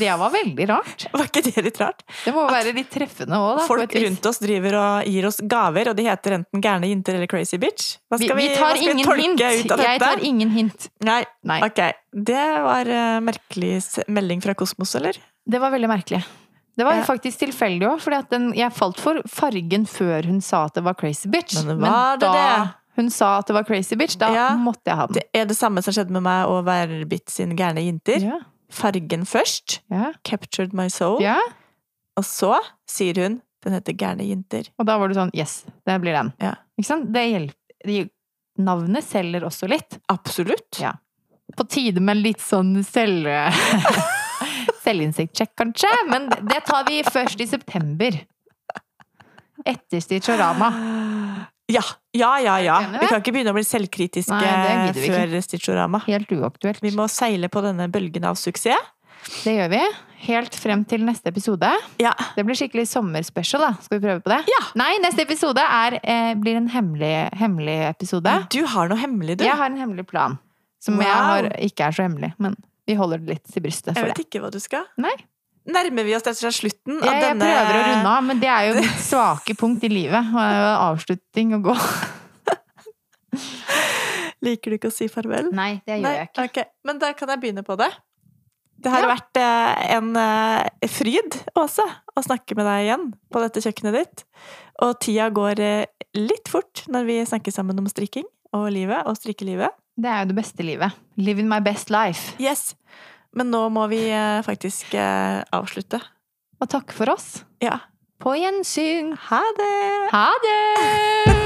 Speaker 1: Det var veldig rart.
Speaker 2: Var ikke det litt rart?
Speaker 1: Det må jo være litt treffende òg, da. på
Speaker 2: Folk
Speaker 1: et vis.
Speaker 2: rundt oss driver og gir oss gaver, og de heter enten gærne jenter eller crazy bitch. Hva
Speaker 1: Vi,
Speaker 2: skal vi,
Speaker 1: vi tar
Speaker 2: hva skal vi
Speaker 1: ingen
Speaker 2: tolke
Speaker 1: hint.
Speaker 2: ut av dette?
Speaker 1: Jeg tar ingen hint.
Speaker 2: Nei,
Speaker 1: Nei.
Speaker 2: ok. Det var eh, merkelig s- melding fra Kosmos, eller?
Speaker 1: Det var veldig merkelig. Det var
Speaker 2: Ja.
Speaker 1: faktisk tilfeldig òg, for jeg falt for fargen før hun sa at det var crazy bitch.
Speaker 2: Men var det
Speaker 1: da
Speaker 2: det?
Speaker 1: hun sa at det var crazy bitch, da
Speaker 2: Ja.
Speaker 1: måtte jeg ha den.
Speaker 2: Det er det samme som skjedde med meg og Værbit sin gærne jenter.
Speaker 1: Ja.
Speaker 2: Fargen først,
Speaker 1: Ja.
Speaker 2: captured my soul,
Speaker 1: ja.
Speaker 2: og så sier hun den heter gærne jenter.
Speaker 1: Og da var du sånn Yes, det blir den.
Speaker 2: Ja.
Speaker 1: Ikke sant? Det hjelper. det- Navnet selger også litt.
Speaker 2: Absolutt.
Speaker 1: Ja. På tide med litt sånn selv... Selvinnsiktssjekk, kanskje. Men det tar vi først i september. Etter Stitchorama.
Speaker 2: Ja, ja, ja. ja.
Speaker 1: Er du enig i
Speaker 2: Vi
Speaker 1: det?
Speaker 2: kan ikke begynne å bli selvkritiske
Speaker 1: Nei, det gidder vi
Speaker 2: før Stitchorama.
Speaker 1: Helt uaktuelt.
Speaker 2: Vi må seile på denne bølgen av suksess.
Speaker 1: Det gjør vi. Helt frem til neste episode.
Speaker 2: Ja.
Speaker 1: Det blir skikkelig sommerspecial, da. Skal vi prøve på det?
Speaker 2: Ja.
Speaker 1: Nei, neste episode er, eh, blir en hemmelig, hemmelig episode.
Speaker 2: Du har noe hemmelig, du.
Speaker 1: Jeg har en hemmelig plan. Som jeg
Speaker 2: Wow.
Speaker 1: har, ikke er så hemmelig, men vi holder det litt til brystet
Speaker 2: jeg
Speaker 1: for
Speaker 2: vet
Speaker 1: det.
Speaker 2: ikke hva du skal.
Speaker 1: Nei.
Speaker 2: Nærmer vi oss rett og slett slutten
Speaker 1: Jeg,
Speaker 2: av
Speaker 1: jeg
Speaker 2: denne
Speaker 1: prøver å runde av, men det er jo mitt svake punkt i livet. Og det er jo en avslutning å gå.
Speaker 2: Liker du ikke å si farvel?
Speaker 1: Nei, det
Speaker 2: Nei, ok. Men da kan jeg begynne på det. Det har
Speaker 1: Ja.
Speaker 2: vært eh, en eh, fryd, Åse, å snakke med deg igjen på dette kjøkkenet ditt. Og tida går eh, litt fort når vi snakker sammen om strikking og livet og strikkelivet.
Speaker 1: Det er jo det beste livet. Living my best life.
Speaker 2: Yes! Men nå må vi eh, faktisk eh, avslutte.
Speaker 1: Og takk for oss.
Speaker 2: Ja.
Speaker 1: På gjensyn.
Speaker 2: Ha det!
Speaker 1: Ha det!